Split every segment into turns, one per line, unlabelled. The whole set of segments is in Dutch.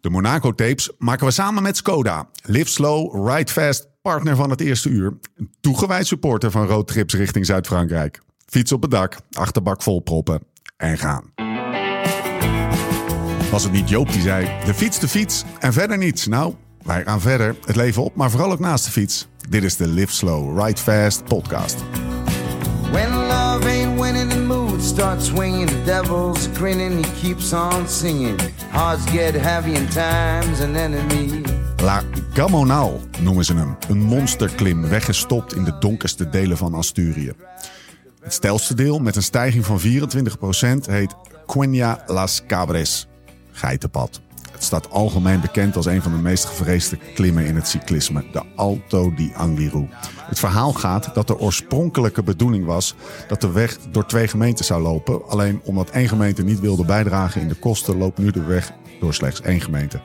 De Monaco tapes maken we samen met Skoda. Live slow, ride fast, partner van het eerste uur. Een toegewijd supporter van roadtrips richting Zuid-Frankrijk. Fiets op het dak, achterbak vol proppen en gaan. Was het niet Joop die zei, de fiets, de fiets en verder niets. Nou, wij gaan verder, het leven op, maar vooral ook naast de fiets. Dit is de Live Slow, Ride Fast podcast.
When love ain't winning, the mood starts swinging. The devil's grinning, he keeps on singing. Hearts get heavy, and time's an enemy.
La Gamonal noemen ze hem. Een monsterklim weggestopt in de donkerste delen van Asturië. Het stelste deel met een stijging van 24% heet Cuenya Las Cabres, geitenpad. Het staat algemeen bekend als een van de meest gevreesde klimmen in het cyclisme, de Alto di Angliru. Het verhaal gaat dat de oorspronkelijke bedoeling was dat de weg door twee gemeenten zou lopen. Alleen omdat één gemeente niet wilde bijdragen in de kosten, loopt nu de weg door slechts één gemeente.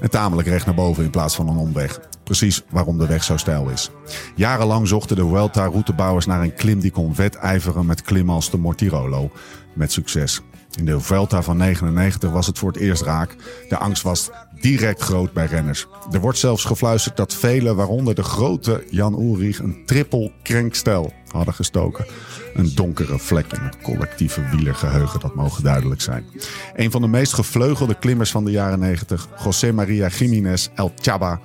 En tamelijk recht naar boven in plaats van een omweg. Precies waarom de weg zo steil is. Jarenlang zochten de Vuelta-routebouwers naar een klim die kon wedijveren met klimmen als de Mortirolo. Met succes. In de Vuelta van 99 was het voor het eerst raak. De angst was direct groot bij renners. Er wordt zelfs gefluisterd dat velen, waaronder de grote Jan Ulrich, een triple krenkstel hadden gestoken. Een donkere vlek in het collectieve wielergeheugen, dat mogen duidelijk zijn. Een van de meest gevleugelde klimmers van de jaren 90, José María Jiménez El Chaba,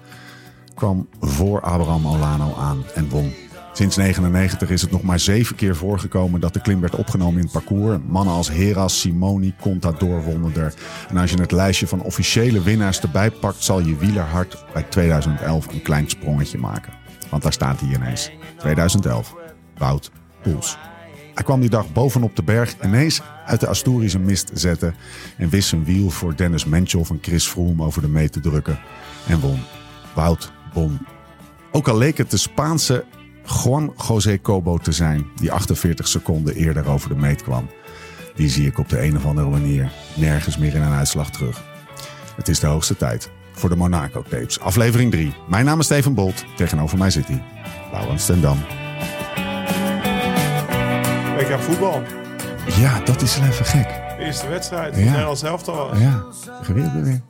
kwam voor Abraham Olano aan en won. Sinds 1999 is het nog maar zeven keer voorgekomen dat de klim werd opgenomen in het parcours. Mannen als Heras, Simoni, Contador wonnen er. En als je het lijstje van officiële winnaars erbij pakt, zal je wielerhart bij 2011 een klein sprongetje maken. Want daar staat hij ineens. 2011. Wout Poels. Hij kwam die dag bovenop de berg ineens uit de Asturische mist zetten en wist zijn wiel voor Dennis Menchel van Chris Froome over de mee te drukken. En won. Wout won. Ook al leek het de Spaanse Juan José Cobo te zijn, die 48 seconden eerder over de meet kwam. Die zie ik op de een of andere manier nergens meer in een uitslag terug. Het is de hoogste tijd voor de Monaco Tapes, aflevering 3. Mijn naam is Steven Bolt, tegenover mij zit hij, Laurens ten Dam.
WK voetbal.
Ja, dat is wel even gek.
Eerste wedstrijd.
Ja.
Ja. Nederlands elftal. al.
Oh Ja, geweest weer.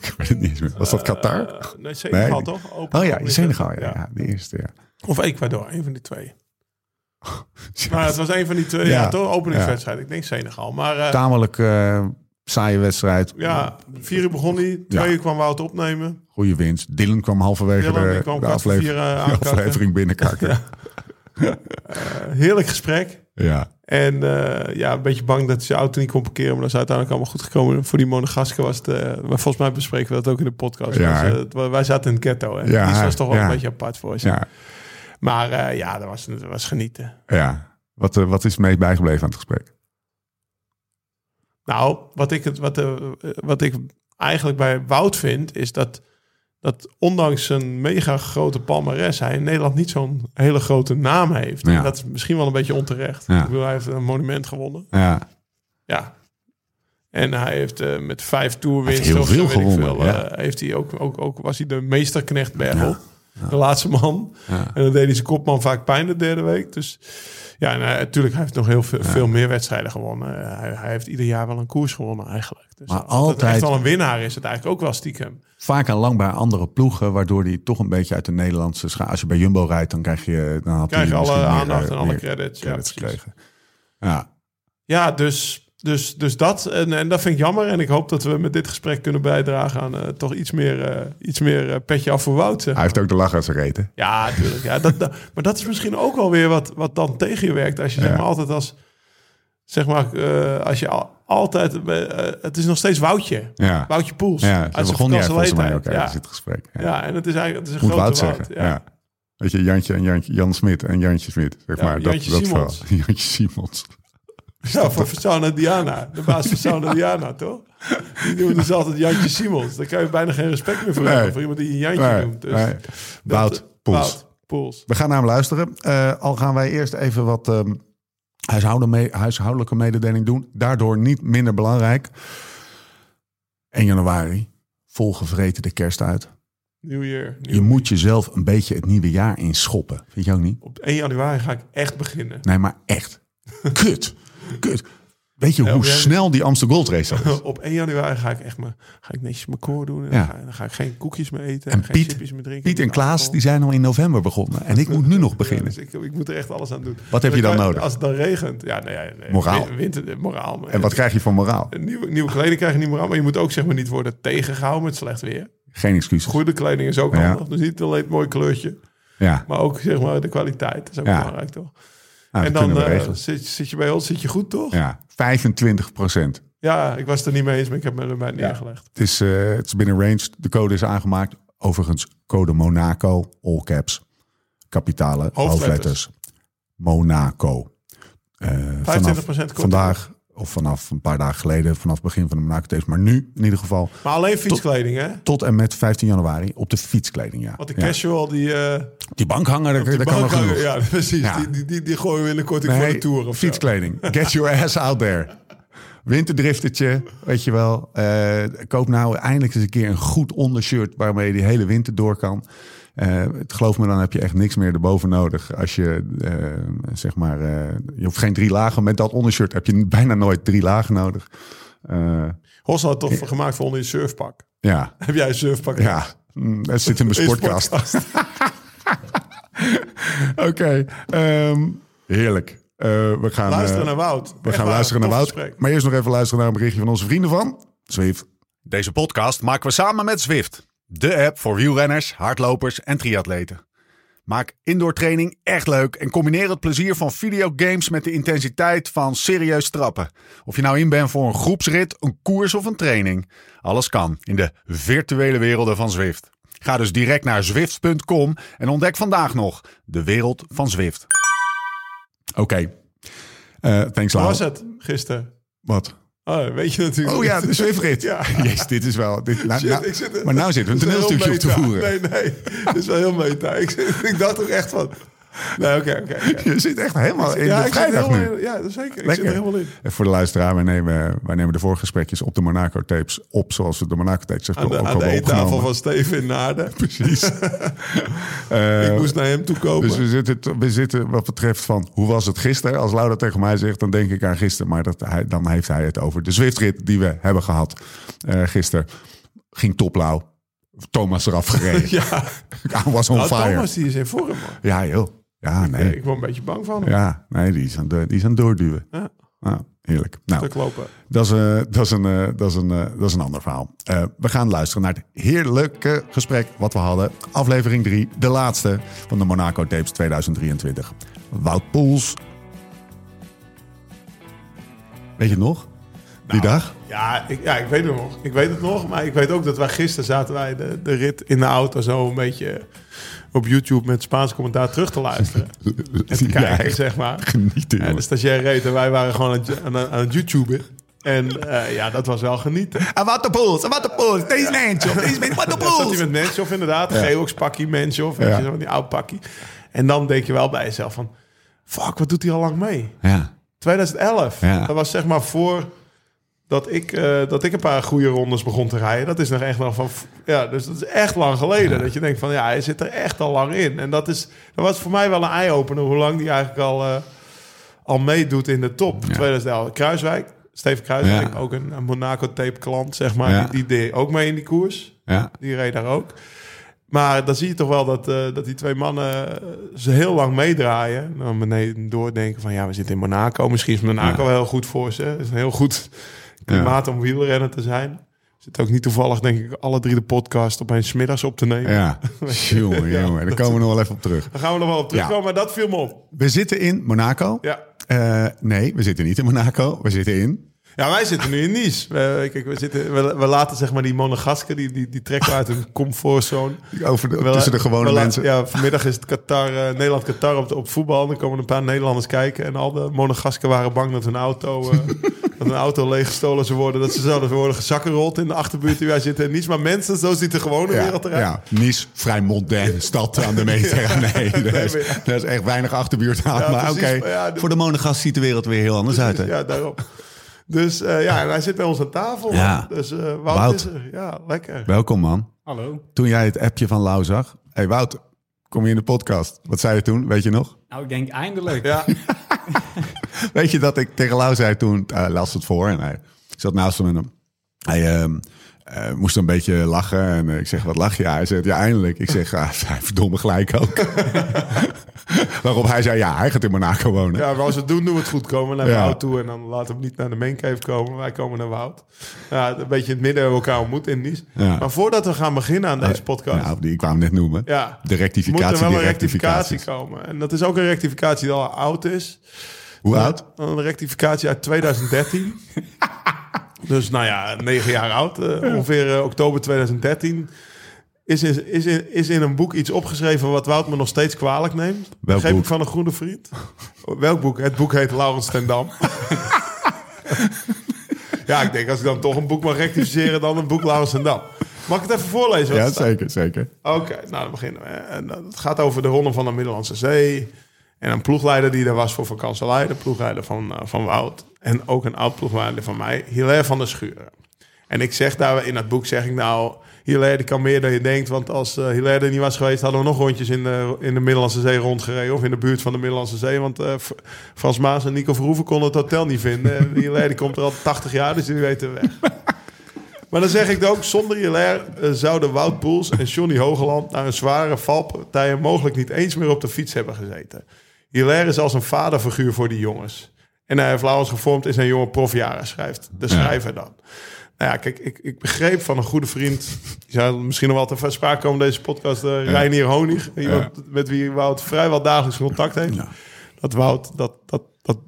Ik weet het niet eens meer. Was dat Qatar?
Eh, Nee, Senegal
Nee.
toch? Open-
Oh ja,
open-
Senegal, ja, ja, de eerste, ja.
Of Ecuador, een van die twee. Maar het was een van die twee,
Ja.
ja, toch? Openingswedstrijd. Ik denk Senegal. Maar eh,
Tamelijk eh, saaie wedstrijd.
ja, vier uur begon hij. Twee
Ja.
uur kwam Wout opnemen.
Goede winst. Dylan kwam halverwege
Dylan,
de,
die kwam
de
kwart voor
aflevering,
vier, eh,
de
aankakken.
aflevering binnenkakken. Ja.
Een Eh, Heerlijk gesprek.
ja.
En eh, ja, een beetje bang dat ze zijn auto niet kon parkeren. Maar dat is uiteindelijk allemaal goed gekomen. Voor die Monegasker was het... eh, maar volgens mij bespreken we dat ook in de podcast.
Ja.
Dus, eh, het wa- wij zaten in het ghetto. Hè?
Ja,
Dus dat was toch wel
ja.
een beetje apart voor ze.
Ja.
Maar eh, ja, dat was, dat was genieten.
Wat, eh, wat is het meest bijgebleven aan het gesprek?
Nou, wat ik, het, wat, eh, wat ik eigenlijk bij Wout vind, is dat, dat ondanks zijn mega grote palmares, hij in Nederland niet zo'n hele grote naam heeft.
Ja.
En Dat is misschien wel een beetje onterecht.
Ja.
Ik bedoel, hij heeft een monument gewonnen.
Ja.
Ja. En hij heeft eh, met vijf
Hij
toerwinsten
heeft heel
of zo,
veel
weet ik
gewonnen,
eh, heeft hij ook, ook, ook was hij de meesterknecht Bergel.
Ja.
De laatste man.
Ja.
En dan deed hij zijn kopman vaak pijn de derde week. Dus ja, en hij- natuurlijk, hij heeft nog heel veel, veel meer wedstrijden gewonnen. Eh, hij, hij heeft ieder jaar wel een koers gewonnen eigenlijk. Dus
Maar
dat het
altijd-
echt wel een winnaar is het eigenlijk ook wel stiekem.
Vaak en lang bij andere ploegen, waardoor die toch een beetje uit de Nederlandse scha- Als je bij Jumbo rijdt, dan krijg je, dan had
Krijg je
hij
alle
misschien meer,
aandacht
eh,
en alle
meer
credits. Ja,
credits
precies.
gekregen. Ja,
Ja, dus, dus, dus dat. En, en dat vind ik jammer. En ik hoop dat we met dit gesprek kunnen bijdragen aan eh, toch iets meer, eh, iets meer eh, petje af voor Wout. zeg
hij heeft ook de lach aan zijn reet, hè?
Ja, natuurlijk. Ja, dat, dat- maar dat is misschien ook wel weer wat, wat dan tegen je werkt. Als je zeg maar altijd als... Zeg maar, eh, als je al- altijd... eh, het is nog steeds Woutje.
Ja.
Woutje Poels.
Ja,
Uit
daar
zijn
begon jij volgens mij ook
vakantieleeftijd.
ergens dit gesprek.
Ja.
Ja.
ja, en het is eigenlijk het is een
Moet
grote
Wout
Wout.
zeggen. Ja. Weet je, Jantje en Jantje, Jan Smit en Jantje Smit. Zeg
Ja,
maar, dat,
Jantje
dat
Simons.
verhaal. Jantje Simons.
Ja, voor Sauna Diana. De baas van Sauna Diana, toch? Die noemen dus altijd Jantje Simons. Daar kan je bijna geen respect meer voor
Nee.
hebben. Voor iemand die een Jantje
Nee,
noemt. Dus
nee.
dat-
Wout Poels.
Wout Poels.
We gaan naar hem luisteren. Eh, al gaan wij eerst even wat ehm, huishouden mee- huishoudelijke mededeling doen. Daardoor niet minder belangrijk. 1 januari, volgevreten de kerst uit.
New Year. New
Je moet jezelf een beetje het nieuwe jaar inschoppen. Vind je ook niet?
Op 1 januari ga ik echt beginnen.
Nee, maar echt. Kut. Kut. Weet je
Ja,
hoe
ja. Oh.
snel die Amsterdam Gold Race al is?
Op 1 januari ga ik echt me, ga ik netjes mijn koor doen. En
Ja.
dan, ga, dan ga ik geen koekjes meer eten.
En
geen
Piet-
chipjes meer drinken.
Piet en
Niet
Klaas
alcohol.
die zijn al in november begonnen. En ik moet nu nog
Ja,
beginnen.
dus ik, ik moet er echt alles aan doen.
Wat heb je dan
kan-
nodig?
Als het dan regent. Ja, nou ja, nee,
Moraal.
win- Winter, moraal. maar-
En wat krijg je van moraal?
Een Nieuwe, nieuwe kleding krijg je niet meer aan. Maar je moet ook zeg maar, niet worden tegengehouden met slecht weer.
Geen excuses.
Goede kleding is ook
Ja.
handig. Dus niet alleen het mooie kleurtje.
Ja,
Maar ook zeg maar, de kwaliteit. Dat is ook
Ja.
belangrijk toch?
nou,
en
dat
dan
kunnen we
eh,
regelen.
zit, zit je bij ons, zit je goed toch? Ja,
Ja, 25 procent.
ik was het er niet mee eens, maar ik heb me erbij neergelegd.
Het is, eh, het is binnen range. De code is aangemaakt. Overigens, code Monaco, all caps. Kapitale hoofdletters. Monaco. Eh,
25%
vanaf
korting.
Vandaag, of vanaf een paar dagen geleden, vanaf het begin van de Monaco Days. Maar nu, in ieder geval,
Maar alleen fietskleding, hè?
tot en met 15 januari op de fietskleding. Ja.
Want de
Ja.
casual, die... eh
Die bankhanger, daar, daar kan nog
bankhanger,
genoeg.
Ja, precies.
Ja.
Die, die, die, die gooien we binnenkort ook
Nee,
voor de Tour. Of zo.
fietskleding. Get your ass out there. Winterdriftertje, weet je wel. Eh, koop nou eindelijk eens een keer een goed ondershirt waarmee je die hele winter door kan. Eh, het geloof me, dan heb je echt niks meer erboven nodig. Als je, eh, zeg maar, eh, je hoeft geen drie lagen. Met dat ondershirt heb je bijna nooit drie lagen nodig. Eh,
Hossel had toch gemaakt voor onder je surfpak.
ja,
Heb jij een surfpak?
ja. Mm, Dat zit in mijn
Is
sportkast. Oké, ehm, heerlijk. Eh, we gaan,
Luisteren
eh,
naar Wout.
We gaan luisteren naar Wout. Maar eerst nog even luisteren naar een berichtje van onze vrienden van Zweef.
Deze podcast maken we samen met Zwift. De app voor wielrenners, hardlopers en triatleten. Maak indoor training echt leuk en combineer het plezier van videogames met de intensiteit van serieus trappen. Of je nou in bent voor een groepsrit, een koers of een training. Alles kan in de virtuele werelden van Zwift. Ga dus direct naar zwift.com en ontdek vandaag nog de wereld van Zwift.
Oké. Eh, thanks,
Hoe
Lau.
was het gisteren?
Wat?
Oh, weet je natuurlijk.
Oh ja, de Zwiftrit.
Ja.
Jezus, dit is wel... Dit, nou,
Shit,
nou-
ik zit-
maar nou zitten we een
dat is wel
toneelstukje op te
heel
voeren.
meta. Nee, nee. Dat is wel heel meta. Ik, zit- ik dacht toch echt van... Nee, oké, oké. oké.
Je zit echt helemaal in de
ik zit er
vrijdag nu.
helemaal, in- ja, zeker. Ik zit
Lekker.
er helemaal in.
En voor de luisteraar, wij nemen, wij nemen de voorgesprekjes op de Monaco-tapes op... zoals we de Monaco-tapes hebben
Aan de, aan de
hebben
eettafel
opgenomen.
van Steven in Naarden.
Precies. Eh,
ik moest naar hem toe komen.
Dus we zitten, we zitten wat betreft van hoe was het gisteren? Als Laura tegen mij zegt, dan denk ik aan gisteren. Maar dat hij, dan heeft hij het over de Zwiftrit die we hebben gehad eh gisteren. Ging toplauw. Thomas eraf gereden.
ja,
I was on
nou,
fire.
Thomas die is in vorm. man.
Ja joh. Ja, nee.
Ik word een beetje bang van hem.
Ja, nee, die is aan, de, die is aan het doorduwen.
Ja.
Ah, heerlijk. Nou,
Te lopen.
dat is, eh, dat, is een, eh, dat, is een, eh, dat is een ander verhaal. Eh, we gaan luisteren naar het heerlijke gesprek wat we hadden. Aflevering 3, de laatste van de Monaco Tapes 2023. Wout Poels. Weet je het nog? Die dag?
Ja ik, ja, ik weet het nog. Ik weet het nog, maar ik weet ook dat wij gisteren zaten wij de, de rit in de auto zo een beetje op YouTube met Spaans commentaar terug te luisteren. En te kijken,
Ja, dus-
zeg maar.
Genieten,
En de
jongen.
stagiair reed en wij waren gewoon aan, het- aan, aan het YouTuben. En eh, ja, dat was wel genieten.
Ah, Wout Poels, Wout Poels, deze Nijntje, deze Wout
Ja, zat hij met Menshoff inderdaad. Ja. Geox pakkie, Menshoff. Weet
Ja.
je, zo, die oud pakkie. En dan denk je wel bij jezelf van... Fuck, wat doet hij al lang mee?
Ja,
2011.
Ja.
Dat was zeg maar voor dat ik, eh, dat ik een paar goede rondes begon te rijden. Dat is nog echt nog van. Ja, dus dat is echt lang geleden. Dat je denkt van ja, hij zit er echt al lang in. En dat is. Dat was voor mij wel een eye-opener hoe lang die eigenlijk al, eh, al meedoet in de top. 2011. Kruiswijk. Steven Kruiswijk,
Ja.
ook een, een Monaco-tape klant, zeg maar.
Ja.
Die, die deed ook mee in die koers.
ja.
Die reed daar ook. Maar dan zie je toch wel dat, eh, dat die twee mannen eh, ze heel lang meedraaien. En Dan beneden doordenken van ja, we zitten in Monaco. Misschien is Monaco wel heel goed voor ze. Het is een heel goed klimaat om wielrenner te zijn. Zit ook niet toevallig, denk ik, alle drie de podcast op een smiddags op te nemen.
ja. Jongen, jongen, daar komen we nog wel even op terug.
Daar gaan we nog wel op terugkomen, maar dat viel me op.
We zitten in Monaco.
Ja.
Eh, nee, we zitten niet in Monaco. We zitten in
Ja, wij zitten nu in Nice. We, kijk, we, zitten, we, we laten zeg maar die monegasken, die, die, die trekken we uit hun comfortzone.
Over de,
Wel-
tussen de gewone
wel- eh,
mensen.
Ja, vanmiddag is het Qatar, eh, Nederland-Qatar op, de- op voetbal. Dan komen er een paar Nederlanders kijken. En al de monegasken waren bang dat hun auto, eh, dat hun auto leeggestolen zou worden. Dat ze zouden worden gezakkenrold in de achterbuurt die wij zitten. En niets maar mensen, zo ziet de gewone wereld eruit.
ja. Nice, vrij moderne stad aan de meter. Nee, daar is,
maar ja.
daar is echt weinig achterbuurt aan.
Ja,
maar oké,
precies, maar ja, de-
voor de monogast ziet de wereld weer heel anders uit. Hè?
Ja, daarom. Dus eh, ja, en hij zit bij ons aan tafel.
Ja.
Dus eh Wout,
Wout.
is er. Ja, lekker.
Welkom man.
Hallo.
Toen jij het appje van Lau zag. hey, Wout, kom je in de podcast? Wat zei je toen? Weet je nog?
Nou, ik denk eindelijk.
Ja.
Weet je dat ik tegen Lau zei toen, eh, las het voor en hij zat naast hem en hem- hij ehm, eh, moest een beetje lachen. En eh, ik zeg, wat lach je? Hij zegt, ja, eindelijk. Ik zeg, ah, hij verdomme gelijk ook. Waarop hij zei, ja, hij gaat in Monaco wonen.
Ja, maar als we het doen, doen we het goed. Komen naar
Ja.
Wout toe en dan laten we hem niet naar de maincave komen. Wij komen naar Wout. Ja, een beetje in het midden hebben we elkaar ontmoet in Nice.
Ja.
Maar voordat we gaan beginnen aan deze podcast...
Nou, die ik wou hem net noemen.
Ja.
De rectificatie.
Moet er wel
die
een rectificatie
rectificaties.
komen. En dat is ook een rectificatie die al oud is.
Hoe oud?
Een rectificatie uit 2013. dus nou ja, negen jaar oud. eh, ongeveer eh, oktober 2013. Is in, is, in, is in een boek iets opgeschreven wat Wout me nog steeds kwalijk neemt.
Welk
Geef
boek?
ik van een groene vriend. Welk boek? Het boek heet Laurens ten Dam. ja, ik denk als ik dan toch een boek mag rectificeren, dan een boek Laurens ten Dam. Mag ik het even voorlezen? wat er
Ja,
staat?
zeker, zeker.
Oké, nou dan beginnen we. En dat- het gaat over de Ronde van de Middellandse Zee. En een ploegleider die er was voor Van Kanselij, de ploegleider van, eh, van Wout. En ook een oud ploegleider van mij, Hilaire van der Schuren. En ik zeg daar in dat boek, zeg ik nou, Hilaire die kan meer dan je denkt. Want als eh Hilaire er niet was geweest, hadden we nog rondjes in de, in de Middellandse Zee rondgereden. Of in de buurt van de Middellandse Zee. Want eh, Fr- Frans Maas en Nico Verhoeven konden het hotel niet vinden. En Hilaire die komt er al 80 jaar, dus die weten weg. Maar dan zeg ik ook, zonder Hilaire eh, zouden Wout Poels en Johnny Hogeland... na een zware valpartij mogelijk niet eens meer op de fiets hebben gezeten. Hilaire is als een vaderfiguur voor die jongens. En hij heeft Laurens gevormd in zijn jonge profjaren, schrijft de schrijver dan. Nou ja, kijk, ik, ik begreep van een goede vriend... die zou misschien nog wel te ver sprake komen in deze podcast... eh Reinier Honig, iemand met wie Wout vrijwel dagelijks contact heeft. Dat Wout dat, dat, dat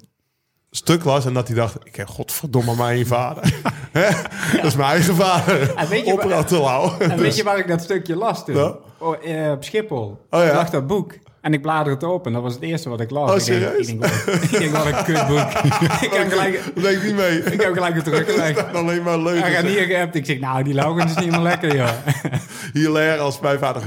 stuk las en dat hij dacht... ik heb godverdomme mijn vader. Hè? Dat is mijn eigen vader.
En weet je-
Op Rattelau.
En weet je waar ik dat stukje las toen?
Ja.
Oh, eh, op Schiphol.
Nou? Oh, ja.
Ik lag dat boek. En ik bladerde het open. Dat was het eerste wat ik las.
Oh,
ik, denk,
serieus?
ik, denk, wat- ik denk, wat een kutboek. ik, heb gelijk,
Dat deed ik niet mee.
ik heb gelijk een teruggelegd.
Dat is alleen maar leuk.
Hij gaat niet geappt. Ik zeg, nou, die Logan is niet meer lekker, joh.
Hilaire als mijn vader.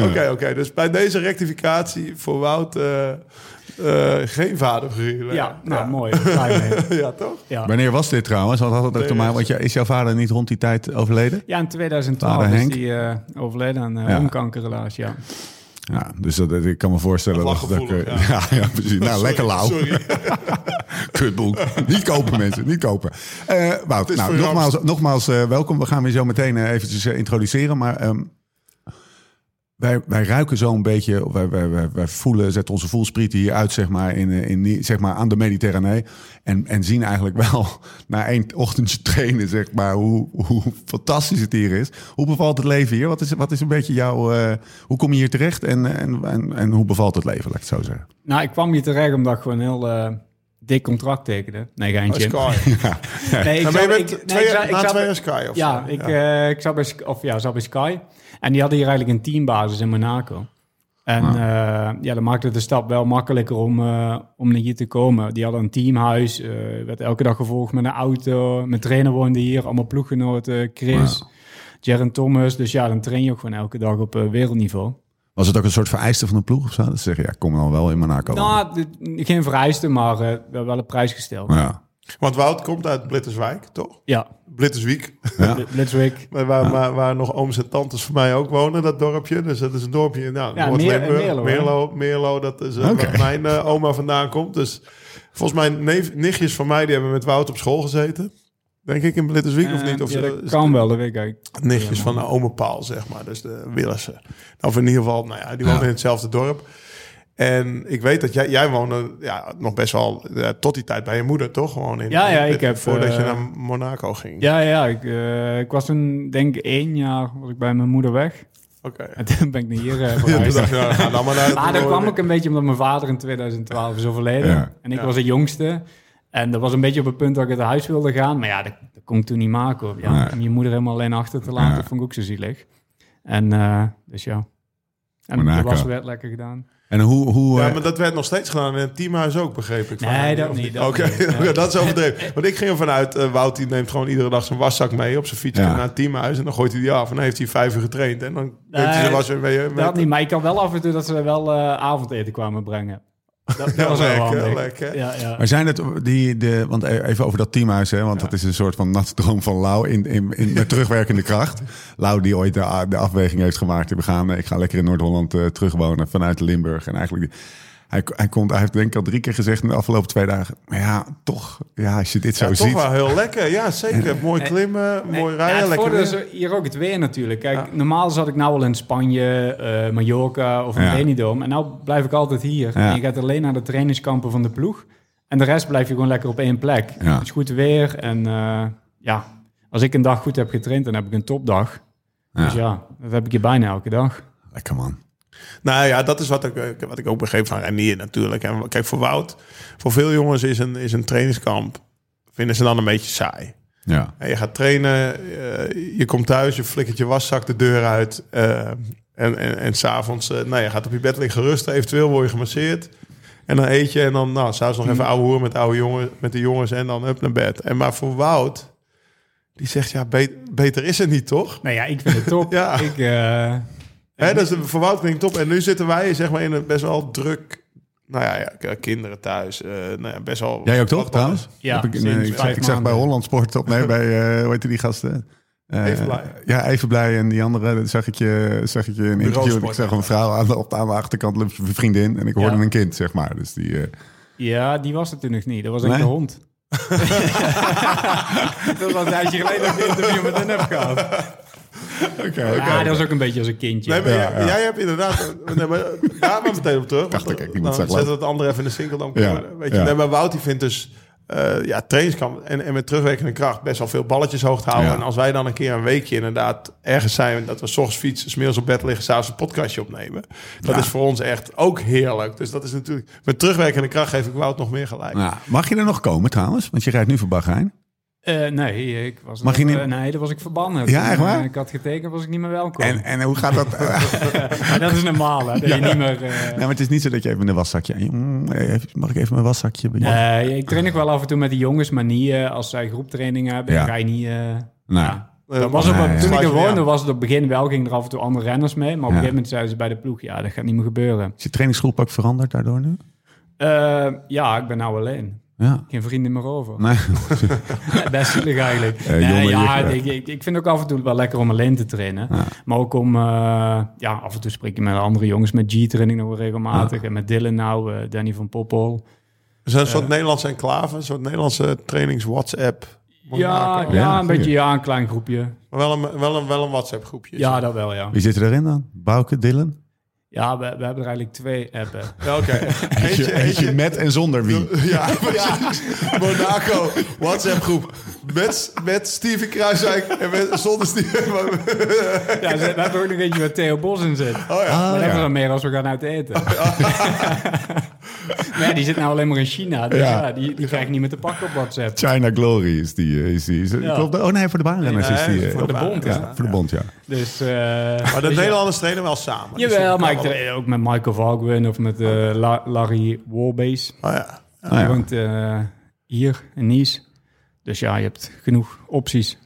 Oké, oké. dus bij deze rectificatie voor Wout... eh, eh, geen vader voor Hilaire.
Ja, nou, mooi. Blij mee.
Ja, toch?
Ja.
Wanneer was dit trouwens? Wat had het ook te maken? Want ja, is jouw vader niet rond die tijd overleden?
Ja, in 2012
Vader
is
Henk.
die eh, overleden aan eh
Ja.
longkanker helaas, ja.
Ja, dus dat, ik kan me voorstellen
Dat
dat...
lag
dat ik, eh,
gevoelig,
ja. ja, precies. Nou, lekker lauw.
Sorry.
Kutboek. niet kopen, mensen. Niet kopen. Eh, Wout,
is
nou,
voor
nogmaals, nogmaals eh, welkom. We gaan weer zo meteen eh, eventjes eh, introduceren. Maar ehm, wij, wij ruiken zo een beetje... of Wij, wij, wij, wij voelen, zetten onze voelsprieten hier uit, zeg maar, in, eh, in, die- zeg maar aan de Mediterranee. En, en zien eigenlijk wel, na één ochtendje trainen, zeg maar... Hoe, hoe fantastisch het hier is. Hoe bevalt het leven hier? Wat is, wat is een beetje jouw... eh, hoe kom je hier terecht en, en, en, en hoe bevalt het leven, laat ik het zo zeggen?
Nou, ik kwam hier terecht omdat ik gewoon een heel eh, dik contract tekende. Nee, geintje.
Sky.
Nee, ik
Nou, Maar je
zat-
bent
ik- nee,
twee
ik
jaar-
zat- ik
na
zat-
twee jaar Sky of
Ja,
zo.
ik,
Ja.
eh, ik zat, bij, Sk- of, ja, zat bij Sky. En die hadden hier eigenlijk een teambasis in Monaco. En eh, ja, dan maakte het de stap wel makkelijker om, eh, om naar hier te komen. Die hadden een teamhuis, eh, werd elke dag gevolgd met een auto. Mijn trainer woonde hier, allemaal ploeggenoten, Chris, Jaron Thomas. Dus ja, dan train je ook gewoon elke dag op eh, wereldniveau.
Was het ook een soort vereiste van de ploeg of zo? Dat ze zeggen, ja, kom dan wel in Monaco.
Nou, dit- geen vereiste, maar eh, wel wel een prijs gesteld. Ja,
Ja.
Want Wout komt uit Blitterswijk, toch?
ja.
Blitterswijk.
Bl- Blitzwick.
Maar waar, waar, waar nog ooms en tantes van mij ook wonen, dat dorpje. Dus dat is een dorpje in nou,
Ja,
Noord-Limburg.
Meer- Meerlo,
Meerlo,
hè?
Meerlo, dat is eh,
Oké.
waar mijn eh, oma vandaan komt. Dus volgens mij neef, nichtjes van mij, die hebben met Wout op school gezeten. Denk ik in Blitterswijk of niet? Of
ja,
ze-
dat kan wel, dat weet ik eigenlijk.
nichtjes van de ome Paul, zeg maar. Dus de Willissen. Of in ieder geval, nou ja, die wonen in hetzelfde dorp. En ik weet dat jij, jij woonde ja, nog best wel eh, tot die tijd bij je moeder, toch? Gewoon in,
Ja, ja,
in-
ik heb,
Voordat je
eh,
naar Monaco ging.
Ja, ja, ik, eh, ik was toen denk ik één jaar was ik bij mijn moeder weg.
Oké.
En toen ben ik naar hier eh,
Ja, toen
verhuisd.
dacht je, nou, ga dan maar naar
Maar daar kwam ik een beetje omdat mijn vader in 2012 is overleden.
Ja.
En ik was de jongste. En dat was een beetje op het punt dat ik uit huis wilde gaan. Maar ja, dat, dat kon ik toen niet maken. hoor. Ja,
Nee.
Om je moeder helemaal alleen achter te laten,
Ja.
vond ik ook zo zielig. En eh, dus ja. En
Monaco.
de was werd lekker gedaan.
En hoe... hoe
Ja,
eh,
maar dat werd nog steeds gedaan in het teamhuis ook, begreep ik. van
Nee,
jou,
dat
of
niet, dat
Oké,
niet, nee.
oké, dat is overdreven. Want ik ging ervan uit, eh, Wout die neemt gewoon iedere dag zijn waszak mee op zijn fiets
Ja.
naar het teamhuis. En dan gooit hij die af en dan heeft hij vijf uur getraind. En dan neemt hij
Nee,
zijn was weer mee. mee-
Dat niet, maar ik had wel af en toe dat ze wel eh, avondeten kwamen brengen. Dat, dat was wel
lekker,
handig.
lekker.
Ja, ja.
maar zijn het die, de, want e- even over dat teamhuis, hè, want dat is een soort van natte droom van Lau in, in, in, met terugwerkende kracht. Lau die ooit de, a- de afweging heeft gemaakt, we gaan, eh, ik ga lekker in Noord-Holland eh, terugwonen vanuit Limburg. En eigenlijk, die- Hij, hij, komt, hij heeft denk ik al drie keer gezegd in de afgelopen twee dagen. Maar ja, toch, ja, als je dit zo
Ja, toch
ziet.
wel heel lekker. Ja, zeker. Mooi klimmen, mooi
Ja,
rijden,
het
lekker
voordeel is
weer.
hier ook het weer natuurlijk. Kijk, normaal zat ik nou al in Spanje, eh, Mallorca of in
Ja.
Benidorm. En nou blijf ik altijd hier.
Ja.
En je gaat alleen naar de trainingskampen van de ploeg. En de rest blijf je gewoon lekker op één plek.
Ja.
Het is goed weer. En eh, ja, als ik een dag goed heb getraind, dan heb ik een topdag.
Ja.
Dus ja, dat heb ik hier bijna elke dag.
Lekker man.
Nou ja, dat is wat ik, eh, wat ik ook begreep van Renier natuurlijk. En kijk, voor Wout, voor veel jongens is een, is een trainingskamp... vinden ze dan een beetje saai.
Ja.
En je gaat trainen, eh, je komt thuis, je flikkert je waszak de deur uit. eh, en en, en s'avonds, eh nou, je gaat op je bed liggen rusten. Eventueel word je gemasseerd. En dan eet je en dan, nou, s'avonds nog
Hmm.
even ouwe hoer met, oude jongen, met de jongens en dan up naar bed. En maar voor Wout, die zegt, ja, be- beter is het niet, toch?
Nou ja, ik vind het top.
Ja.
Ik, eh,
Hè, dat is de verwoud klinkt top. En nu zitten wij zeg maar in een best wel druk... Nou ja, ja k- kinderen thuis. eh, nou ja, best wel...
Jij ook toch
wat
trouwens?
Ja,
Heb ik, nee,
sinds
ik, zag,
vijf
ik zag bij
maanden.
Holland Sport op, nee, bij, eh, hoe heet die gasten? Eh,
Even blij.
Ja, even blij. En die andere, dat zag ik je, zag ik je in een interview. en Ik
Bureausport.
zag een vrouw aan de, op de, aan de achterkant, liep een vriendin. En ik hoorde
Ja.
een kind, zeg maar. Dus die, eh,
ja, die was het toen nog niet. Dat was echt
Nee?
de hond. dat was een tijdje geleden dat ik een interview met hen heb gehad.
Oké,
Ja, dat is ook een beetje als een kindje.
Nee, maar
Ja,
jij,
ja.
jij hebt inderdaad... nee, maar daar maar meteen op terug.
Dacht ik, ik moet
dan
zeggen,
zetten we
laat.
het andere even in de single dan. eh,
Ja,
Weet je?
ja.
Nee, maar Wout die vindt dus... eh, ja, trainingskamp en, en met terugwerkende kracht best wel veel balletjes hoog te houden.
Ja.
En als wij dan een keer een weekje inderdaad ergens zijn... dat we 's ochtends fietsen, 's middags op bed liggen, s'avonds een podcastje opnemen. Dat is voor ons echt ook heerlijk. Dus dat is natuurlijk... Met terugwerkende kracht geef ik Wout nog meer gelijk.
Ja, mag je er nog komen trouwens? Want je rijdt nu voor Bahrein.
Eh, nee, ik was
Mag
nog-
je niet-
eh, nee, daar was ik verbannen.
Ja,
Toen,
echt waar?
eh, Ik had getekend, was ik niet meer welkom.
En, en hoe gaat dat?
Maar dat is normaal, hè? Dat je niet meer... eh,
nee, maar het is niet zo dat je even een waszakje... Mm, even- Mag ik even mijn waszakje? bij je?
nee, ik train nog wel af en toe met de jongens, maar niet eh, als zij groeptrainingen hebben.
Ja.
Dan ga je niet... eh,
Nou,
ja. Dat was ook,
nee,
wel-
ja.
Toen ik er
Sluit me
woonde,
aan.
was het op het begin wel, gingen er af en toe andere renners mee. Maar
Ja.
op een gegeven moment zeiden ze bij de ploeg, ja, dat gaat niet meer gebeuren.
Is je trainingsgroep ook veranderd daardoor nu?
Eh, ja, ik ben nou alleen.
Ja.
Geen vrienden meer over.
Nee.
Best zielig eigenlijk.
Eh,
nee,
jongen,
ja,
je-
ik, ik, ik vind het ook af en toe wel lekker om alleen te trainen. Maar ook om, eh, ja, af en toe spreek je met andere jongens, met G-training nog wel regelmatig. En met Dylan nou, eh, Danny van Poppel.
Dus een soort Nederlandse enclave, een soort Nederlandse trainings-WhatsApp. Moet je
Ja,
maken.
ja, een
goeie.
beetje, ja, een klein groepje.
Maar wel een, wel een, wel een WhatsApp-groepje.
Ja, dat wel, ja.
Wie zit erin dan? Bouke, Dylan?
Ja, we, we hebben er eigenlijk twee appen.
Ja, oké. Eentje, eentje.
met en zonder wie.
Ja, precies. Monaco, WhatsApp-groep. Met, met Steven Kruiswijk en met, zonder Steven.
Ja, ze- we hebben ook nog eentje waar Theo Bos in zit. Oh
ja. Oh.
Maar dat
Ah, ja.
hebben we dan meer als we gaan uit eten. nee, die zit nou alleen maar in China. Dus
Ja.
ja. die, die krijg ik niet meer te pakken op WhatsApp.
China Glory is die. eh, Is die is,
Ja.
klopt, oh nee, voor de baanrenners
Nee,
is die. eh,
voor de
op-
bond is
Ja,
dat.
voor de bond, ja.
Dus, eh,
Maar de
dus ja.
Nederlanders trainen wel samen. Dus
Jawel,
dat
maar ik
kan
train ook met Michael Valkwen of met eh, La- Larry Warbase.
wel. Oh, ja.
Ah,
Hij
ja.
woont eh, hier in Nice. Dus ja, je hebt genoeg opties.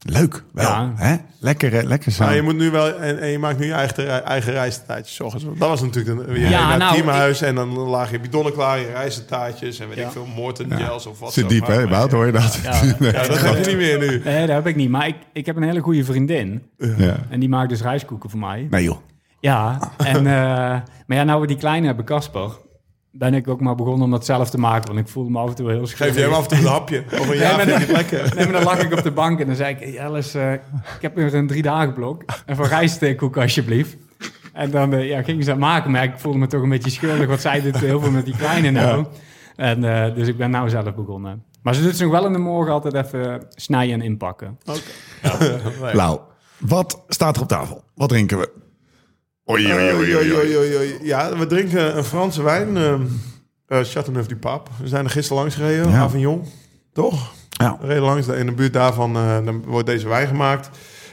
Leuk, wel.
Ja.
Hè? Lekker, hè? lekker
Maar Nou, je
samen.
moet nu wel... En, en je maakt nu je eigen, re- eigen reistaartjes. 's ochtends. Want Dat was natuurlijk een, weer
Ja,
naar het
nou,
teamhuis. En dan lagen je bidonnen klaar, je reistaartjes. En weet
Ja.
ik veel, Morton gels of wat.
Zit
zo.
diep, hè?
Maar-
Wout, hoor je dat? Nee.
Ja, dat gaat niet meer nu.
Nee, dat heb ik niet. Maar ik, ik heb een hele goede vriendin.
Ja.
En die maakt dus rijstkoeken voor mij.
Nee, joh.
Ja,
Ah.
en, eh, maar ja, nou we die kleine hebben, Casper... ben ik ook maar begonnen om dat zelf te maken. Want ik voelde me af en toe heel schuldig.
Geef jij hem af en toe een hapje. Over een jaar
maar
vind
dan-
je het lekker.
Nee, maar dan lag ik op de bank en dan zei ik... Hey Alice, eh, ik heb weer een drie dagen blok. En voor rijstkoek alsjeblieft. En dan eh, ja, ging ze dat maken. Maar ik voelde me toch een beetje schuldig. Want zij doet heel veel met die kleine nou. En, eh, dus ik ben nou zelf begonnen. Maar ze doet ze nog wel in de morgen altijd even snijden en inpakken.
Oh.
Lau, wat staat er op tafel? Wat drinken we? Oei, oei, oei, oei, oei.
Oei, oei, oei. Ja, we drinken een Franse wijn. ehm eh Chateauneuf du Pape. We zijn er gisteren langs gereden.
Ja.
Avignon. Toch?
Ja.
We reden langs. In de buurt daarvan eh, dan wordt deze wijn gemaakt.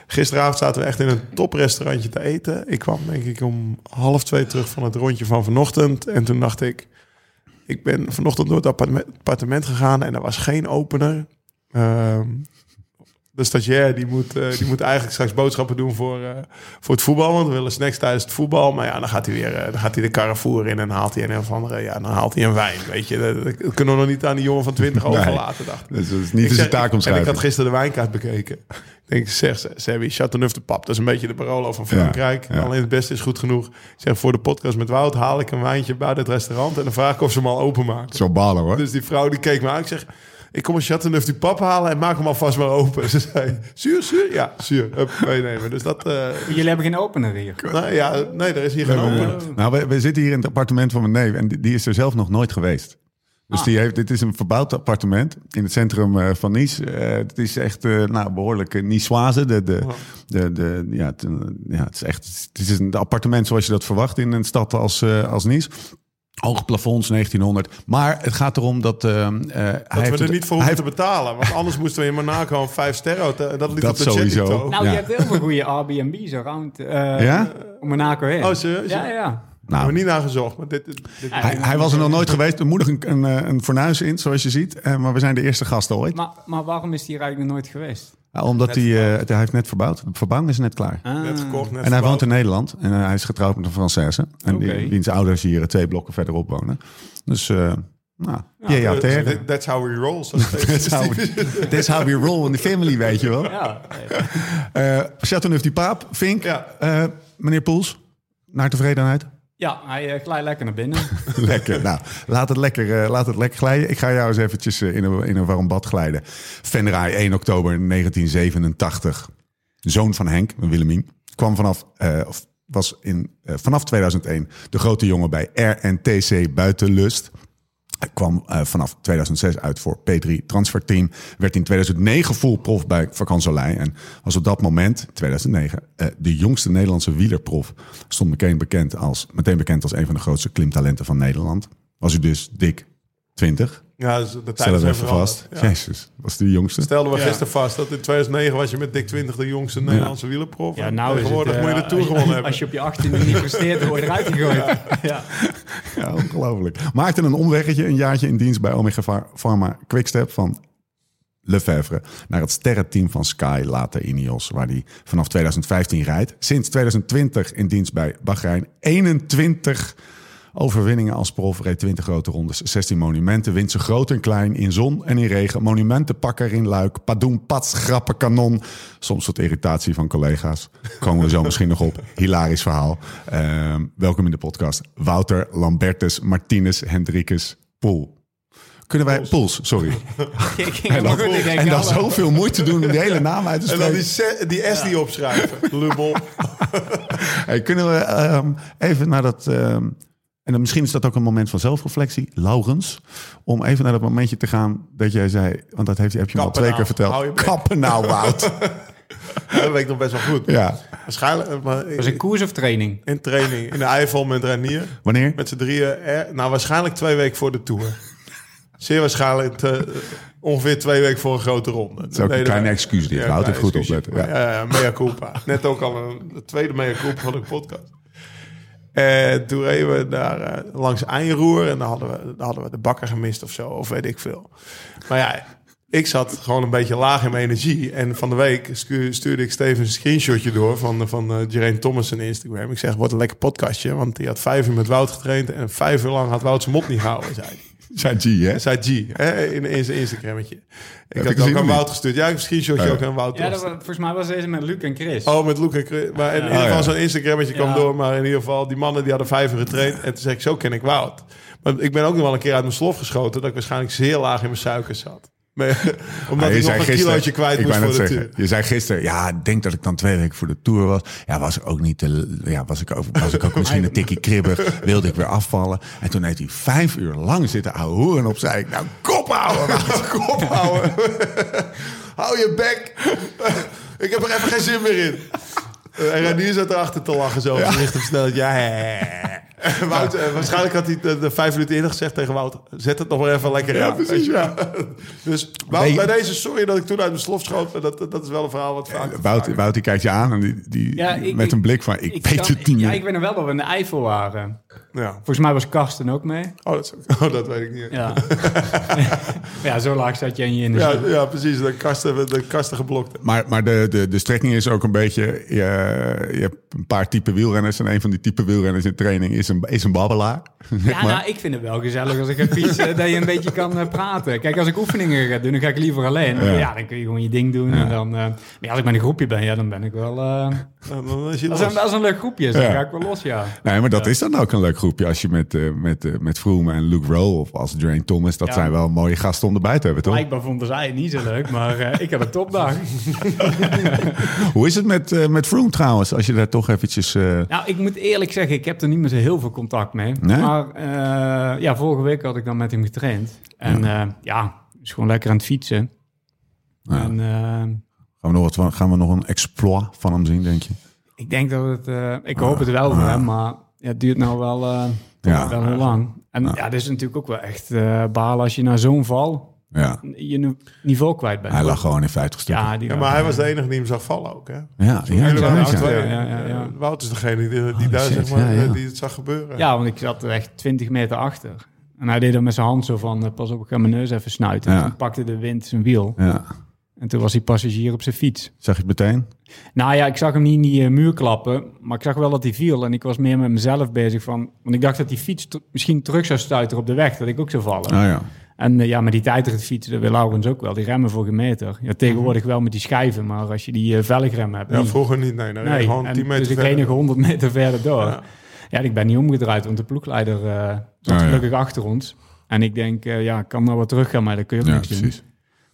Gisteravond zaten we echt in een toprestaurantje te eten. Ik kwam denk ik om half twee terug van het rondje van vanochtend. En toen dacht ik... Ik ben vanochtend door het appartement, appartement gegaan en er was geen opener. Ehm, de stagiair, die moet, eh, die moet eigenlijk straks boodschappen doen voor, eh, voor het voetbal. Want we willen snacks tijdens het voetbal. Maar ja, dan gaat hij weer eh, dan gaat hij de Carrefour in en haalt hij een of andere... Ja, dan haalt hij een wijn, weet je. Dat, dat kunnen we nog niet aan die jongen van 20 overlaten, dacht ik.
Dus dat is niet
Ik
dus
zeg-
een taakomschrijving.
En ik had gisteren de wijnkaart bekeken. Ik denk, zeg ze, Sebby, Chateauneuf de Pap. Dat is een beetje de Barolo van Frankrijk.
Ja, ja.
Alleen het beste is goed genoeg. Ik zeg, voor de podcast met Wout haal ik een wijntje bij dit restaurant... en dan vraag ik of ze hem al openmaken.
Zo balen hoor.
Dus die vrouw die keek me aan. Ik zeg, ik kom een Chateauneuf die Pap halen... en maak hem alvast maar open. Ze zei, zuur, zuur? Ja, zuur. Hup, meenemen. Dus dat... eh,
Jullie hebben geen opener hier.
nou, ja, nee, er is hier geen open.
Nou, we, we zitten hier in het appartement van mijn neef en die, die is er zelf nog nooit geweest. Dus
Ah.
die heeft, dit is een verbouwd appartement in het centrum eh, van Nice. Eh, het is echt eh, nou, behoorlijk uh, Niçoise. De, de, de, de, ja, het, eh, ja, het is echt het is een appartement zoals je dat verwacht in een stad als, eh, als Nice. Hoge plafonds, 1900. Maar het gaat erom dat... eh, eh, hij
Dat
heeft
we er
het-
niet voor
hij
hoeven
heeft-
te betalen. Want anders moesten we in Monaco een vijf sterren hotel. Dat liep
Dat
op de
sowieso.
Checito.
Nou,
Ja.
je hebt heel veel goede Airbnb's around eh,
Ja?
om Monaco heen.
Oh, serieus?
Ja, ja.
Nou,
we niet naar gezocht. Maar dit, dit, dit-
Hij, hij was er nog nooit geweest. Er moet nog een, een, eh, een fornuis in, zoals je ziet. Eh, maar we zijn de eerste gast ooit.
Maar, maar waarom is die er eigenlijk nog nooit geweest?
Ja, omdat hij, eh, hij heeft net verbouwd. De verbouwing is net klaar.
Net gekocht, net
en hij woont
verbouwd.
in Nederland. En eh, hij is getrouwd met een Française. En die,
Oké.
wiens ouders hier eh, twee blokken verderop wonen. Dus, eh nou, ja, ja,
Dus
ter.
that- That's how we roll. zo steeds.
That's how, we- that's how we roll in the family, weet je wel.
Ja,
Eh Chateauneuf die paap, Vink,
Ja.
eh, meneer Poels, naar tevredenheid.
ja hij eh, glijdt lekker naar binnen.
Lekker. Nou, laat het lekker, eh, laat het lekker glijden. Ik ga jou eens eventjes eh, in, een, in een warm bad glijden. Venray, 1 oktober 1987. Zoon van Henk, Willemien. Kwam vanaf, eh, of was in, eh, vanaf 2001 de grote jongen bij RNTC Buitenlust. Hij kwam eh, vanaf 2006 uit voor P3 Transferteam. Werd in 2009 full prof bij Vakansolei. En was op dat moment, 2009, eh, de jongste Nederlandse wielerprof. Stond meteen bekend, als, meteen bekend als een van de grootste klimtalenten van Nederland. Was u dus dik 20.
Ja, dus de
Stel
tijd
het
is
even vast.
Ja.
Jezus, was de jongste.
Stelden we
Ja.
gisteren vast dat in 2009 was je met dik 20 de jongste Nederlandse wielerprof.
Ja,
En
nou is het,
Tegenwoordig
eh,
moet je de Tour
als-
gewonnen hebben.
Als je op je 18e niet presteert, dan word je eruit gegooid. Ja.
Ja, ongelooflijk. Maakte een omweggetje, een jaartje in dienst bij Omega Pha- Pharma Quickstep van Lefevre naar het sterrenteam van Sky, later Ineos, waar hij vanaf 2015 rijdt. Sinds 2020 in dienst bij Bahrein. 21 overwinningen als prof, reed 20 grote rondes, 16 monumenten, wint ze groot en klein, in zon en in regen, monumentenpakker in Luik, padoen, pats, grappen, kanon. Soms tot irritatie van collega's. Komen we zo misschien nog op. Hilarisch verhaal. Ehm, welkom in de podcast. Wouter, Lambertus, Martinez, Hendrikus, Poel. Kunnen wij... Poels, sorry.
Ik ging helemaal goed. Ik denk,
En
ja,
dan
maar-
zoveel moeite doen om de hele naam uit te
en dan
spreken.
die, se- die S die opschrijven. Lubbel.
Hey, kunnen we ehm, even naar dat... ehm, en dan misschien is dat ook een moment van zelfreflectie, Laurens. Om even naar dat momentje te gaan dat jij zei... Want dat heeft, heb je me al
Kappen
twee
nou,
keer
hou je
verteld.
bek.
Kappen nou, Wout.
Ja, dat weet ik nog best wel goed.
ja.
Waarschijnlijk eh, maar
Dat is een koers of training?
in training. In de Eifel met Renier.
Wanneer?
Met z'n drieën. eh, nou, waarschijnlijk twee weken voor de Tour. Zeer waarschijnlijk eh, ongeveer twee weken voor een grote ronde. Dat
is ook een kleine excuus dit. Houd het goed opletten,
Ja. mea culpa. Net ook al een de tweede mea culpa van de podcast. En toen reden we daar eh, langs Eindroer en dan hadden, we, dan hadden we de bakker gemist of zo, of weet ik veel. Maar ja, ik zat gewoon een beetje laag in mijn energie. En van de week scu- stuurde ik Steven een screenshotje door van, van eh Jereen Thomas en Instagram. Ik zeg, wat een lekker podcastje, want die had vijf uur met Wout getraind en vijf uur lang had Wout zijn mond niet gehouden, zei hij.
Zei G, hè?
Zij G, hè, in, in zijn Instagrammetje. Ik
ik
had
gezien
ook aan
of niet?
Wout gestuurd. Ja, ik heb een screenshotje
Oh ja.
ook aan Wout
Ja, dat,
doorgestuurd.
was- volgens mij was deze met Luc en Chris.
Oh, met Luke en Chris. Maar in ieder
Oh,
geval
ja.
zo'n Instagrammetje kwam
Ja.
door. Maar in ieder geval, die mannen die hadden vijf uur getraind. En toen zei ik, zo ken ik Wout. Maar ik ben ook nog wel een keer uit mijn slof geschoten... dat ik waarschijnlijk zeer laag in mijn suikers zat. Maar- Omdat
Ah,
ik nog een
gisteren-
kilootje kwijt
ik
moest
wou
voor
net
de
zeggen,
tuur.
Je zei gisteren, ja, ik denk dat ik dan twee weken voor de Tour was. Ja, was ik ook niet te, ja, was ik ook, was ik ook misschien een tikkie kribbig. Wilde ik weer afvallen. En toen heeft hij vijf uur lang zitten ouwehoeren en op. Zei ik, nou, kop houden, Wout, kop houden.
Hou je bek! ik heb er even geen zin meer in. Eh, En Ranier zat erachter te lachen zo. Ja. Licht op snelheid. Ja, hè, hè, hè. Wout, eh, waarschijnlijk had hij de, de vijf minuten eerder gezegd tegen Wout... zet het nog maar even lekker aan. weet je. Dus Wout,
Nee.
bij deze, sorry dat ik toen uit mijn slof schoot... maar dat, dat is wel een verhaal wat vaak...
Wout, Wout, die kijkt je aan en die, die,
Ja, ik-
met
ik-
een blik van, ik, weet
kan-
het niet meer.
Ja, ik weet nog wel dat we in de Eifel waren.
Ja.
Volgens mij was Karsten ook mee.
Oh, dat, is- oh, dat weet ik niet.
Ja, ja zo laag zat je in je in de
Ja,
zin.
ja, precies. De kasten, de kasten geblokt.
Maar, maar de, de, de strekking is ook een beetje... Je, je hebt een paar type wielrenners... en een van die type wielrenners in training is een, is een babbelaar.
Ja, nou, ik vind het wel gezellig als ik ga fietsen, dat je een beetje kan eh, praten. Kijk, als ik oefeningen ga doen, dan ga ik liever alleen. Ja, dan kun je gewoon je ding doen. En dan, eh, maar ja, als ik met een groepje ben, ja, dan ben ik wel... eh,
Dan, dan is je
als, een,
los.
als een leuk groepje is, dan
Ja.
ga ik wel los, ja.
Nee, maar dat is dan ook een leuk groepje. Als je met, eh, met, eh, met Froome en Luke Rowe of als Drain Thomas... dat
Ja.
zijn wel mooie gasten om erbij te hebben, toch?
Blijkbaar vonden zij het niet zo leuk, maar eh, ik had een topdag.
Hoe is het met, eh, met Froome trouwens? Als je daar toch eventjes... eh,
Nou, ik moet eerlijk zeggen, ik heb er niet meer zo heel veel contact mee.
Nee?
Maar eh, ja, vorige week had ik dan met hem getraind. En ja, ja is gewoon lekker aan het fietsen. En eh,
gaan, we nog wat, van- gaan we nog een exploit van hem zien, denk je?
Ik denk dat het... eh, ik hoop het wel voor hem, maar ja, het duurt nou wel, eh,
Ja.
wel heel lang. En ja, dit is natuurlijk ook wel echt eh balen als je na zo'n val
Ja,
je nu- niveau kwijt bent.
hij lag gewoon in 50 stukken.
Ja, die
Ja,
lag-
maar hij was de enige die hem zag vallen ook, hè?
Ja, ja,
Jullie waren
inderdaad,
de
ja.
ja.
tweede.
Ja, ja, ja.
Eh, Wout is degene die, die
Oh,
daar,
shit,
zeg maar,
ja, ja.
eh, die het zag gebeuren.
ja, want ik zat er echt 20 meter achter. En hij deed dan met zijn hand zo van, eh, pas op, ik ga mijn neus even snuiten.
Ja.
En toen pakte de wind zijn wiel.
Ja.
En toen was hij passagier op zijn fiets.
Zag je het meteen?
Nou ja, ik zag hem niet in die eh, muur klappen, maar ik zag wel dat hij viel. En ik was meer met mezelf bezig van, want ik dacht dat die fiets ter- misschien terug zou stuiteren op de weg, dat ik ook zou vallen.
Ah ja.
En eh, ja, met die tijdrit fietsen, dat wil Laurens ook wel. Die remmen voor een meter. Ja, tegenwoordig wel met die schijven, maar als je die eh velgrem hebt...
Ja,
niet.
vroeger niet. Nee, nee,
nee.
gewoon
En
10 meter
dus ik
verder.
reed nog 100 meter verder door.
Ja.
Ja. en ik ben niet omgedraaid, want de ploegleider eh zat
Ah, ja.
gelukkig achter ons. En ik denk, eh, ja, ik kan nou wat terug gaan, maar dan kun je ook
Ja,
niks doen.
precies.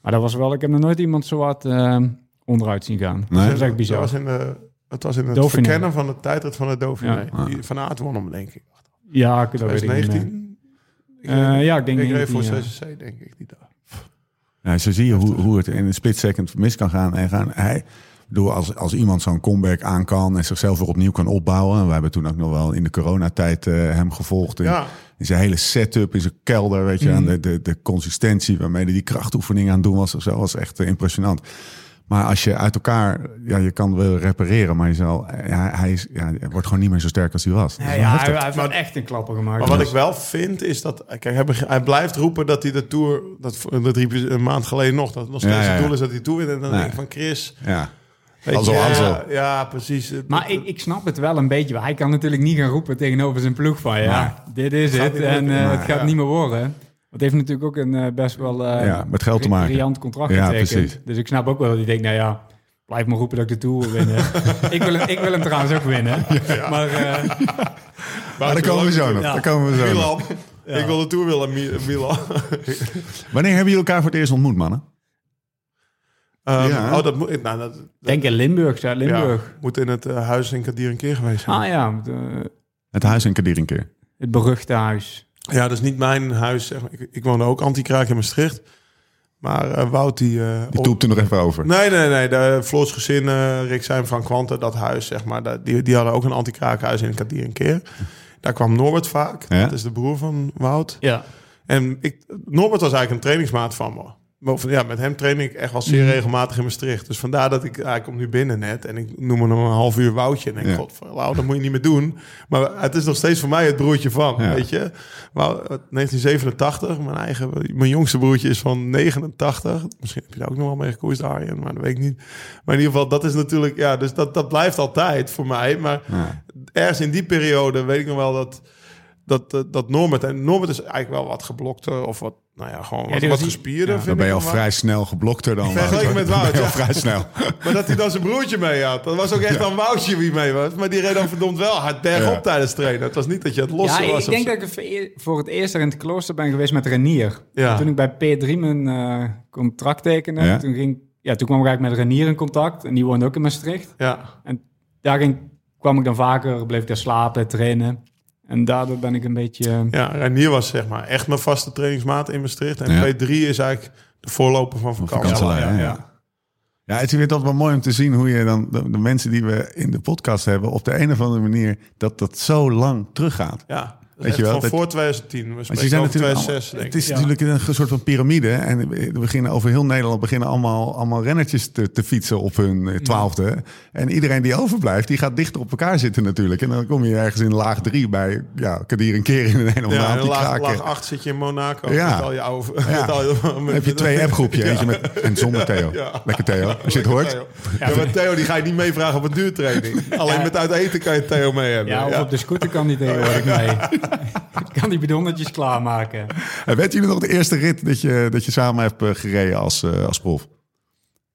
Maar dat was wel, ik heb nog nooit iemand zo hard eh, onderuit zien gaan.
Nee.
Dat is echt bizar.
Het was in, de, het, was in het
Dauphiné.
verkennen van de tijdrit van de Dauphiné.
Ja.
Die- Van Aert won hem, denk ik.
Ja, ik- dat weet ik niet meer.
2019?
Eh, ja, ik denk
Ik reed
19,
voor
ja.
CCC, denk ik, die dag.
Ja, zo zie je hoe, hoe het in een split second mis kan gaan. En gaan. Hij, door als, als iemand zo'n comeback aan kan en zichzelf weer opnieuw kan opbouwen. En we hebben toen ook nog wel in de coronatijd eh, hem gevolgd. In,
Ja.
in zijn hele setup, in zijn kelder, weet je. En de, de, de consistentie waarmee hij die krachtoefening aan het doen was. of Zo was echt eh, impressionant. Maar als je uit elkaar, ja, je kan wel repareren, maar je zal, eh, ja, hij, is, ja, hij wordt gewoon niet meer zo sterk als hij was. Dat is
Ja,
wel
ja,
heftig.
hij, hij heeft wel echt een klapper gemaakt.
Maar wat ik wel vind is dat. Kijk, hij, beg- hij blijft roepen dat hij de tour. Dat, dat riep je een maand geleden nog. Dat het nog steeds
Ja, ja,
het
ja.
doel is dat hij tour wint. En dan
Nee.
denk ik van Chris.
ja.
weet
Hansel,
je, ja,
Hansel.
Ja, precies.
Maar ik, ik snap het wel een beetje. Hij kan natuurlijk niet gaan roepen tegenover zijn ploeg van... ja, dit is het
niet
en
lukken.
eh,
Nee.
het gaat
Ja.
niet meer worden. Want hij heeft natuurlijk ook een eh, best wel... eh,
Ja, met geld te
bri-
maken.
briljant contract
Ja,
getekend.
precies.
Dus ik snap ook wel dat hij denkt... nou ja, blijf maar roepen dat ik de Tour wil winnen. ik, wil hem, ik wil hem trouwens ook winnen. Maar eh,
Maar Ah, daar komen we zo nog.
Ja.
Daar komen we zo nog.
Milan. Ik wil de tour willen, Mi- Milan.
Wanneer hebben jullie elkaar voor het eerst ontmoet, mannen?
Ehm,
Ja.
Oh, dat moet. Nou, dat, dat-
denk in Limburg,
ja,
Zuid-Limburg.
moet in het eh, huis in Kadir een keer geweest zijn.
Ah ja, het, eh,
Het huis in Kadir een keer.
het beruchte huis.
Ja, dat is niet mijn huis. Zeg maar. ik, ik woonde ook anti-kraak in Maastricht. Maar eh, Wout die... eh,
Die
op-
toept er nog even over.
Nee, nee, nee. De Floors gezin, eh, Rick zijn, Frank Wanten, dat huis, zeg maar. dat- Die, die hadden ook een anti-kraakhuis in Kadir een keer. Daar kwam Norbert vaak.
Hm. Ja.
Dat is de broer van Wout.
Ja.
En ik, Norbert was eigenlijk een trainingsmaat van me. Maar van- Ja, met hem train ik echt wel
Mhm.
zeer regelmatig in Maastricht. Dus vandaar dat ik, hij komt nu binnen net en ik noem hem een half uur Woutje. En ik
Ja.
denk, god, Wout, dat moet je niet meer doen. Maar het is nog steeds voor mij het broertje van,
Ja.
weet je. Wout, 1987, mijn eigen, mijn jongste broertje is van 89. Misschien heb je daar ook nog wel mee gekoest, Arjen, maar dat weet ik niet. Maar in ieder geval, dat is natuurlijk, ja, dus dat, dat blijft altijd voor mij. Maar
Ja.
ergens in die periode weet ik nog wel dat dat, eh, dat, dat Norbert... En Norbert is eigenlijk wel wat geblokter of wat... Nou ja, gewoon wat,
die was
wat
die-
gespierder, vind
Dan ben je
ik
al
wel.
vrij snel geblokter dan
Vergeleken
hoor.
met
Dan ben je
Wout,
al
ja.
vrij snel.
Maar dat hij dan zijn broertje mee had. Dat was ook echt dan Woutje wie mee was. Maar die reed dan verdomd wel hard bergop
Ja.
tijdens trainen. Het was niet dat je het los
ja,
was.
ik denk
of
dat ik voor e- voor het eerst er in het klooster ben geweest met Renier.
Ja.
Toen ik bij P3 mijn eh, contract tekende,
Ja.
toen, ging, ja, toen kwam ik eigenlijk met Renier in contact. En die woonde ook in Maastricht.
zo. Ja.
En daar ging, kwam ik dan vaker, bleef ik daar slapen, trainen. En daardoor ben ik een beetje... eh,
ja, Reinier was zeg maar echt mijn vaste trainingsmaat in Maastricht. En
Ja.
P3 is eigenlijk de voorloper van vakantie.
Kanselij,
Ja,
ja, ja. Ja, het is weer altijd wel mooi om te zien hoe je dan de, de mensen die we in de podcast hebben op de een of andere manier dat dat zo lang teruggaat.
Ja. Dat is
je
echt
wel,
van
dat-
voor 2010. We
Maar ze
spreken
zijn
over
natuurlijk
2006,
allemaal- het
denk ik.
is
Ja.
natuurlijk een soort van piramide. hè. En we beginnen over heel Nederland beginnen allemaal, allemaal rennetjes te, te fietsen op hun eh, twaalfde. En iedereen die overblijft, die gaat dichter op elkaar zitten natuurlijk. En dan kom je ergens in laag drie bij, ja, Kadir een keer in een hele
Ja,
maand
en
die
laag,
kraken.
laag 8 zit je in Monaco.
Ja.
Met al je oude,
Ja.
met al je-
Dan heb je twee appgroepjes, eentje met en zonder Theo.
Ja.
Lekker Theo, als je het hoort.
Theo. Ja, maar Theo die ga je niet meevragen op een duurtraining. Alleen met uit eten kan je Theo mee hebben.
Ja, of op de scooter kan die tegenwoordig mee. kan die bidonnetjes klaarmaken.
En Weet jullie nog de eerste rit dat je, dat je samen hebt eh, gereden als, eh, als prof?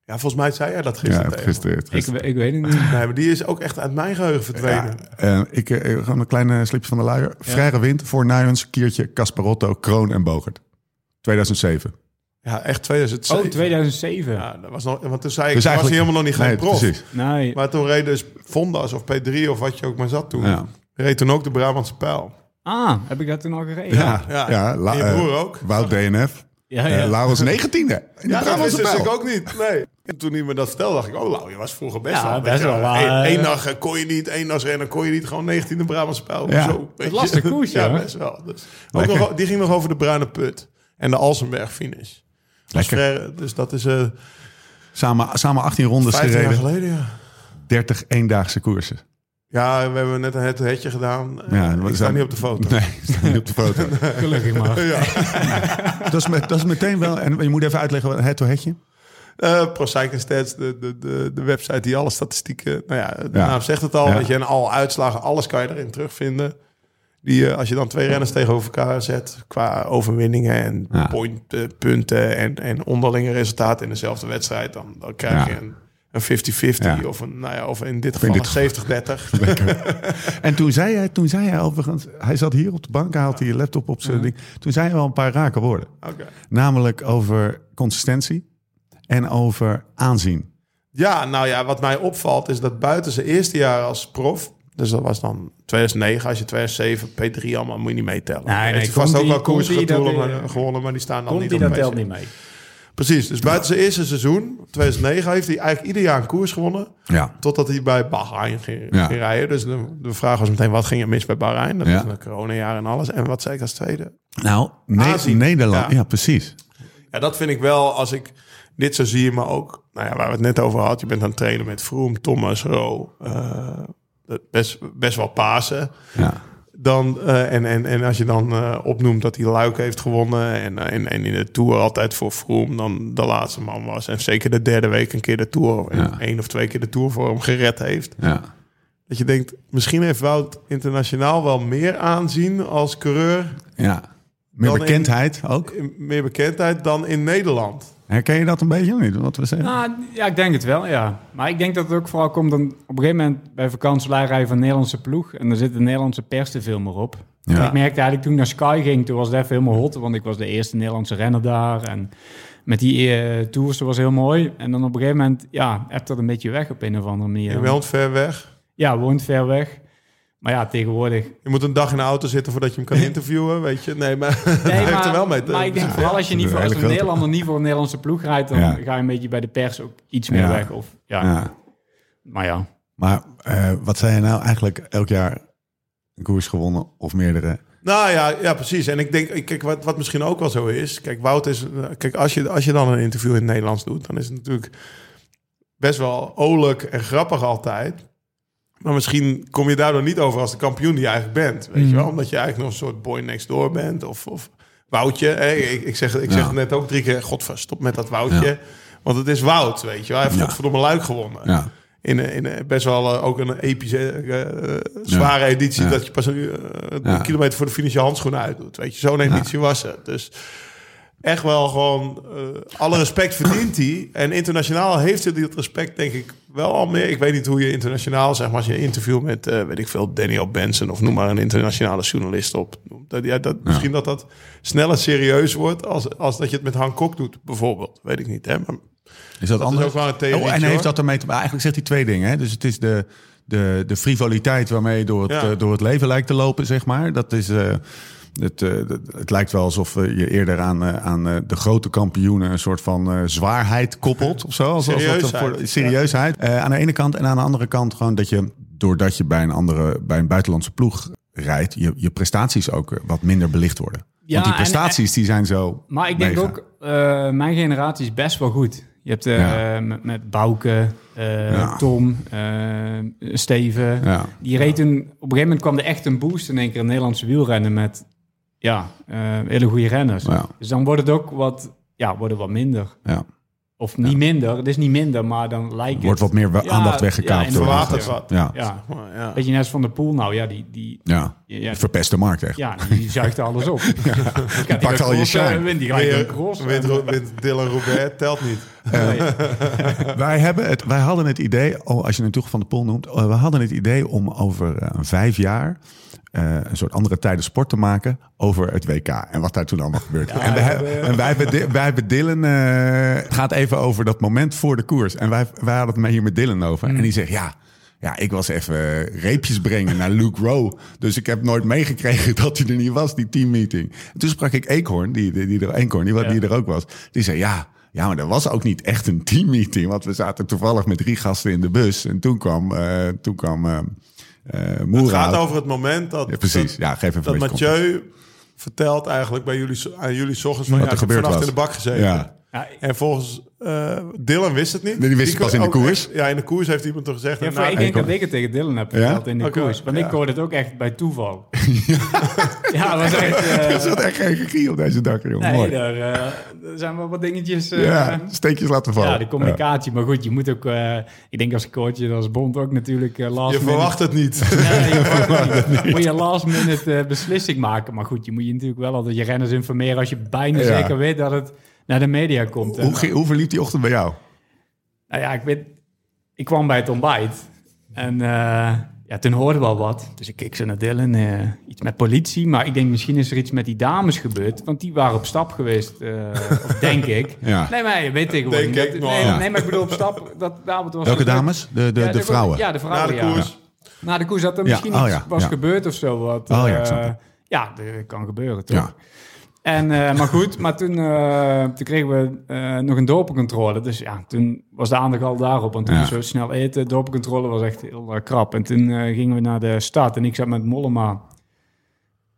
Ja, volgens mij zei jij dat
Ja,
gisteren. Theo.
gisteren. eh,
Ik,
gisteren.
ik weet het niet.
Nee, maar die is ook echt uit mijn geheugen verdwenen.
Eh, ik eh, gewoon een kleine slipje van de luier. Vrije wind voor Nijens, Kiertje, Casparotto, Kroon en Bogert. 2007.
Ja, echt 2007.
Oh, 2007.
Ja, dat was nog, want toen zei ik,
Dus
was hij
eigenlijk-
helemaal nog niet geen
Nee,
prof.
precies.
Nee,
Maar toen reed dus Vondas of P3 of wat je ook maar zat toen.
Ja.
Reed toen ook de Brabantse pijl.
ah, heb ik dat toen al gereden?
Ja, ja.
ja.
La-
En je broer
eh,
ook?
Wout DNF.
Ja,
Eh,
ja.
Laurens 19e. In de
Ja, dat wist
Brabantse
dus
pijl.
ik ook niet. Nee. En toen hij me dat vertelde, dacht ik, oh Lau, je was vroeger best
Ja,
wel...
best wel, maar, eh,
Eén dag eh, kon je niet, één dag rennen kon je niet. Gewoon 19e Brabantse pijl.
Ja.
Zo, weet je.
lastige koers,
ja.
ja.
best wel. Dus, ook nog, die ging nog over de Bruine Put en de Alsenberg finish. Dus
Lekker.
Frère, Dus dat is eh
Samen, samen 18 rondes
15 jaar
gereden.
geleden, ja.
30 eendaagse koersen.
Ja, we hebben net een het hetje gedaan.
Ja,
Ja,
we
ik sta
zijn-
niet op de foto.
Nee, staat niet op de foto.
gelukkig maar.
Ja.
dat, is met, dat is meteen wel... En je moet even uitleggen, wat- het to hetje.
Eh, ProCycling Stats, de, de, de, de website die alle statistieken... Nou ja, de
Ja.
naam zegt het al.
Ja.
Weet je, en al uitslagen, alles kan je erin terugvinden. Die, eh, als je dan twee renners tegenover elkaar zet... qua overwinningen en
Ja.
point, eh, punten en, en onderlinge resultaten in dezelfde wedstrijd... dan, dan krijg
Ja.
je een... Een 50-50
Ja.
of, een, nou ja, of in dit geval
dit
een 70-30.
En toen zei hij, toen zei hij overigens... Hij zat hier op de bank, hij had die laptop op zijn ding. Toen zei hij wel een paar rake woorden.
Oké.
Namelijk over consistentie en over aanzien.
Ja, nou ja, wat mij opvalt is dat buiten zijn eerste jaar als prof... dus dat was dan 2009, als je 2007, P3 allemaal moet je niet meetellen.
Nee, nee,
Heeft hij vast ook
Conti-
wel koersen
Conti, dat,
getoelen,
eh,
maar- gewonnen, maar die staan dan
Komt
niet
die,
op
dat
de
telt
meeste.
niet mee.
Precies, dus buiten zijn eerste seizoen, 2009, heeft hij eigenlijk ieder jaar een koers gewonnen...
Ja.
totdat hij bij Bahrein ging,
Ja.
ging rijden. Dus de, de vraag was meteen, wat ging er mis bij Bahrein? Dat
Ja.
was een coronajaar en alles. En wat zei ik als tweede?
Nou, Ne-
Aanzien.
Nederland.
Ja.
Ja, precies.
Ja, dat vind ik wel als ik dit zo zie, maar ook nou ja, waar we het net over hadden. Je bent aan het trainen met Vroom, Thomas, Ro. eh, dat best, best wel Pasen.
Ja.
Dan, eh, en, en, en als je dan eh, opnoemt dat hij Luik heeft gewonnen. En, eh, en, en in de Tour altijd voor Vroom dan de laatste man was. En zeker de derde week een keer de Tour. En
Ja.
één of twee keer de Tour voor hem gered heeft.
ja.
Dat je denkt, misschien heeft Wout internationaal wel meer aanzien als coureur.
Ja. Meer
Dan in-
bekendheid ook.
Meer bekendheid dan in Nederland.
Herken je dat een beetje of niet? Wat we zeggen?
Nou, ja, ik denk het wel, ja. Maar ik denk dat het ook vooral komt dan op een gegeven moment bij vakantieleiderij van Nederlandse ploeg. En daar zit de Nederlandse pers te veel meer op. En ik merkte eigenlijk toen ik naar Sky ging, toen was het even helemaal hot. Want ik was de eerste Nederlandse renner daar. En met die eh, tours, dat was heel mooi. En dan op een gegeven moment, ja, hebt dat een beetje weg op een of andere manier.
Je woont ver weg.
Ja, woont ver weg. Maar ja, tegenwoordig.
Je moet een dag in de auto zitten voordat je hem kan interviewen, weet je. Nee, maar hij heeft er wel mee te
maar ik denk vooral als je niet
Dat is een
voor,
hele
als een
grote.
Nederlander niet voor een Nederlandse ploeg rijdt, dan
Ja.
ga je een beetje bij de pers ook iets meer
Ja.
weg. Of, ja.
Ja.
Maar ja,
Maar eh, wat zei je nou eigenlijk elk jaar een koers gewonnen of meerdere?
Nou ja, ja, precies. En ik denk, ik- kijk, wat, wat misschien ook wel zo is. Kijk, Wout is. eh, Kijk, als je, als je dan een interview in het Nederlands doet, dan is het natuurlijk best wel olijk en grappig altijd. Maar misschien kom je daardoor niet over als de kampioen die je eigenlijk bent. Weet
Mm.
je wel? Omdat je eigenlijk nog een soort boy next door bent. Of, of Woutje. Hé, ik, ik zeg, ik zeg
Ja.
het net ook drie keer: Godver, stop met dat Woutje.
Ja.
Want het is Wout, weet je wel. Hij heeft
Ja.
godverdomme luik gewonnen.
Ja.
In, eh, in eh, best wel eh, ook een epische, eh, eh, zware editie.
Ja.
Dat je pas een, uur, eh, een
Ja.
kilometer voor de finish je handschoenen uitdoet. Weet je, zo'n editie was het. Dus echt wel gewoon... eh, alle respect verdient hij. En internationaal heeft hij dat respect denk ik wel al meer. Ik weet niet hoe je internationaal, zeg maar... als je een interview met, eh, weet ik veel, Daniel Benson... of noem maar een internationale journalist op. Dat, ja, dat, Misschien dat dat sneller serieus wordt... Als, als dat je het met Han Kok doet, bijvoorbeeld. Weet ik niet, hè? Maar,
Is dat, anders?
ook wel een theorie,
Oh, en
hoor.
heeft dat ermee te maken? Eigenlijk zegt hij twee dingen. Hè? Dus het is de, de, de frivoliteit waarmee je door het,
Ja.
eh, door het leven lijkt te lopen, zeg maar. Dat is. eh, het, eh, dat- het lijkt wel alsof eh, je eerder aan, eh, aan eh, de grote kampioenen een soort van eh, zwaarheid koppelt of zo. Alsof dat
Serieusheid.
voor- serieusheid. Eh, aan de ene kant en aan de andere kant gewoon dat je, doordat je bij een andere, bij een buitenlandse ploeg rijdt, je, je prestaties ook eh, wat minder belicht worden.
Ja,
Want die
en-
prestaties die zijn zo.
Maar ik denk
mega.
ook, eh, mijn generatie is best wel goed. Je hebt eh,
Ja.
met, met Bouke, eh,
Ja.
Tom, eh, Steven.
Ja.
Die reed toen, op een gegeven moment kwam er echt een boost in één keer in het Nederlandse wielrennen met ja, eh, hele goede renners.
Ja.
Dus dan wordt het ook wat, ja, wordt het wat minder.
Ja.
Of niet minder, het is niet minder, maar dan lijkt
Wordt
het.
wat meer wa-
Ja,
aandacht
ja,
weggekaapt. door
inderdaad.
de-
Verwatert wat.
Ja. Ja.
Ja,
Maar ja.
beetje net als Van de Poel nou, ja, die, die, ja,
Verpeste markt echt.
ja, die zuigt alles op. Ja. Die eh,
pakt al je shine.
wint die gelijk een
Weer,
cross.
wint
En-
Ro- wint Dylan Robert telt niet.
Nee.
Wij, hebben het, wij hadden het idee, oh, als je het toch van de Poel noemt, eh, we hadden het idee om over eh, vijf jaar eh, een soort andere tijden sport te maken over het WK en wat daar toen allemaal gebeurde. en, wij, hebben- en wij, hebben, Di- wij hebben Dylan, eh, het gaat even over dat moment voor de koers. En wij, wij hadden het maar hier met Dylan over.
Hmm.
En die zegt, ja, ja, ik was even reepjes brengen naar Luke Rowe. Dus ik heb nooit meegekregen dat hij er niet was, die teammeeting. En toen sprak ik Eekhoorn, die, die, die er, Eekhoorn, die, die er ook was. Die zei, ja, ja, maar dat was ook niet echt een teammeeting. Want we zaten toevallig met drie gasten in de bus. En toen kwam, eh toen kwam eh eh,
Het
Moera.
gaat over het moment dat,
Ja, precies.
dat,
Ja, geef even
dat
een beetje
Mathieu vertelt eigenlijk bij jullie, so- aan jullie 's ochtends van,
Wat
ja,
er
ik heb
gebeurd
vannacht
was.
in de bak gezeten.
Ja.
Ja,
En volgens eh Dylan wist het niet.
Nee, die wist het pas in de
ook
koers.
echt- ja, in de koers heeft iemand er gezegd. nou,
Ja,
en
voor-
na-
ik denk
ik ook.
dat ik het tegen Dylan heb
Ja?
verteld in de
Oké,
koers. Want
ja.
ik hoorde het ook echt bij toeval. ja, dat was echt... eh,
Er zat echt geen regie op deze dag, joh.
nee,
Mooi.
daar eh, er zijn wel wat dingetjes... eh,
ja, steekjes laten vallen.
ja, de communicatie. Maar goed, je moet ook... eh, ik denk als coach en als bond ook natuurlijk eh, last
je
minute...
verwacht het niet.
Nee, je verwacht het niet. Moet je last minute eh, beslissing maken. Maar goed, je moet je natuurlijk wel altijd je renners informeren... als je bijna
Ja.
zeker weet dat het naar de media komt.
Hoe, ge- hoe verliep die ochtend bij jou?
Nou ja, ik weet, ik kwam bij het ontbijt en eh, ja, toen hoorde wel wat. Dus ik keek zo naar Dylan, eh, iets met politie. Maar ik denk misschien is er iets met die dames gebeurd, want die waren op stap geweest, eh, of denk ik.
Ja.
Nee, maar je weet tegenwoordig.
Denk ik,
dat-
maar-
nee,
Ja.
nee, maar ik bedoel op stap. Dat, daar was
Welke dames? De, de,
Ja,
de vrouwen?
Ja, de
na
vrouwen.
de
ja.
koers.
Na de koers had er
Ja,
misschien
oh
iets
ja,
was
ja.
gebeurd of zo. Wat,
Oh ja,
eh,
ik snap het.
ja, dat kan gebeuren toch?
Ja.
En, eh, maar goed, maar toen, eh, toen kregen we eh, nog een dopencontrole. Dus ja, toen was de aandacht al daarop. Want toen
Ja.
moesten we snel eten. Dopencontrole was echt heel eh, krap. En toen eh, gingen we naar de stad. En ik zat met Mollema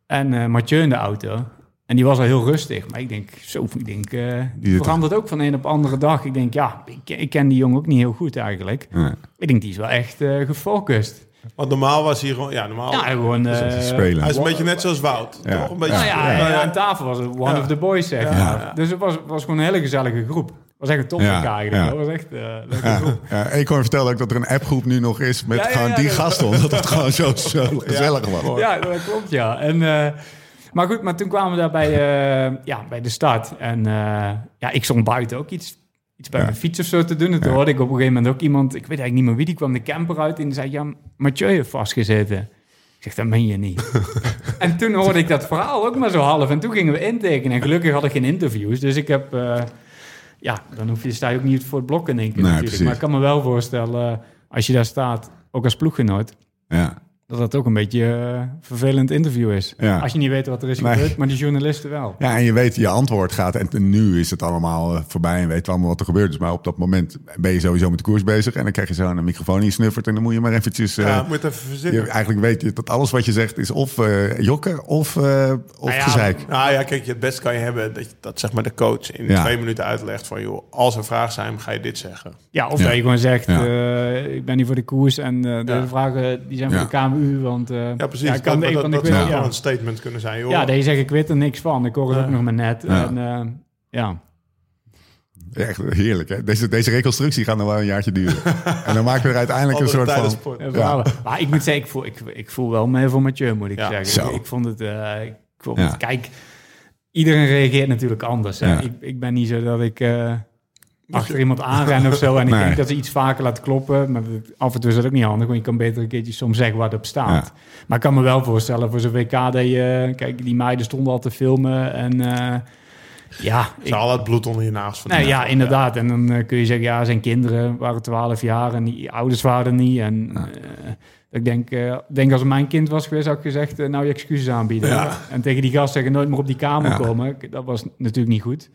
en eh Mathieu in de auto. En die was al heel rustig. Maar ik denk, zo, ik denk, eh,
Die zit
verandert ook van de een op de andere dag. Ik denk, ja, ik, ik ken die jongen ook niet heel goed eigenlijk.
Nee.
Ik denk, die is wel echt eh, gefocust.
Want normaal was hij gewoon... Ja, normaal,
Ja, gewoon... eh,
Spelen.
hij is een beetje net zoals Wout.
Ja.
Toch? Een beetje,
Nou ja,
ja, ja.
aan tafel was het one of the boys, zeg maar. Dus het was, was gewoon een hele gezellige groep. was echt een top
Ja,
eigenlijk.
ja.
Dat was echt eh, een leuke
Ja,
groep.
ja, Eekhoorn vertelde ook dat er een appgroep nu nog is met
Ja, ja,
gewoon
ja,
die
ja.
gasten. Omdat het gewoon zo, zo gezellig was.
Ja, dat klopt, ja. En, eh, maar goed, maar toen kwamen we daar bij, eh, ja, bij de start. En eh, ja, ik stond buiten ook iets, iets bij mijn fiets of zo te doen. En toen hoorde ik op een gegeven moment ook iemand... Ik weet eigenlijk niet meer wie, die kwam de camper uit. En die zei, ja, Mathieu heeft vastgezeten. Ik zeg, dat meen je niet. en toen hoorde ik dat verhaal ook maar zo half. En toen gingen we intekenen. En gelukkig had ik geen interviews. Dus ik heb... eh, ja, dan hoef je, sta je ook niet voor het blok in één keer
Nee,
natuurlijk.
precies.
Maar ik kan me wel voorstellen, eh, als je daar staat, ook als ploeggenoot
Ja.
dat dat ook een beetje eh, een vervelend interview is.
Ja.
Als je niet weet wat er is
Nee.
gebeurd, maar die journalisten wel.
ja, en je weet, je antwoord gaat. En nu is het allemaal eh, voorbij en weten we allemaal wat er gebeurd is. Maar op dat moment ben je sowieso met de koers bezig. En dan krijg je zo een microfoon in je snuffert. En dan moet je maar eventjes... eh,
Ja, moet even verzinnen.
je, eigenlijk weet je dat alles wat je zegt is of eh jokken of, eh of
ja,
gezeik.
Nou ja, kijk, het best kan je hebben dat, je- dat zeg maar de coach in
Ja.
twee minuten uitlegt van... joh, als er vragen zijn, ga je dit zeggen.
Ja, of
Ja.
dat je gewoon zegt,
Ja.
eh, ik ben hier voor de koers en eh, de
Ja.
vragen die zijn
Ja.
voor de KMU, want eh,
Ja, precies.
ik
dat
kan de een
dat,
van
dat
de
zou
ja.
wel
Ja.
een statement kunnen zijn. Joh.
ja, dat je zegt, ik weet er niks van. Ik hoor het
Ja.
ook nog maar net.
Ja.
En, eh, ja.
Echt heerlijk, hè? Deze, deze reconstructie gaat nog wel een jaartje duren. en dan maken we er uiteindelijk een
Andere
soort
tijden
van...
sport.
En verhalen. Maar ik moet zeggen, ik voel, ik, ik voel wel mee voor Mathieu, moet ik
Ja.
zeggen.
Zo.
Ik, ik vond het... eh, ik vond
Ja.
het- kijk, iedereen reageert natuurlijk anders. hè.
Ja.
Ik, ik ben niet zo dat ik... eh, achter iemand aanrennen of zo. En
Nee.
ik denk dat ze iets vaker laat kloppen. Maar dat- af en toe is dat ook niet handig. Want je kan beter een keertje soms zeggen waar het op staat.
Ja.
Maar ik kan me wel voorstellen voor zo'n WK dat je... Kijk, die meiden stonden al te filmen. En eh, ja...
Ik zou
ik-
al het bloed onder je nagels van
nou ja, inderdaad. En dan eh, kun je zeggen, ja, zijn kinderen waren 12 jaar en die ouders waren er niet. En eh, ik denk, eh, ik denk als het mijn kind was geweest, had ik gezegd, eh, nou je excuses aanbieden. En tegen die gast zeggen, nooit meer op die kamer
Ja.
komen. Dat was natuurlijk niet goed.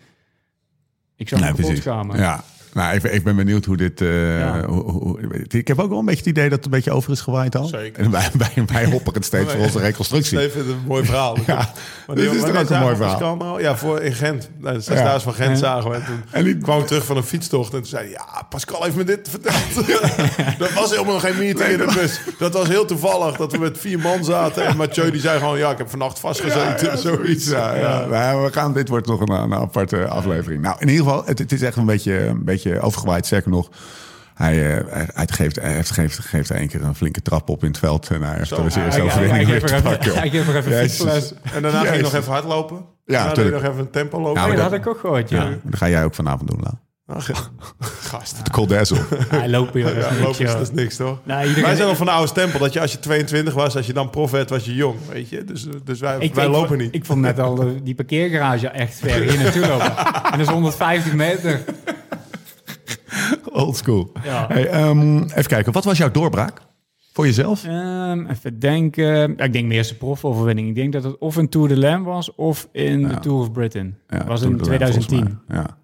Ik zou
Nee,
me kapot
precies.
schamen.
Ja. Nou, ik, ben- ik ben benieuwd hoe dit... eh,
Ja.
hoe- hoe- hoe- ik heb ook wel een beetje het idee dat het een beetje over is gewaaid al.
Zeker.
En wij, wij, wij hoppen het steeds voor onze reconstructie.
Nee, ik vind het een mooi verhaal.
Ja,
Maar
dit
die-
is toch
wanneer
ook een mooi
zagen we
verhaal.
Pascal nou? Ja, voor in Gent. Nou, De zesdaagse van Gent zagen we. En toen
En die-
kwam ik terug van een fietstocht. En toen zei hij, ja, Pascal heeft me dit verteld. dat was helemaal geen meeting in de bus. Dat was heel toevallig dat we met vier man zaten. En Mathieu die zei gewoon, ja, ik heb vannacht vastgezeten.
Ja, ja,
zoiets.
Ja, ja. Nou, we gaan, dit wordt nog een, een aparte aflevering. Nou, in ieder geval, het, het is echt een beetje, een beetje overgewaaid. Zeker nog, hij, eh, hij, hij geeft, hij heeft, geeft, geeft één keer een flinke trap op in het veld. En hij heeft er zijn eerste
hij-
overwinning
hij
weer
geeft
te
er even-
pakken.
hij geeft er even Oh, een
Jezus.
fietsles.
En daarna ging je
Jezus.
nog even hardlopen.
Ja,
daarna deed je
tuurlijk. Nou,
nog even een tempo lopen.
Ja, maar
dat
dat-
had ik ook gehoord, ja.
Ja, dat ga jij ook vanavond doen, Lau.
Ach, gast.
De Cold Dazzle.
Hij loopt hier.
Ja,
Ja,
lopen is, dat is niks, toch?
Nee, iedereen-
Wij zijn al van de oude stempel dat je als je 22 was, als je dan prof werd, was je jong, weet je. Dus, dus wij,
Ik,
wij
ik
lopen
vond-
niet.
Ik vond net al eh, die parkeergarage echt ver hier naartoe lopen. En dat is 150 meter.
Old school.
Ja.
Hey, ehm, even kijken, wat was jouw doorbraak voor jezelf?
Ehm, even denken. Ja, ik denk mijn eerste profoverwinning. Ik denk dat het of in Tour de Lam was of in de Tour of Britain.
Ja,
Dat was
toen
in
de laatste, volgens
2010.
mij. Ja.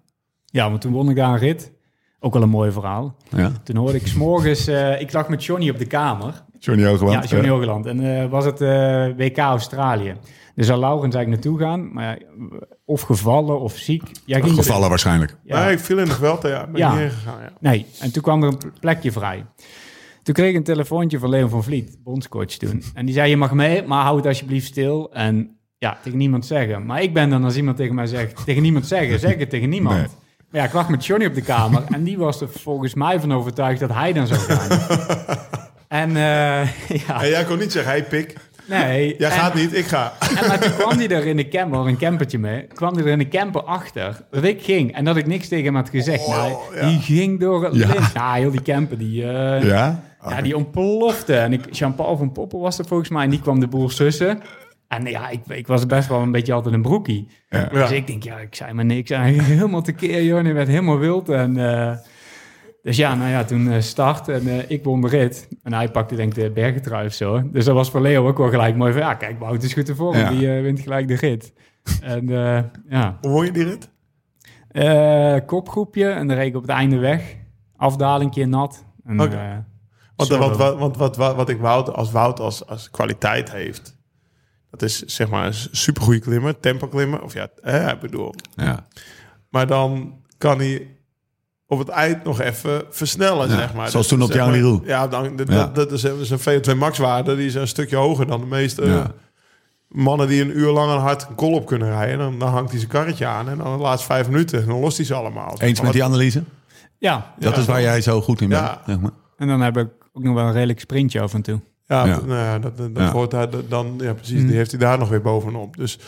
Ja, want toen won ik daar een rit. Ook wel een mooi verhaal.
ja.
Toen hoorde ik s'morgens... eh ik lag met Johnny op de kamer.
Johnny Hoogland.
Ja, Johnny Hogeland. En eh, was het eh, WK Australië. Dus zou Laurens eigenlijk naartoe gaan. Maar ja, of gevallen of ziek. Jij ging
Gevallen waarschijnlijk.
Ja.
Maar ik viel in de veld, ja. Ben
Ja.
niet ingegaan, ja.
Nee, en toen kwam er een plekje vrij. Toen kreeg ik een telefoontje van Leon van Vliet, bondscoach toen. En die zei, je mag mee, maar hou het alsjeblieft stil. En ja, tegen niemand zeggen. Maar ik ben dan als iemand tegen mij zegt, tegen niemand zeggen, zeg het tegen niemand.
Nee.
Maar ja, ik lag met Johnny op de kamer en die was er volgens mij van overtuigd dat hij dan zou gaan. en eh, ja,
En jij kon niet zeggen, hey pik,
nee.
jij
en-
gaat niet, ik ga.
en maar toen kwam hij er in de camper, had een campertje mee, kwam hij er in de camper achter dat ik ging en dat ik niks tegen hem had gezegd. nou,
ja.
Die ging door het
Ja.
lint. Ja, heel die camper, die, eh, ja.
Ja?
die ontplofte. En ik, Jean-Paul van Poppel was er volgens mij en die kwam de boel sussen. En ja, ik, ik was best wel een beetje altijd een broekie. Dus ik denk, ja, ik zei maar niks. En hij ging helemaal tekeer, joh. En hij werd helemaal wild. En, eh, dus ja, nou ja, toen eh, start en eh, ik won de rit. En hij pakte denk ik de bergentrui of zo. Dus dat was voor Leo ook wel gelijk mooi van, ja, kijk, Wout is goed ervoor.
Ja.
Die eh, wint gelijk de rit. en eh, ja,
Hoe won je die rit?
Eh, kopgroepje en dan reed ik op het einde weg. Afdaling, keer nat. En,
Oké.
eh,
Want
solo.
want- want- want wat, wat, wat ik Wout als Wout als, als kwaliteit heeft, dat is zeg maar een supergoeie klimmer, tempo klimmer. Of ja, hè, ik bedoel.
Ja.
Maar dan kan hij op het eind nog even versnellen,
Ja,
zeg maar.
zoals toen
Dus
op
zeg
Jan
maar-
Leroux.
Ja, dan, dat,
Ja.
dat- dat is eh, een VO2 max waarde. Die is een stukje hoger dan de meeste
Ja.
eh, mannen die een uur lang een hard een kol op kunnen rijden. Dan, dan hangt hij zijn karretje aan en dan de laatste vijf minuten. Dan lost hij ze allemaal.
Eens met die analyse?
Ja,
Dat is waar jij zo goed in bent.
Ja.
zeg maar.
en dan heb ik ook nog wel een redelijk sprintje af en toe.
Ja,
Ja.
d- nou ja, dat, dat, dat
Ja.
hoort daar d- dan. Ja, precies. Die heeft hij daar nog weer bovenop. Dus,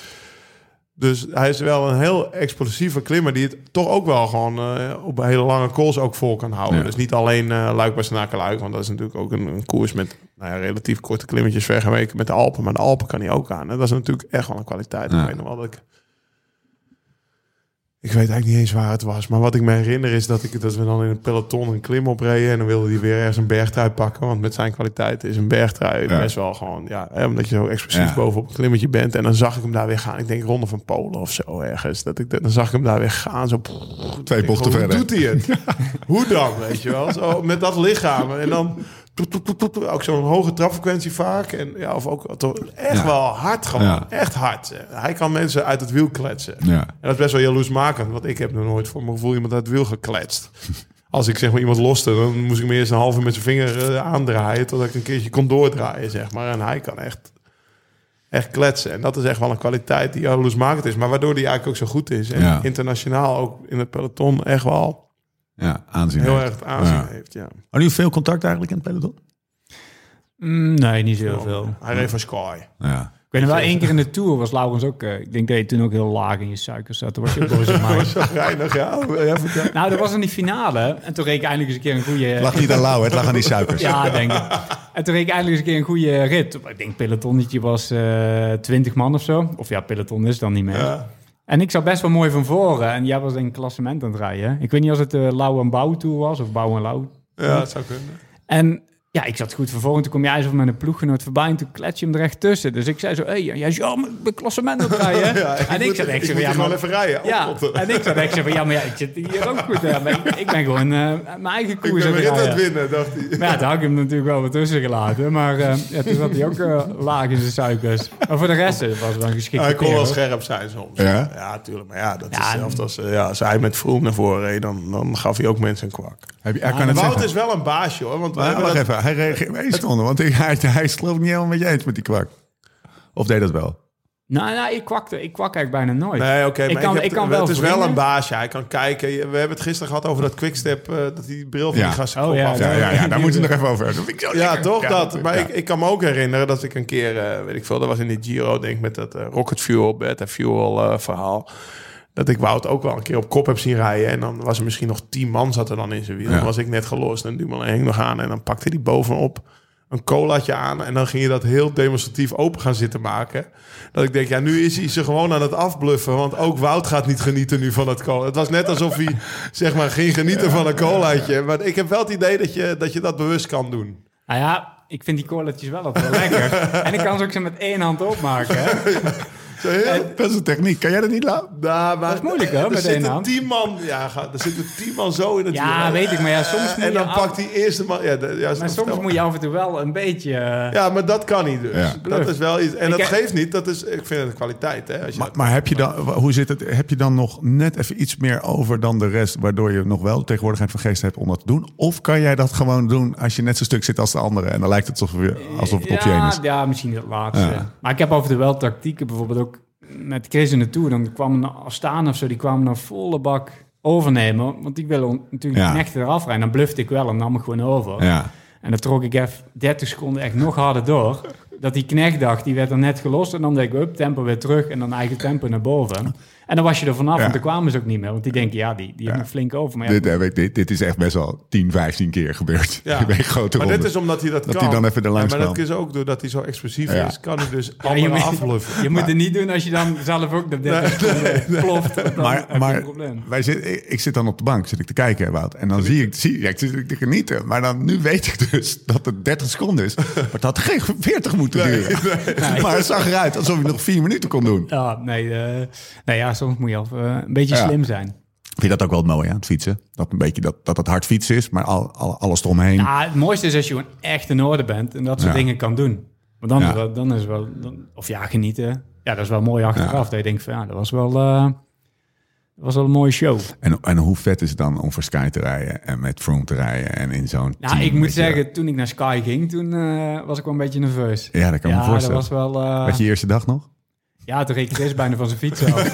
dus hij is wel een heel explosieve klimmer die het toch ook wel gewoon eh, op hele lange calls ook vol kan houden.
Ja.
Dus niet alleen eh luik bij Snakeluik, want dat is natuurlijk ook een, een koers met nou ja, relatief korte klimmetjes vergeleken met de Alpen. Maar de Alpen kan hij ook aan. En dat is natuurlijk echt wel een kwaliteit.
Ja.
Ik weet nog wel dat ik. Ik weet eigenlijk niet eens waar het was. Maar wat ik me herinner is dat, ik, dat we dan in een peloton een klim opreden. En dan wilde hij weer ergens een bergtrui pakken. Want met zijn kwaliteiten is een bergtrui
Ja.
best wel gewoon... Ja, hè, omdat je zo explosief
Ja.
bovenop een klimmetje bent. En dan zag ik hem daar weer gaan. Ik denk Ronde van Polen of zo ergens. Dat ik, dat- dan zag ik hem daar weer gaan. Zo,
Twee bochten
Hoe
verder.
doet hij het? Hoe dan, weet je wel? Zo, met dat lichaam. En dan toet, toet, toet, toet, ook zo'n hoge trapfrequentie vaak. En ja, of ook toch echt
Ja.
wel hard gewoon.
Ja.
Echt hard. Hij kan mensen uit het wiel kletsen.
Ja.
En dat is best wel jaloersmakend, want ik heb nog nooit voor mijn gevoel iemand uit het wiel gekletst. Als ik zeg maar iemand loste, dan moest ik me eerst een halve met zijn vinger eh, aandraaien... totdat ik een keertje kon doordraaien, zeg maar. En hij kan echt, echt kletsen. En dat is echt wel een kwaliteit die jaloersmakend is... maar waardoor die eigenlijk ook zo goed is. En
Ja.
internationaal ook in het peloton echt wel
Ja, aanzien.
heel
heeft.
erg het aanzien
Ja.
heeft. Ja.
Hadden jullie veel contact eigenlijk in het peloton?
Mm, nee, niet zo heel veel.
Hij reed van Sky.
Ja.
Ik weet nog wel, één keer in de Tour was Laurens ook... eh, ik denk dat je toen ook heel laag in je suikers zat. Toen was je ook boos op mij.
Zo reinig, ja. Ja, vertel.
Nou, dat was in die finale. En toen reed ik eindelijk eens een keer een goede...
Het lag niet aan Lau, het lag aan die suikers.
Ja, denk ik. En toen reed ik eindelijk eens een keer een goede rit. Ik denk pelotonnetje was eh 20 man of zo. Of ja, peloton is dan niet meer.
Ja.
En ik zat best wel mooi van voren. En jij was in een klassement aan het rijden. Ik weet niet of het de Lauw en Bouw Tour was. Of Bouw en Lauw.
ja, dat zou kunnen.
En Ja, ik zat goed vervolgens. Toen kom jij zo met een ploeggenoot voorbij en toen klets je hem er echt tussen. Dus ik zei zo, hé, hey, jij is ja, maar ik ben klassement op rijden. en ik zat echt zo,
moet
ja,
hier gewoon
maar...
even rijden.
Ja,
Oplotten.
en ik zat echt zo van, ja, maar ja, ik zit hier ook goed. hè. Maar ik, ik ben gewoon eh, mijn eigen
Ik
koers
ben
aan
weer
het
in aan het
rijden.
winnen, dacht hij.
Maar ja, daar had ik hem natuurlijk wel wat tussen gelaten. Maar eh, ja, toen zat hij ook eh, laag in zijn suikers. Maar voor de rest eh, was het wel een geschikte
hij kon
kerel.
Ah, wel scherp zijn soms.
Ja?
tuurlijk. Maar ja, dat
Ja,
is hetzelfde als, eh, ja, als hij met Vroom naar voren reed, dan, dan gaf hij ook mensen een kwak.
Heb je, hij kan het
Wout
zeggen.
is wel een baasje hoor. Want we
Maar
hebben
wacht
dat-
even, hij reageert mee stonden, want hij, hij, hij is geloof ik niet helemaal met je eens met die kwak. Of deed dat wel?
Nou, nou, ik kwakte. Ik kwak eigenlijk bijna nooit.
Nee, oké,
ik
maar
kan,
ik
ik
heb-
kan wel
het is wel
wringen.
een baasje. Hij kan kijken. Je- We hebben het gisteren gehad over dat quickstep, eh dat die bril van
Ja.
die gasten
Oh,
kop
ja,
af-
Ja, ja, ja daar moeten we nog even over hebben. Dat vind ik zo
Ja,
lekker.
toch dat. Maar
ja.
Ik, ik kan me ook herinneren dat ik een keer, eh, weet ik veel, dat was in de Giro, denk ik, met dat eh, Rocket Fuel, Beta Fuel eh, verhaal. Dat ik Wout ook wel een keer op kop heb zien rijden. En dan was er misschien nog tien man zat er dan in zijn wiel.
Ja.
Dan was ik net gelost en Dumoulin hing nog aan. En dan pakte hij bovenop een colaatje aan. En dan ging je dat heel demonstratief open gaan zitten maken. Dat ik denk, ja, nu is hij ze gewoon aan het afbluffen. Want ook Wout gaat niet genieten nu van dat cola. Het was net alsof hij, zeg maar, ging genieten van een colaatje. Maar ik heb wel het idee dat je dat, je dat bewust kan doen.
Nou ja, ik vind die coletjes wel altijd wel lekker. en ik kan ze ook zo met één hand opmaken. hè.
Dat is een techniek. Kan jij dat niet laten?
Nou, maar, dat
is moeilijk, hè, met
Er
één
zitten
hand.
tien man, ja, ga- er zitten tien man zo in het
Ja,
wiel.
weet ik. Maar ja, soms moet
En dan
je... af-
pakt die eerste man... Ja, de- ja,
maar
snap-
soms moet je af en toe wel een beetje... eh,
Ja, maar dat kan niet dus.
Ja.
Dat is wel iets... En
Ik
dat
heb-
geeft niet, dat is... Ik vind het een kwaliteit, hè. Als je
Maar, maar heb je dan, wa- hoe zit het? Heb je dan nog net even iets meer over dan de rest, waardoor je nog wel de tegenwoordigheid van geest hebt om dat te doen? Of kan jij dat gewoon doen als je net zo stuk zit als de anderen en dan lijkt het alsof, je- alsof het op je heen
ja,
is?
ja, misschien het laatste.
Ja.
Maar ik heb af en toe wel tactieken. Bijvoorbeeld ook met Chris in de Tour. Dan kwam een Astana of zo. Die kwamen naar volle bak overnemen. Want ik wil natuurlijk
Ja.
niet echt eraf rijden. Dan blufte ik wel en nam ik gewoon over.
Ja.
En dan trok ik even 30 seconden echt nog harder door. Dat die knecht dacht, die werd er net gelost. En dan denk ik, up, tempo weer terug. En dan eigen tempo naar boven. En dan was je er vanaf,
Ja.
want dan kwamen ze ook niet meer. Want die denken, ja, die, die heeft me flink over. Maar ja,
Dit, heb ik- dit, dit is echt best wel 10, 15 keer gebeurd.
Ja.
Ik ben grote
maar dit
rondes.
is omdat hij dat,
Dat
kan.
hij dan even er langs
Ja, maar dat
kwam.
is ook doordat hij zo explosief
Ja.
is, kan hij dus
ja, je,
allemaal
moet,
afbluffen.
je moet het niet doen als je dan zelf ook dat 30 seconden ploft. Dan heb je
Maar, maar
een probleem.
wij zit, ik, ik zit dan op de bank, zit ik te kijken, Wout. En dan zie ik, zie, ja, ik zit te genieten. Maar dan, nu weet ik dus dat het 30 seconden is. Maar het had geen 40 moeten duren. Maar het zag eruit alsof je nog 4 minuten kon doen.
Ja, nee, eh, nou ja, soms moet je af, eh, een beetje
Ja.
slim zijn.
Ik vind dat ook wel mooi aan het fietsen. Dat, een beetje dat, dat het hard fietsen is, maar al, al- alles eromheen.
Nou, het mooiste is als je gewoon echt in orde bent en dat soort
Hm. Ja.
dingen kan doen. Maar dan,
Ja.
is, wel, dan is wel, dan, of ja, genieten. Ja, dat is wel mooi achteraf. Dat je denkt van, ja, dat was wel, eh, dat was wel een mooie show.
En, en hoe vet is het dan om voor Sky te rijden en met Froome te rijden en in zo'n
Nou,
team,
ik moet
weet je.
zeggen, toen ik naar Sky ging, toen eh, was ik wel een beetje nerveus.
Ja, dat kan ik
ja,
me voorstellen.
dat was wel... eh,
Weet je je eerste dag nog?
Ja, toen reed ik eerst bijna van zijn fiets af.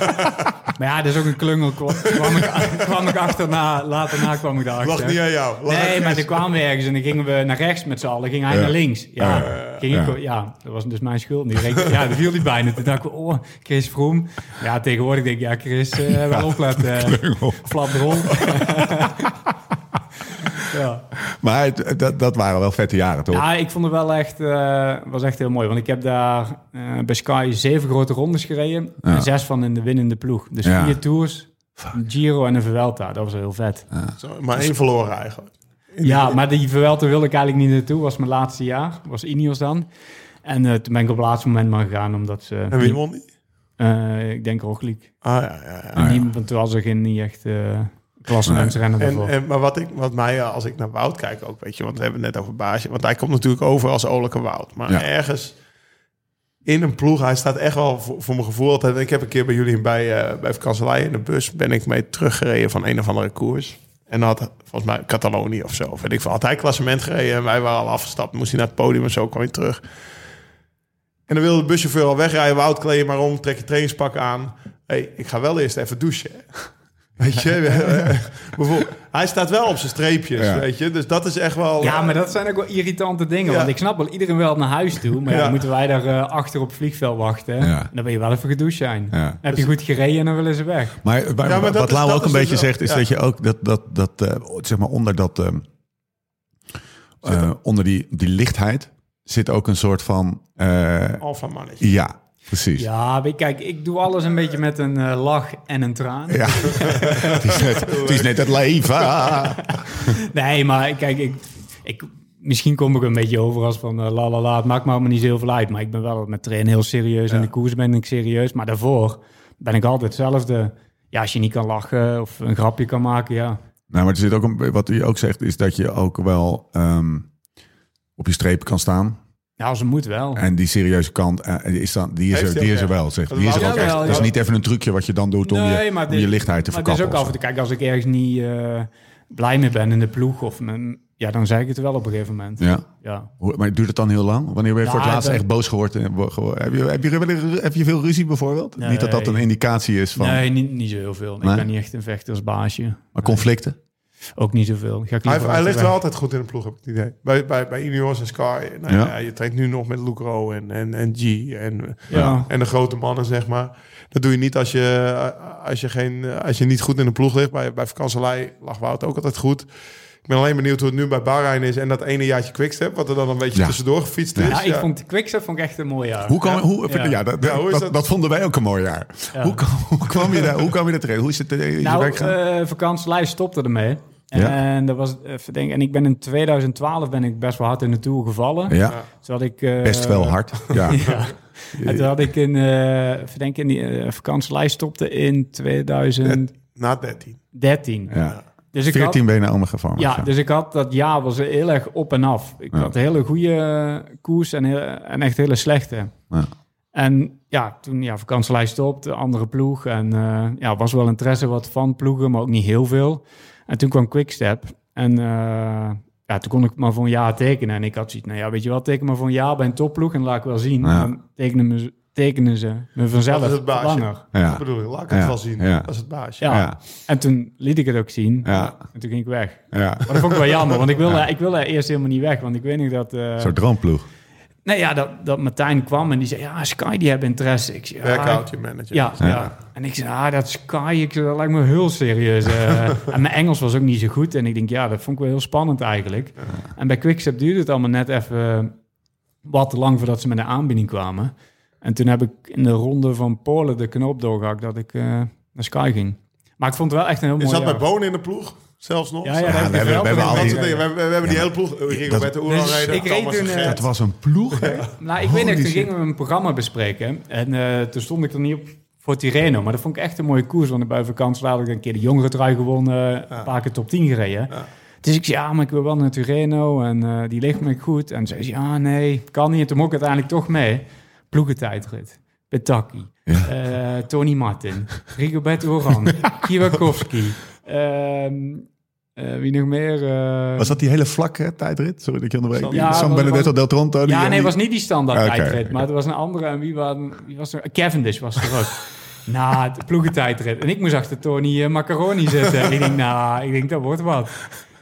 maar ja, dat is ook een klungel. Kwam, kwam ik, kwam ik achterna, later na kwam ik daarachter.
Lag niet aan jou. Lag
Nee,
aan
maar
Chris.
dan kwamen we ergens en dan gingen we naar rechts met z'n allen. Ging hij
Ja.
naar links. Ja, ging ik,
ja.
ja. dat was dus mijn schuld. Die reed- ja, dat viel hij bijna. Toen dacht ik, oh, Chris Vroom. Ja, tegenwoordig denk ik, ja, Chris, eh wel opletten. eh, Flap de rond. ja.
Maar het- dat, dat waren wel vette jaren, toch?
ja, ik vond het wel echt, eh, was echt heel mooi. Want ik heb daar eh, bij Sky zeven grote rondes gereden. En zes van in de winnende ploeg. Dus
Ja.
vier tours, een Giro en een Vuelta. Dat was heel vet.
Zo, maar één verloren eigenlijk.
Ja, maar die Vuelta wilde ik eigenlijk niet naartoe. was mijn laatste jaar. was Ineos dan. En eh, toen ben ik op het laatste moment maar gegaan, omdat ze...
En wie won die?
Eh, ik denk Roglic.
Ah, ja, ja, ja.
En die- Want toen was er geen niet echt eh klassementsrennen
En,
daarvoor.
en, maar wat, ik, wat mij, eh, als ik naar Wout kijk ook, weet je, want we hebben het net over Baasje. Want hij komt natuurlijk over als olijke Wout. Maar
Ja.
ergens in een ploeg, hij staat echt wel voor, voor mijn gevoel altijd. Ik heb een keer bij jullie bij, eh bij Vakanselij in de bus, ben ik mee teruggereden van een of andere koers. En dan had, volgens mij, Catalonië of zo. of Weet ik veel. Had hij klassement gereden en wij waren al afgestapt. Moest hij naar het podium en zo kwam hij terug. En dan wilde de buschauffeur al wegrijden. Wout, kleed je maar om, trek je trainingspak aan. Hé, hey, ik ga wel eerst even douchen. Weet je, eh, bijvoorbeeld, hij staat wel op zijn streepjes,
Ja.
weet je. Dus dat is echt wel...
Ja, maar dat zijn ook wel irritante dingen.
Ja.
Want ik snap wel, iedereen wil naar huis toe. Maar ja,
Ja.
dan moeten wij daar eh, achter op het vliegveld wachten.
Ja.
En dan ben je wel even gedoucht zijn.
Ja.
Heb
Dus-
je goed gereden en dan willen ze weg.
Maar, maar
maar dat
wat
is-
Lau ook een
dat is dus
beetje
wel-
zegt, is
ja.
dat je ook dat, dat, dat eh, zeg maar onder dat ehm, eh, onder die, die lichtheid zit ook een soort van eh,
Alpha mannetje.
ja, precies. Ja.
Ja, weet je, kijk, ik doe alles een beetje met een eh, lach en een traan.
het, is net, het is net het leven.
Nee, maar kijk, ik, ik misschien kom ik een beetje over als van eh, la la la, het maakt me allemaal niet zo heel veel uit. Maar ik ben wel met trainen heel serieus en de koers ben ik serieus. Maar daarvoor ben ik altijd hetzelfde. Ja, als je niet kan lachen of een grapje kan maken, ja.
Nou, maar er zit ook een, wat hij ook zegt, is dat je ook wel ehm, op je streep kan staan.
Ja, als het moet wel.
En die serieuze kant, eh, die is, dan, die is,
Heeft
er,
hij
die
ook
is er
echt.
wel. Zeg.
Dat
Die is er
laat-
ook
Ja,
echt.
wel,
Het is
ja.
niet even een trucje wat je dan doet om, je, om
dit-
je lichtheid te
maar het is
verkappen.
ook af en
of
toe,
zo.
kijk, als ik ergens niet eh, blij mee ben in de ploeg, of mijn, ja, dan zeg ik het wel op een gegeven moment.
Ja.
Ja.
Hoe- Maar duurt het dan heel lang? Wanneer ben je
Ja,
voor het laatst
dat-
echt boos geworden? Heb je, heb, je, heb, je, heb je veel ruzie bijvoorbeeld?
Nee.
Niet dat dat een indicatie is van...
Nee, niet, niet zo heel veel.
Nee?
Ik ben niet echt een vechtersbaasje.
Maar conflicten?
Ook niet zoveel. Ga ik
Hij,
liever
hij ligt
altijd
wel
weg.
altijd goed in de ploeg, heb ik het idee. Bij, bij, bij Ineos en Sky. Nou
Ja.
ja. je traint nu nog met Lucro en, en, en G en,
Ja.
en de grote mannen, zeg maar. Dat doe je niet als je, als je, geen, als je niet goed in de ploeg ligt. Bij, bij Vakanselij lag Wout ook altijd goed. Ik ben alleen benieuwd hoe het nu bij Bahrein is. En dat ene jaartje Quickstep, wat er dan een beetje
Ja.
tussendoor gefietst is.
Ja, ik vond de Quickstep vond ik echt een mooi jaar.
Hoe kan, Hoe, ja.
Ja.
dat,
Ja, hoe is
dat,
dat?
dat vonden wij ook een mooi jaar.
Ja.
Hoe, kwam- hoe kwam je daar, hoe kwam je daar terecht? Hoe is het eh, is je
Nou,
werk gegaan?
eh vakantielijst stopte ermee.
Ja.
En, dat was, eh, even denken, en ik ben in 2012 ben ik best wel hard in de Tour gevallen.
ja,
Toen had ik, eh,
best wel hard. Ja.
Ja. En toen had ik in, eh even denken, in die eh, vakantielijst stopte in 2013.
Na 13.
Ja.
Dus ik
14 benen allemaal gevangen.
had, ja, dus ik had dat jaar was heel erg op en af. Ik
Ja.
had een hele goede eh, koers en, heel- en echt hele slechte.
Ja.
En ja, toen ja, vakantielijst stopt, de andere ploeg. En eh, ja, was wel interesse wat van ploegen, maar ook niet heel veel. En toen kwam Quickstep. En eh, ja, toen kon ik maar voor een jaar tekenen. En ik had zoiets, nou ja, weet je wat, teken maar voor een jaar bij een topploeg. En laat ik wel zien.
Ja.
Dan tekenen, me, tekenen ze me vanzelf
Dat is het
wat
baasje.
langer.
Ja.
Dat bedoel ik, laat ik het
Ja.
wel zien.
Ja.
Dat is het baasje.
Ja.
Ja.
En toen liet ik het ook zien.
Ja.
En toen ging ik weg.
Ja.
Maar dat vond ik wel jammer, want ik wilde, ik wilde eerst helemaal niet weg. Want ik weet niet dat... eh,
Zo'n droomploeg.
nee, ja, dat, dat Martijn kwam en die zei, ja, Sky, die hebben interesse. Ik zei, ja,
Werkout, je manager.
Ja,
Ja.
ja. En ik zei, ah, dat Sky, ik, zei, dat lijkt me heel serieus. eh. en mijn Engels was ook niet zo goed. En ik denk, ja, dat vond ik wel heel spannend eigenlijk. En bij Quickstep duurde het allemaal net even wat te lang voordat ze met een aanbieding kwamen. En toen heb ik in de ronde van Polen de knoop doorgehakt dat ik eh, naar Sky ging. Maar ik vond het wel echt een heel
Je
mooi
zat bij
jaar.
Bonen in de ploeg, zelfs nog.
Ja, ja, daar
we
heb ik
hebben-
wel
we hebben
van
al
Dat
in
die-
soort
gereden.
dingen. We, we- we hebben die hele ploeg. eh, Rigoberto Uran
Dus
rijden,
ik reed
Thomas
toen,
de
eh,
Gent.
Dat was een ploeg. hè?
Nou, ik weet
Holy
nog, toen
shit.
gingen we een programma bespreken. En eh, toen stond ik er niet op voor Tireno. Maar dat vond ik echt een mooie koers. Want bij vakantie had ik een keer de jongere trui gewonnen. Een paar keer top 10 gereden. Dus ik zei, ja, maar ik wil wel naar Tireno. En eh, die ligt me goed. En zei ze, ja, nee, kan niet. En toen mocht ik uiteindelijk toch mee. Ploegentijdrit. Petaki. eh, Tony Martin. Rigoberto Oran. Kierakowski. ehm, eh, wie nog meer? Eh,
Was dat die hele vlakke tijdrit? Sorry dat ik je onderbreek.
Ja,
San
was-
Benedetto
was-
del Tronto. die-
ja, nee,
die-
het was niet die standaard
Oké,
tijdrit.
oké.
Maar het was een andere. En wie, waren, wie was er? Cavendish was er ook. nou, de ploegentijdrit. En ik moest achter Tony eh, Macaroni zitten. En ik denk, nou, ik denk, dat wordt wat.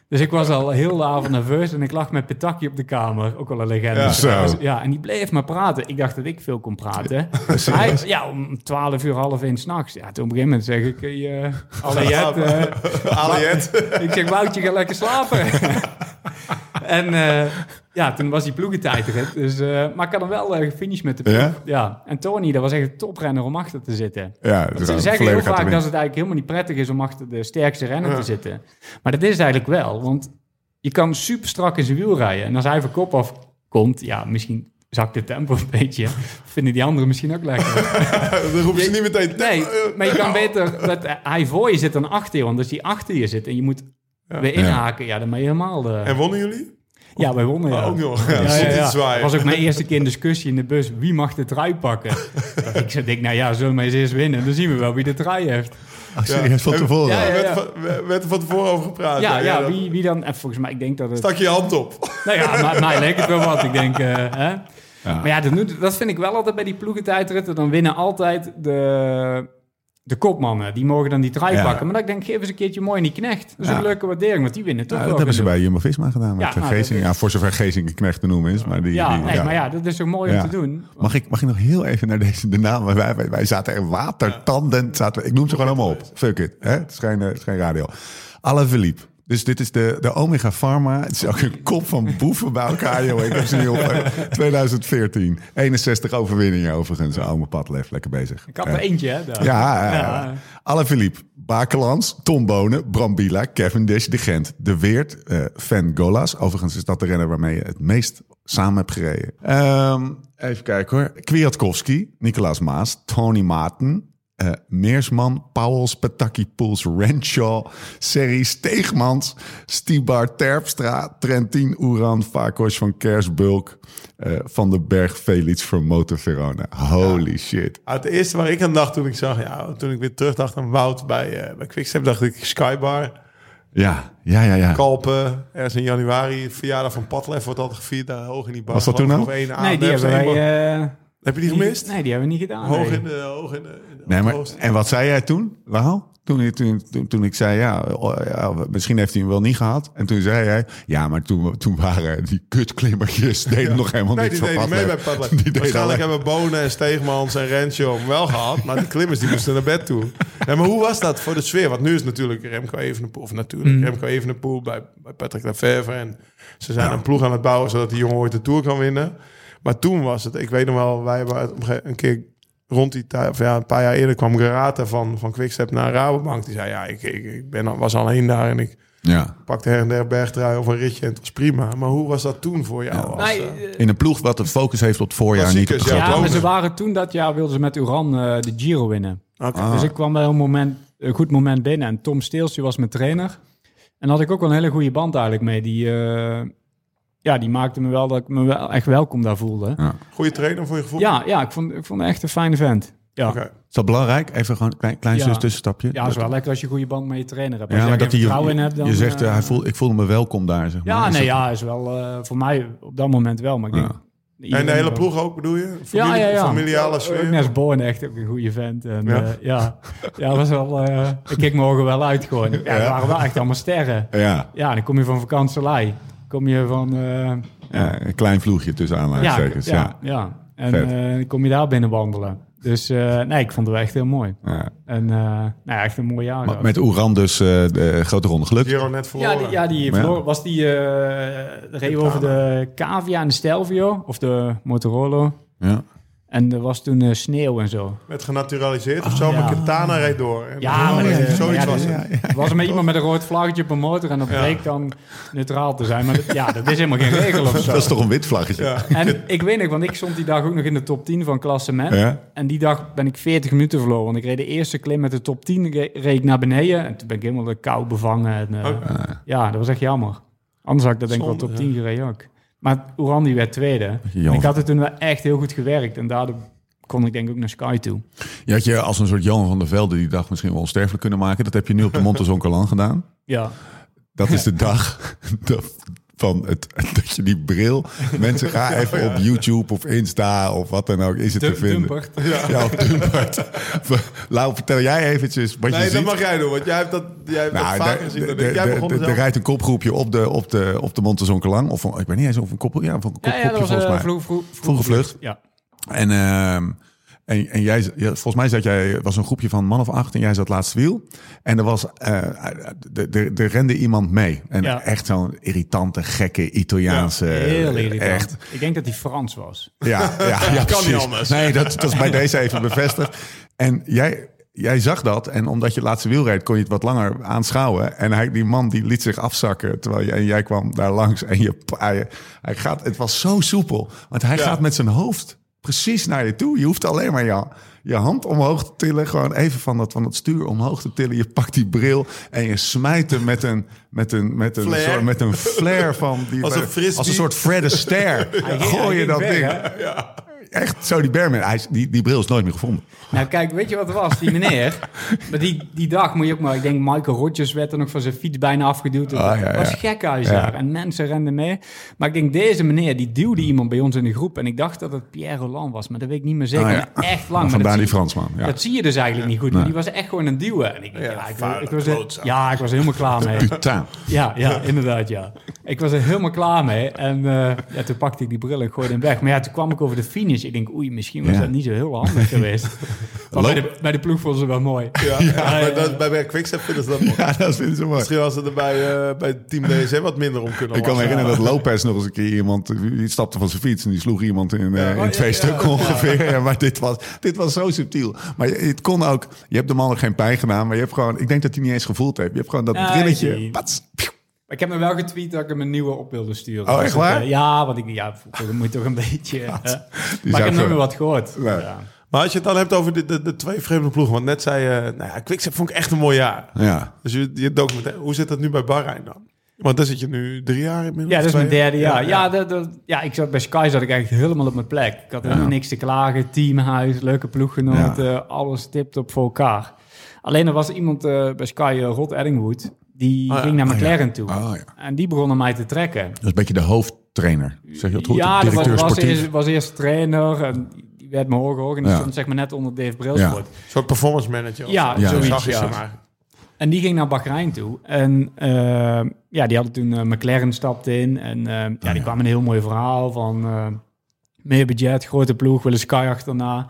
Dus ik was al heel de avond nerveus en ik lag met Petaki op de kamer. Ook wel een legende. Dus
Ja, zo.
ja, en die bleef maar praten. Ik dacht dat ik veel kon praten. Hij, ja, om 12 uur, half één s'nachts. Ja, toen op een gegeven moment zeg ik, hey, eh Aliette, eh,
Aliet.
ik zeg, Woutje, ga lekker slapen. en eh, ja, toen was die ploegentijdrit. Dus, eh, maar ik had hem wel eh, gefinished met de ploeg.
Ja?
Ja? En Tony, dat was echt een toprenner om achter te zitten.
Ja, dus
Want ze
ja,
zeggen heel
volledig
vaak
gaat
dat het
erin.
eigenlijk helemaal niet prettig is om achter de sterkste renner te zitten. Maar dat is het eigenlijk wel, want je kan super strak in zijn wiel rijden. En als hij van kop af komt, ja, misschien zakt het tempo een beetje. Vinden die anderen misschien ook lekker.
Dan roepen ze niet meteen.
Nee,
eh,
maar je kan beter dat hij voor je zit dan achter je. Want als die achter je zit en je moet weer inhaken, ja, dan ben je helemaal... de-
En wonnen jullie? Oh,
ja, wij wonnen, ja.
Ook nog. Ja,
Ja, ja, ja.
Zwaai.
was ook mijn eerste keer in discussie in de bus. Wie mag de trui pakken? ik zei, denk, nou ja, zullen we maar eens eerst winnen. Dan zien we wel wie de trui heeft.
Oh, serieus, van
Ja.
tevoren.
Ja,
Er
ja.
werd, van- we- werd er van tevoren over gepraat.
Ja, ja,
dan
wie, wie dan? En volgens mij, ik denk dat het...
Stak je je hand op.
Nou ja, maar mij leek het wel wat. Ik denk, eh, hè? Maar ja, dat, doet- dat vind ik wel altijd bij die ploegentijdritten. Dan winnen altijd de, de kopmannen. Die mogen dan die trui
Ja.
pakken. Maar dan denk ik, geef eens een keertje mooi in die knecht. Dat is
Ja.
een leuke waardering, want die winnen toch
Ja, dat
wel
hebben ze
genoeg.
bij Jumbo-Visma gedaan met
Ja,
eh,
nou, dat
Geesing.
is-
Ja, voor zover Geesing een knecht te noemen is. Maar die,
Ja,
die-
nee, maar ja, dat is ook mooi
Ja.
om te doen.
Mag ik, mag ik nog heel even naar deze de naam? Wij, wij, wij zaten er watertanden. Zaten, we- ik noem ze gewoon allemaal op. Fuck it. Hè? Het, is geen, eh, het is geen radio. Alain Philippe. Dus dit is de, de Omega Pharma. Het is ook een kop van boeven bij elkaar, joh. Ik heb ze niet op. eh, 2014. 61 overwinningen overigens. Oude padlef, lekker bezig.
Ik had
Eh,
er eentje, hè? daar.
ja, ja,
Ja.
ja. Alain Philippe, Bakelans, Tom Bonen, Brambila, Cavendish, De Gent, De Weert, eh Van Golas. Overigens is dat de renner waarmee je het meest samen hebt gereden. Ehm, even kijken hoor. Kwiatkowski, Nicolaas Maas, Tony Maarten, eh, Meersman, Pauwels, Pataki Poels, Renshaw, Serri Steegmans, Stibar Terpstra, Trentin Oeran, Vakos van Kersbulk, eh, Van den Berg, Felix Vermoten Verona. Holy shit.
Ah, het eerste waar ik aan dacht toen ik zag, ja, toen ik weer terugdacht aan Wout bij, eh bij Quickstep, dacht ik Skybar,
Ja, ja, ja, ja.
Kalpen, ergens in januari, verjaardag van Padlef wordt altijd gevierd daar hoog in die
Was
boom.
dat toen nou? ook?
Of één
Nee,
Aandebs,
die hebben
één
wij...
Bo-
eh,
Heb je die
niet-
gemist?
Nee, die hebben we niet gedaan.
Hoog
nee.
in de... Hoog in de, in de
Nee, maar,
hoogste-
en wat zei jij toen, Waal? Toen, toen, toen, toen ik zei, ja, oh, ja, misschien heeft hij hem wel niet gehad. En toen zei hij, ja, maar toen, toen waren die kutklimmertjes, deden nog helemaal
Nee,
niks
die
van
deden mee bij
Padlef.
Padlef.
Die deden
Waarschijnlijk
alleen-
hebben Bonen en Steegmans en Rensjo hem wel gehad. Maar de klimmers die moesten naar bed toe. Nee, maar hoe was dat voor de sfeer? Want nu is natuurlijk Remco Evenepoel... Of natuurlijk Remco Evenepoel bij, bij Patrick Lefevre. En ze zijn een ploeg aan het bouwen... zodat die jongen ooit de Tour kan winnen. Maar toen was het... Ik weet nog wel, wij hebben op een gege- een keer... Rond die tijd, of ja, een paar jaar eerder kwam Garata van, van Quickstep naar Rabobank. Die zei, ja, ik, ik, ik ben, al- was alleen daar en ik
Ja.
pakte her en der bergtrui of een ritje en het was prima. Maar hoe was dat toen voor jou? als,
Nee,
eh,
eh,
In een ploeg wat de focus heeft op het voorjaar, niet op de
Klassiekers, ja.
grote
Ja, maar
Lonen.
ze waren toen dat jaar wilden ze met Uran eh, de Giro winnen.
Oké.
Ah.
Dus ik kwam bij een, moment, een goed moment binnen. En Tom Steels, die was mijn trainer. En daar had ik ook wel een hele goede band eigenlijk mee. Die, eh, ja, die maakte me wel dat ik me wel echt welkom daar voelde.
Goede trainer voor je gevoel?
Ja, ja ik, vond, ik vond het echt een fijne vent. Ja,
Oké.
Is dat belangrijk? Even gewoon een klein, klein
Ja.
zus tussenstapje.
ja dat is wel lekker als je een goede band met je trainer hebt. Als
Ja,
je
maar
er
dat hij,
geen vertrouwen in hebt, dan...
je zegt,
eh,
eh, hij voel, ik voelde me welkom daar, zeg maar.
ja,
Is
nee,
dat-
ja, is wel eh, voor mij op dat moment wel. Maar ik denk,
Ja.
En de
iedereen
hele
wel.
ploeg ook, bedoel je?
Ja,
Familie-
ja, ja.
Familiale
Ook
sfeer?
Nes Born echt ook een goede vent. En,
Ja.
ja. ja. ja, dat was wel... eh, ik keek morgen wel uit gewoon. Ja, we waren wel echt allemaal sterren.
Ja,
Ja, dan kom je van vakantielei. Kom je van... eh,
ja, een klein vloegje tussen
ja, ja,
aanhalingstekens. Ja,
ja, En
Vet.
eh, dan kom je daar binnen wandelen. Dus eh, nee, ik vond het wel echt heel mooi.
Ja.
En eh, nou, ja, echt een mooi jaar.
Maar
ook.
Met Oeran dus eh, de grote ronde geluk.
Giro net verloren.
Ja, die, ja, die
Maar ja.
verloor- was die... eh reden we over de Cavia en de Stelvio. Of de Motorola.
Ja.
En er was toen eh, sneeuw en zo.
Werd genaturaliseerd of zo,
ja.
maar Quintana reed door. En
Oh, Ja, maar dat-
zoiets
ja,
was
dat-
het.
Er was er met iemand met een rood vlaggetje op een motor en dat bleek dan neutraal te zijn. Maar dat- ja, dat is helemaal geen regel of zo.
Dat is toch een wit vlaggetje?
En ik weet nog, want ik stond die dag ook nog in de top 10 van klassement.
Ja.
En die dag ben ik 40 minuten verloren. Want ik reed de eerste klim met de top 10, re- reed ik naar beneden. En toen ben ik helemaal de kou bevangen. En, eh,
Ah.
Ja, dat was echt jammer. Anders had ik dat denk ik wel
Zonde,
top 10 gereden ook. Maar Oeran die werd tweede.
Jammer.
En ik had het toen wel echt heel goed gewerkt. En daardoor kon ik denk ik ook naar Sky toe.
Je had je als een soort Johan van der Velde die dag misschien wel onsterfelijk kunnen maken. Dat heb je nu op de Montezoncalan gedaan.
Ja.
Dat is de dag dat, van het, dat je die bril... Mensen, ga even op YouTube of Insta of wat dan ook. Is het te vinden. Ja, op Dumpert. Lau, vertel jij eventjes wat je
Nee, dat
ziet.
mag jij doen, want jij hebt dat, jij hebt
Nou,
dat vaker
daar-
gezien. dan
de-
ik. jij
de-
begon dus
de-
er
de-
zelf.
er rijdt een kopgroepje op de, op de, op de Montezoncalan. Of van- ik weet niet eens of een koppel... Ja, van een
Ja,
kopgroepje
ja, dat was eh,
volgens
een
mij.
vroeg, vroeg,
Vroege vlucht.
Ja.
En, ehm, en, en jij, ja, volgens mij zat jij, was een groepje van man of acht en jij zat laatste wiel. En er was, eh, de de- er rende iemand mee. En
Ja.
echt zo'n irritante, gekke Italiaanse.
Heel irritant.
Eh, Echt.
Ik denk dat hij Frans was.
Ja, ja, ja, kan
niet anders.
Nee, dat, dat is bij deze even bevestigd. En jij, jij zag dat. En omdat je het laatste wiel reed, kon je het wat langer aanschouwen. En hij, die man die liet zich afzakken. Terwijl jij, jij kwam daar langs. En je, hij, hij gaat, het was zo soepel. Want hij
Ja.
gaat met zijn hoofd precies naar je toe. Je hoeft alleen maar je, je hand omhoog te tillen. Gewoon even van dat, van dat stuur omhoog te tillen. Je pakt die bril en je smijt hem met een, met een, met een,
Flare.
soort- met een flare van... Die,
Als een frisbee.
als een soort Fred Astaire. Gooi je dat
weg,
ding.
hè?
Echt, zo die Berman. Hij is, die, die bril is nooit meer gevonden.
Nou kijk, weet je wat het was? Die meneer, maar die, die dag moet je ook maar... Ik denk Michael Rodgers werd er nog van zijn fiets bijna afgeduwd. Het
Ah, ja, ja. Mm.
was gekhuis daar en mensen renden mee. Maar ik denk deze meneer, die duwde iemand bij ons in de groep. En ik dacht dat het Pierre Roland was, maar dat weet ik niet meer zeker.
Ah, ja.
Maar echt
Maar
lang. Maar dat,
vandaar
zie,
die Fransman. Ja.
dat zie je dus eigenlijk niet goed. Maar die was echt gewoon aan het duwen. En ik, ja, ik, was- ik, was, ja, ik was er helemaal klaar mee.
Putain.
Ja, ja, inderdaad, ja. Ik was er helemaal klaar mee. En eh, ja, toen pakte ik die bril en gooide hem weg. Maar ja, toen kwam ik over de finish. is. Ik denk, oei, misschien was
Ja.
dat niet zo heel handig geweest. Maar bij, de, bij de ploeg vonden ze wel mooi.
Ja, maar dat, bij, bij Quickstep vinden ze dat mooi.
Ja, dat vinden ze mooi.
Misschien als ze er bij, eh, bij Team DSM wat minder om kunnen
Ik kan me
lachen.
herinneren dat Lopez nog eens een keer iemand... Die stapte van zijn fiets en die sloeg iemand in, eh,
oh,
in
ja,
twee
ja,
stukken ongeveer. Ja, maar dit was, dit was zo subtiel. Maar je- het kon ook... Je hebt de man nog geen pijn gedaan, maar je hebt gewoon... Ik denk dat hij niet eens gevoeld heeft. Je hebt gewoon dat
Ja, ik
brilletje...
zie.
pats, pieuw.
Maar ik heb me wel getweet dat ik hem een nieuwe op wilde sturen.
Oh,
Dus
echt
ik,
waar?
eh, ja, want ik ja, dat moet toch een beetje... eh, maar
zou
ik heb
zo-
nog meer wat gehoord.
Nee.
Ja.
Maar als je het dan hebt over de, de, de twee vreemde ploegen. Want net zei je, nou ja, Quickstep vond ik echt een mooi jaar.
Ja.
Dus je, je documentaire, hoe zit dat nu bij Bahrein dan? Want daar zit je nu drie jaar inmiddels.
Ja, dat is
twee
mijn derde jaar. Ja,
ja.
dat, dat- ja, ik zat bij Sky zat ik eigenlijk helemaal op mijn plek. Ik had helemaal niks te klagen. Teamhuis, leuke ploeggenoten, alles tipt op voor elkaar. Alleen er was iemand eh, bij Sky, eh, Rod Eddingwood, die
Oh ja.
ging naar McLaren toe.
Oh ja.
En die begon naar mij te trekken.
Dat is een beetje de hoofdtrainer. Zeg je dat goed?
ja, dat was,
Directeur
was,
sportief.
eerst, was eerst trainer en die werd me hoog hoog. En die
Ja.
stond zeg maar net onder Dave Brailsford.
Een soort performance manager. of
Ja,
zo.
ja.
Zo zag
zoiets,
je ze
ja.
maar.
En die ging naar Bahrein toe. En eh, ja, die hadden toen eh, McLaren stapte in. En eh, ja, die kwam een heel mooi verhaal van eh, meer budget, grote ploeg, willen Sky achterna.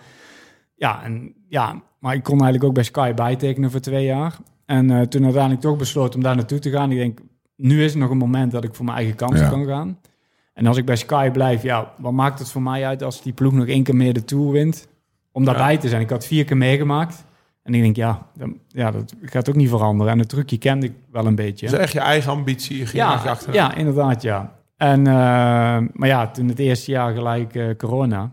Ja, en, ja, maar ik kon eigenlijk ook bij Sky bijtekenen voor twee jaar. En eh, toen uiteindelijk toch besloten om daar naartoe te gaan. Ik denk, nu is het nog een moment dat ik voor mijn eigen kansen
Ja.
kan gaan. En als ik bij Sky blijf, ja, wat maakt het voor mij uit als die ploeg nog één keer meer de Tour wint? Om daarbij te zijn. Ik had vier keer meegemaakt. En ik denk, ja, dan, ja, dat gaat ook niet veranderen. En het trucje kende ik wel een beetje.
Dus echt je eigen ambitie. Je ging ja,
ja,
achter.
ja, inderdaad, ja. En, eh, maar ja, toen het eerste jaar gelijk eh, corona.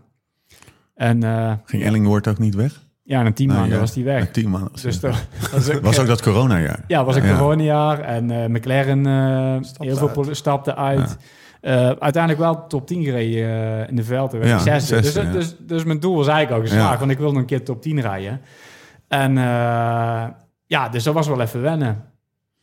En eh,
Ging Ellingwoord ook niet weg?
ja, na tien
Nee,
maanden
ja.
was die
Ja,
weg.
tien maanden.
Dus dat was ook,
was ook dat coronajaar.
ja, was een
Ja.
coronajaar. En eh, McLaren, eh heel veel
uit.
pol- stapte uit. Eh, uiteindelijk wel top 10 gereden eh, in de Vuelta. werd
Ja,
ik zesde. Dus,
zesde, ja.
dus, dus mijn doel was eigenlijk al geslaagd.
Ja.
Want ik wilde een keer top 10 rijden. En eh, ja, dus dat was wel even wennen.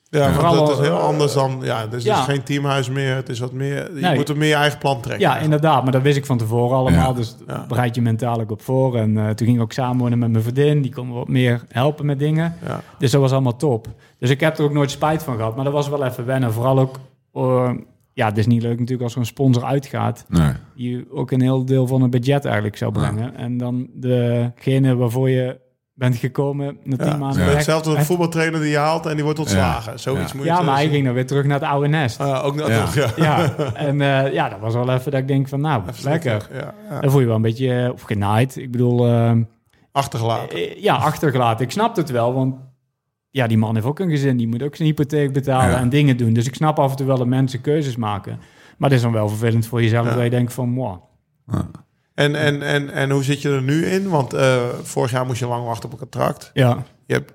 Ja, want
Vooral
dat is
al- eh,
heel anders dan... Ja, dus het
ja.
is geen teamhuis meer. Het is wat meer... Je
Nee.
moet er meer je eigen plan trekken.
Ja, inderdaad. Maar dat wist ik van tevoren allemaal.
Ja.
Dus
Ja.
bereid je mentaal ook op voor. En eh, toen ging ik ook samenwonen met mijn vriendin. Die kon me wat meer helpen met dingen.
Ja.
Dus dat was allemaal top. Dus ik heb er ook nooit spijt van gehad. Maar dat was wel even wennen. Vooral ook... eh, ja, het is niet leuk natuurlijk als er een sponsor uitgaat.
Nee.
je ook een heel deel van het budget eigenlijk zou brengen. En dan degene waarvoor je bent gekomen na tien
Ja.
maanden.
Ja.
weg-
Hetzelfde als een
weg-
voetbaltrainer die je haalt en die wordt ontslagen. Zoiets
Ja.
moet je
Ja,
het, eh,
maar hij
zien.
ging dan weer terug naar het oude nest.
Ah, ook nog,
Ja.
nog, ja.
Ja, en eh, ja, dat was wel even dat ik denk van, nou, lekker.
Ja, ja.
Dan voel je wel een beetje eh, of genaaid. Ik bedoel, eh,
Achtergelaten.
eh, ja, achtergelaten. Ik snap het wel, want ja, die man heeft ook een gezin. Die moet ook zijn hypotheek betalen
Ja.
en dingen doen. Dus ik snap af en toe wel dat mensen keuzes maken. Maar het is dan wel vervelend voor jezelf
Ja.
dat je denkt van, wow.
En, en, en, en hoe zit je er nu in? Want eh, vorig jaar moest je lang wachten op een contract.
Ja,
Je hebt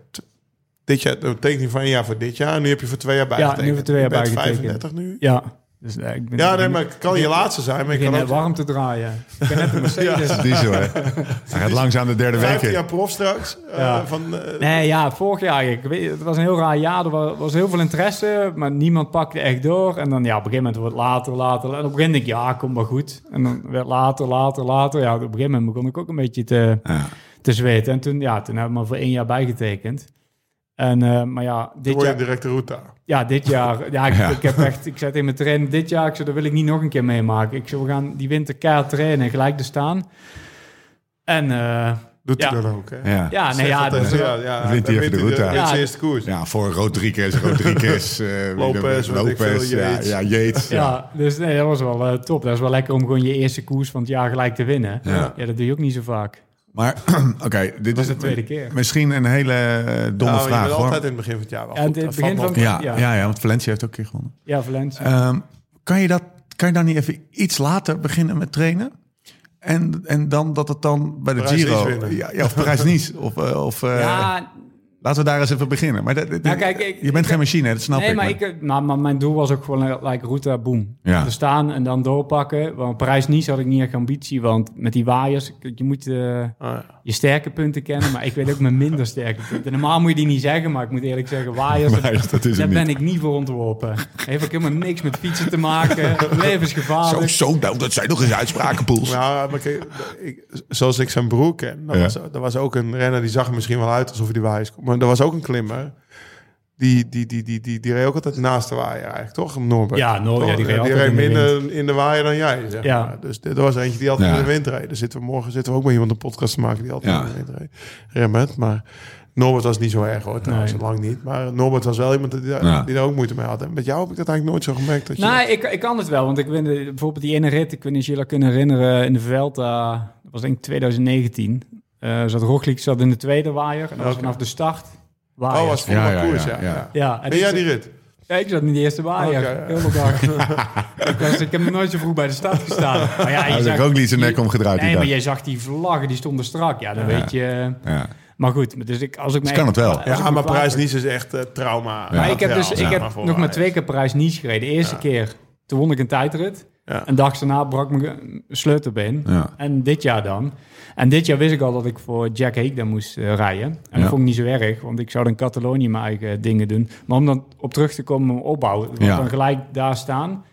dit jaar een tekening van een jaar voor dit jaar. En nu heb je voor twee jaar bijgetekend.
nu voor twee jaar
je bent
bijgetekend.
35 nu.
ja. Dus, eh, ik ben
Ja, nee, maar het kan je laatste zijn. Maar je
begin
kan
net
ook
warm te draaien. Ik ben net een Mercedes.
Die zo, hè? Hij gaat langzaam de derde week
15
in.
jaar prof straks. eh,
Ja.
van, eh,
Nee, ja, vorig jaar. Ik weet, het was een heel raar jaar. Er wa- was, heel veel interesse, maar niemand pakte echt door. En dan ja, op een gegeven moment wordt het later, later. En op een gegeven moment denk ik, ja, komt maar goed. En dan werd later, later, later. Ja, op een gegeven moment begon ik ook een beetje te,
Ja.
te zweten. En toen, ja, toen hebben we maar voor één jaar bijgetekend. En, eh, maar ja,
dan
dit
word je
jaar,
direct de route aan.
ja, dit jaar. Ja, ik,
Ja.
ik heb echt, ik zei tegen mijn trainer, dit jaar, ik zei, dat wil ik niet nog een keer meemaken. Ik zei, we gaan die winter keihard trainen en gelijk te staan. En eh,
Doet
Ja.
hij dan ook, hè?
Ja.
ja, nee,
Zeg
ja,
dat
dat is
tegen-
wel-
ja, ja,
Wint hij
dan
even de route aan.
wint zijn
Ja.
eerste koers.
Ja, voor Rodriguez, Rodriguez, eh,
Lopez, weet ik
Lopez,
veel,
ja,
Yates.
ja, Yates. Ja.
Ja, dus nee, dat was wel eh, top. Dat is wel lekker om gewoon je eerste koers van het jaar gelijk te winnen.
Ja.
Ja, dat doe je ook niet zo vaak.
Maar, oké, dit is
de tweede keer.
Misschien een hele eh, domme
Nou, je
vraag,
bent
hoor.
altijd in het begin van het jaar wel
Ja,
goed.
in het
Dat
begin
valt
van-
Ja,
nog.
ja.
Ja.
Ja, want Valencia heeft ook een keer gewonnen.
Ja, Valencia.
Ehm, kan, je dat, kan je daar niet even iets later beginnen met trainen? En, en dan dat het dan bij de
Parijs-Nice
Giro...
winnen.
Ja, ja, of Parijs-Nice. of, eh, of, eh,
ja,
Laten we daar eens even beginnen. Maar dat,
Nou, kijk, ik-
je bent
ik-
geen machine, hè, dat snap
nee,
ik.
maar,
maar-
ik, eh, maar, maar mijn doel was ook gewoon eh, like route, boom.
Ja.
Te staan en dan doorpakken. Want Parijs-Nice had ik niet echt ambitie, want met die waaiers, kijk, je moet eh,
Ah, ja.
je sterke punten kennen, maar ik weet ook mijn minder sterke punten. Normaal moet je die niet zeggen, maar ik moet eerlijk zeggen, waaiers,
Maar echt, dat is
daar
het
ben
niet.
ik niet voor ontworpen. Heeft ook helemaal niks met fietsen te maken,
Zo,
levensgevaarlijk.
zo, nou, dat zijn nog eens uitspraken, Poels.
Nou, maar kijk, ik, zoals ik zijn broer ken, dat,
Ja.
was, dat was ook een renner die zag er misschien wel uit alsof hij die waaiers kon. Maar er was ook een klimmer. Die, die, die, die, die, die reed ook altijd naast de waaier eigenlijk, toch? Norbert.
Ja, Nor-
Toch?
ja, die reed altijd
reed
in de
minder in de waaier dan jij, zeg
Ja.
maar. Dus dit- er was eentje die altijd
Ja.
in de wind reed. Dus zitten we morgen zitten we ook met iemand een podcast te maken die altijd
Ja.
in de wind reed. Remmert, maar Norbert was niet zo erg hoor, trouwens,
Nee.
lang niet. Maar Norbert was wel iemand die, daar-
Ja.
die daar ook moeite mee had. En met jou heb ik dat eigenlijk nooit zo gemerkt. Dat je,
Nou, ik, ik kan het wel, want ik ben de- bijvoorbeeld die ene rit, ik weet niet of jullie dat kunnen herinneren, in de Vuelta, dat was denk ik 2019, Eh zat Roglic zat in de tweede waaier en dat was
Oké.
vanaf de start waaier.
oh, was voor
Ja,
mijn
ja,
koers,
ja,
ja.
ja.
ja.
Ah, ja, en
Ben
ik-
jij die rit?
ja, ik zat in de eerste waaier,
Oké, ja.
heel de dag. ik, was, ik heb nog nooit zo vroeg bij de start gestaan. Maar ja, je
Hij
zag-
heeft ook niet zijn nek omgedraaid
Nee,
die
maar
dag.
jij zag die vlaggen, die stonden strak. Ja, dan
Ja.
weet je. eh,
Ja.
Maar goed, dus ik, als ik me
kan het wel.
als ik
Ja,
me
maar
kwaad-
Prijs Nice is echt eh, trauma.
Maar ik heb, dus,
materiaal,
ik
zeg
heb
voor
nog maar
Ajax.
twee keer Prijs Nice gereden. De eerste keer, toen won ik een tijdrit.
Ja.
Een dag daarna brak mijn sleutelbeen.
Ja.
En dit jaar dan. En dit jaar wist ik al dat ik voor Jack Heekden moest eh, rijden. En
Ja.
dat vond ik niet zo erg, want ik zou dan Catalonië mijn eigen dingen doen. Maar om dan op terug te komen, om opbouwen. want
Ja.
dan gelijk daar staan.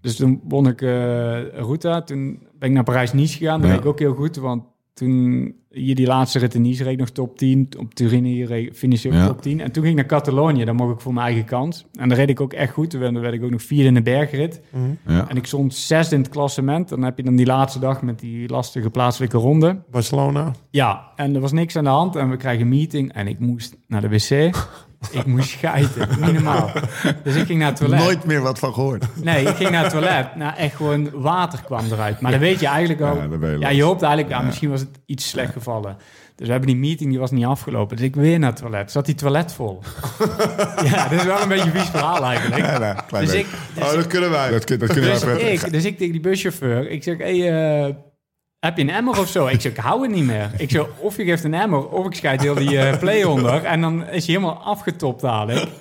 Dus toen won ik eh Ruta. Toen ben ik naar Parijs-Nice gegaan. Dat
Ja.
weet ik ook heel goed, want toen hier die laatste rit in Nice reed ik nog top 10. Op Turin hier reed- finish ik ook
Ja.
top 10. En toen ging ik naar Catalonië. Daar mocht ik voor mijn eigen kans. En daar reed ik ook echt goed. Toen werd- werd ik ook nog vierde in de bergrit.
Ja.
En ik stond zesde in het klassement. Dan heb je dan die laatste dag met die lastige plaatselijke ronde.
Barcelona.
Ja, en er was niks aan de hand. En we kregen een meeting. En ik moest naar de wc. ik moest scheiden. Niet normaal. Dus ik ging naar het toilet.
Nooit meer wat van gehoord.
Nee, ik ging naar het toilet. Nou, echt gewoon water kwam eruit. Maar dan weet je eigenlijk al.
Ja,
Ja,
dan ben je
je,
los.
hoopt eigenlijk, ja, misschien was het iets slecht gevallen. Dus we hebben die meeting, die was niet afgelopen. Dus ik weer naar het toilet. Zat die toilet vol? ja, dit is wel een beetje een vies verhaal eigenlijk.
Ja, nou, klein
dus
beetje.
ik, dus,
Oh, dat kunnen wij.
Dat, kun- dat kunnen we
dus
even...
ik, dus ik tegen die buschauffeur, ik zeg, hey, eh, heb je een emmer of zo? Ik zeg, ik hou het niet meer. Ik zeg, of je geeft een emmer, of ik scheid heel die eh play onder. En dan is hij helemaal afgetopt dadelijk. Dus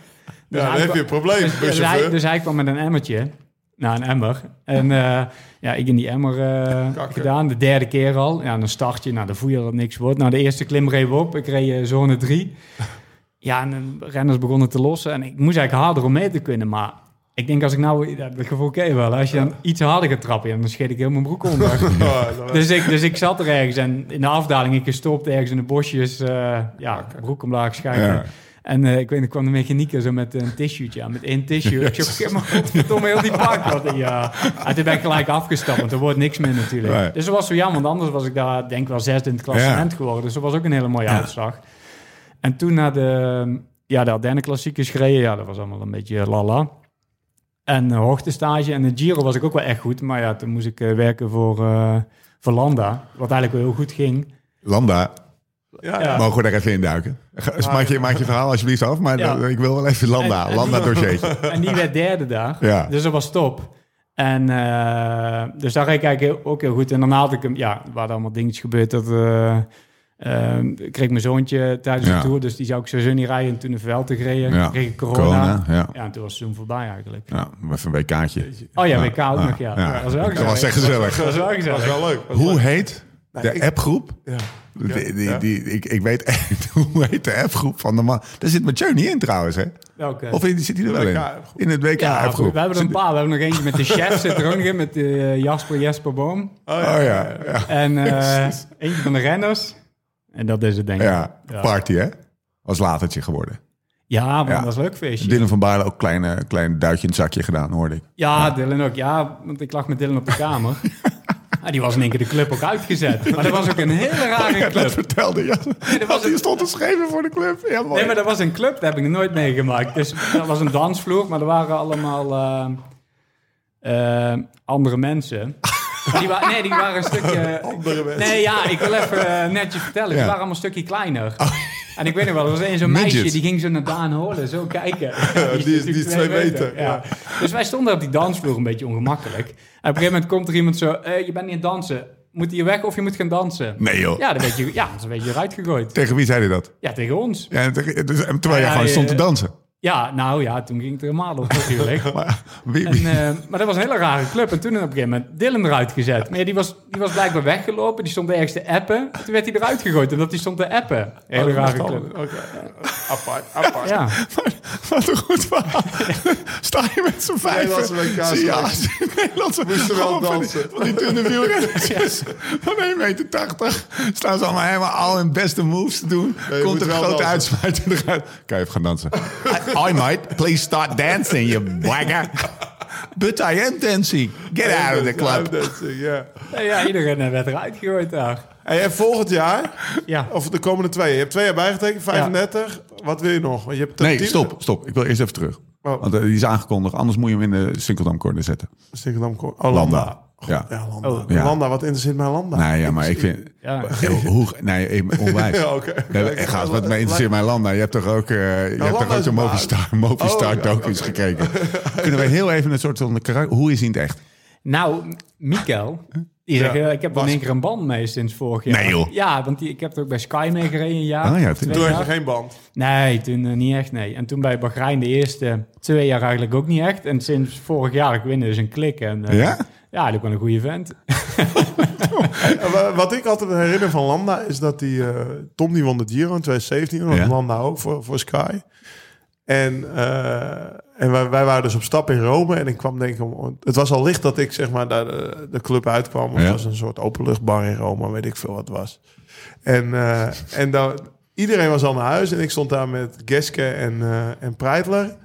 ja, dan
hij
heb
kwa-
je een probleem,
dus, dus
buschauffeur.
hij, dus hij kwam met een emmertje. Nou, een emmer. En eh, ja, ik in die emmer eh,
Kakken.
gedaan. De derde keer al. Ja, dan start je. Nou, dan voel je dat het niks wordt. Nou, de eerste klim reed we op. Ik reed eh, zone 3. Ja, en de renners begonnen te lossen. En ik moest eigenlijk harder om mee te kunnen. Maar ik denk als ik nou... ja, Dat gevoel ken je wel. Als je dan iets harder gaat trappen... ja, dan scheet ik heel mijn broek onder.
Oh, dat-
dus, ik, dus ik zat er ergens. En in de afdaling, ik gestopt ergens in de bosjes. eh, ja, broek omlaag schijnen.
Ja.
En eh, ik weet, er kwam de mechanieker zo met een tissuetje aan, met één tissue. Ik zeg, maar godverdomme, heel die pak. Wat, die, ja. En toen ben ik gelijk afgestapt, want er wordt niks meer natuurlijk.
Nee.
Dus dat was zo jammer, want anders was ik daar denk ik wel zesde in het klassement geworden. Dus dat was ook een hele mooie uitslag. En toen naar de, ja, de Ardennen klassiekers gereden. Ja, dat was allemaal een beetje eh, lala. En de hoogtestage en de Giro was ik ook wel echt goed. Maar ja, toen moest ik eh, werken voor, eh, voor Landa, wat eigenlijk wel heel goed ging.
Landa,
ja,
ja.
mogen we daar even induiken? Ga- dus maak, je, maak je verhaal alsjeblieft af, maar
Ja.
dan- ik wil wel even Landa.
En- en-
Landa dossiertje.
En die werd derde daar.
Ja.
Dus dat was top. En eh, dus daar reed ik eigenlijk heel- ook heel goed. En daarna had ik hem, ja, er waren allemaal dingetjes gebeurd. Dat eh, eh, ik kreeg mijn zoontje tijdens
Ja.
de tour, dus die zou ik sowieso niet rijden. En toen een veld te gereden,
Ja.
kreeg ik corona.
Corona, ja.
Ja, en toen was het seizoen voorbij eigenlijk.
Nou, even een WK'tje.
Oh ja, WK ook
Ja,
nog, ja.
ja.
Dat was wel
Dat was echt gezellig.
gezellig. Dat was wel
dat is
gezellig.
wel leuk.
Hoe heet de
ik-
appgroep?
Ja.
Die, die,
ja.
die, ik, ik weet echt hoe heet de appgroep van de man. Daar zit Mathieu niet in trouwens, hè?
Welke?
Of in- zit hij er wel in?
WK-appgroep.
In het
ja, we
WK-appgroep.
hebben er een paar. We hebben nog eentje met de chef zit er ook nog in, met eh, Jasper Jesper Boom.
Oh, ja.
Oh ja, ja,
En eh, eentje van de renners. En dat is het denk ik.
ja. Party, hè? Was latertje geworden.
Ja, want
Ja.
dat was een leuk feestje.
Dylan van Baarle ook klein, eh, klein duitje in het zakje gedaan, hoorde ik.
ja, Dylan ook. Ja, want ik lag met Dylan op de kamer. Ja, die was in één keer de club ook uitgezet. Maar dat was ook een hele rare
Dat
club.
vertelde je.
dat
Was
was
die
het.
stond te schreven voor de club. Ja, mooi.
Nee, maar dat was een club, dat heb ik nog nooit meegemaakt. Dus dat was een dansvloer, maar er waren allemaal eh, eh, andere mensen. Maar Die wa- nee, die waren een stukje...
Andere mensen.
Nee, ja, ik wil even eh, netjes vertellen. Die
Ja.
waren allemaal een stukje kleiner.
Oh.
En ik weet nog wel, er was één zo'n meisje,
Midget.
die ging zo naar Daan Holen, zo kijken.
die is- die is
natuurlijk
twee meter, ja.
Dus wij stonden op die dansvloer een beetje ongemakkelijk. En op een gegeven moment komt er iemand zo, eh, je bent niet aan het dansen. Moet je weg of je moet gaan dansen?
Nee, joh.
Ja, dan werd je, ja, dan werd je eruit gegooid.
Tegen wie zei hij dat?
Ja, tegen ons.
Ja, en tegen- dus- en terwijl jij
Ja,
gewoon
ja,
stond te
ja.
dansen.
Ja, nou ja, toen ging het er helemaal op natuurlijk.
Maar wie,
En,
wie-
eh, maar dat was een hele rare club. En toen op een gegeven moment Dylan eruit gezet. Maar ja, die, was, die was blijkbaar weggelopen. Die stond ergens te appen. Toen werd hij eruit gegooid omdat hij stond te appen. Hele
Oh, dat
rare
mag dan.
club.
Oké. Apart, apart.
Ja.
wat een goed verhaal. Sta je met z'n vijf.
Nederlandse WK's.
Ja, Nederlandse.
Moesten wel
gewoon van die-
dansen.
Van die dunne wielrenners van 1,80 meter. Staan ze allemaal helemaal al hun beste moves te doen.
je
Komt
moet
een
wel
grote
dansen.
uitsmijter eruit. Kan je even gaan dansen? I, I might. Please start dancing, you wagger. But I am dancing. Get out of the club.
Dancing, ja.
Nee, ja, iedereen eh, werd eruit gegooid daar.
Hey, en volgend jaar,
Ja.
Oh.
of de komende twee, je hebt twee jaar bijgetekend, 35. Wat wil je nog? Want je hebt
Nee,
tien-
stop, stop. Ik wil eerst even terug.
Oh.
Want eh, die is aangekondigd. Anders moet je hem in de Sinkeldam corner zetten.
Amsterdam, Cor- Oh, Landa.
Ja.
Ja, Landa.
Oh.
ja.
Landa, wat interesseert mij Landa?
Nee, ja, maar ik vind...
Ja.
Heel- Hoe, nee, even onwijs.
Ja, oké.
Nee, maar echt, gaas, wat mij interesseert mijn Landa. Je hebt toch ook, eh, je hebt
Landa
toch ook
Nou, is
de
een
Movistar, Movistar
Oh, oké,
docu's gekeken. Kunnen we heel even een soort van... karak- Hoe is hij in het echt?
Nou, M- Mikkel. Die zegt, eh, ik heb wel in één keer een band mee sinds vorig jaar.
Nee, joh.
Ja, want die, ik heb er ook bij Sky mee gereden een jaar.
Ah, ja,
twee
toen-
Toen
jaar.
had je geen band.
Nee, toen eh, niet echt, nee. En toen bij Bahrein de eerste twee jaar eigenlijk ook niet echt. En sinds vorig jaar, ik win dus een klik. En, eh,
Ja?
Ja, eigenlijk wel een goede vent.
En Eh, wa- Wat ik altijd herinner van Landa is dat die eh, Tom die won de Giro in 2017 en
Ja.
Landa ook voor, voor Sky. En, eh, en wij, wij waren dus op stap in Rome en ik kwam denk ik om, het was al licht dat ik zeg maar daar de, de club uitkwam. of
Ja.
Het was een soort openluchtbar in Rome, weet ik veel wat het was. En, eh, en dan, iedereen was al naar huis en ik stond daar met Geske en, eh en Preitler.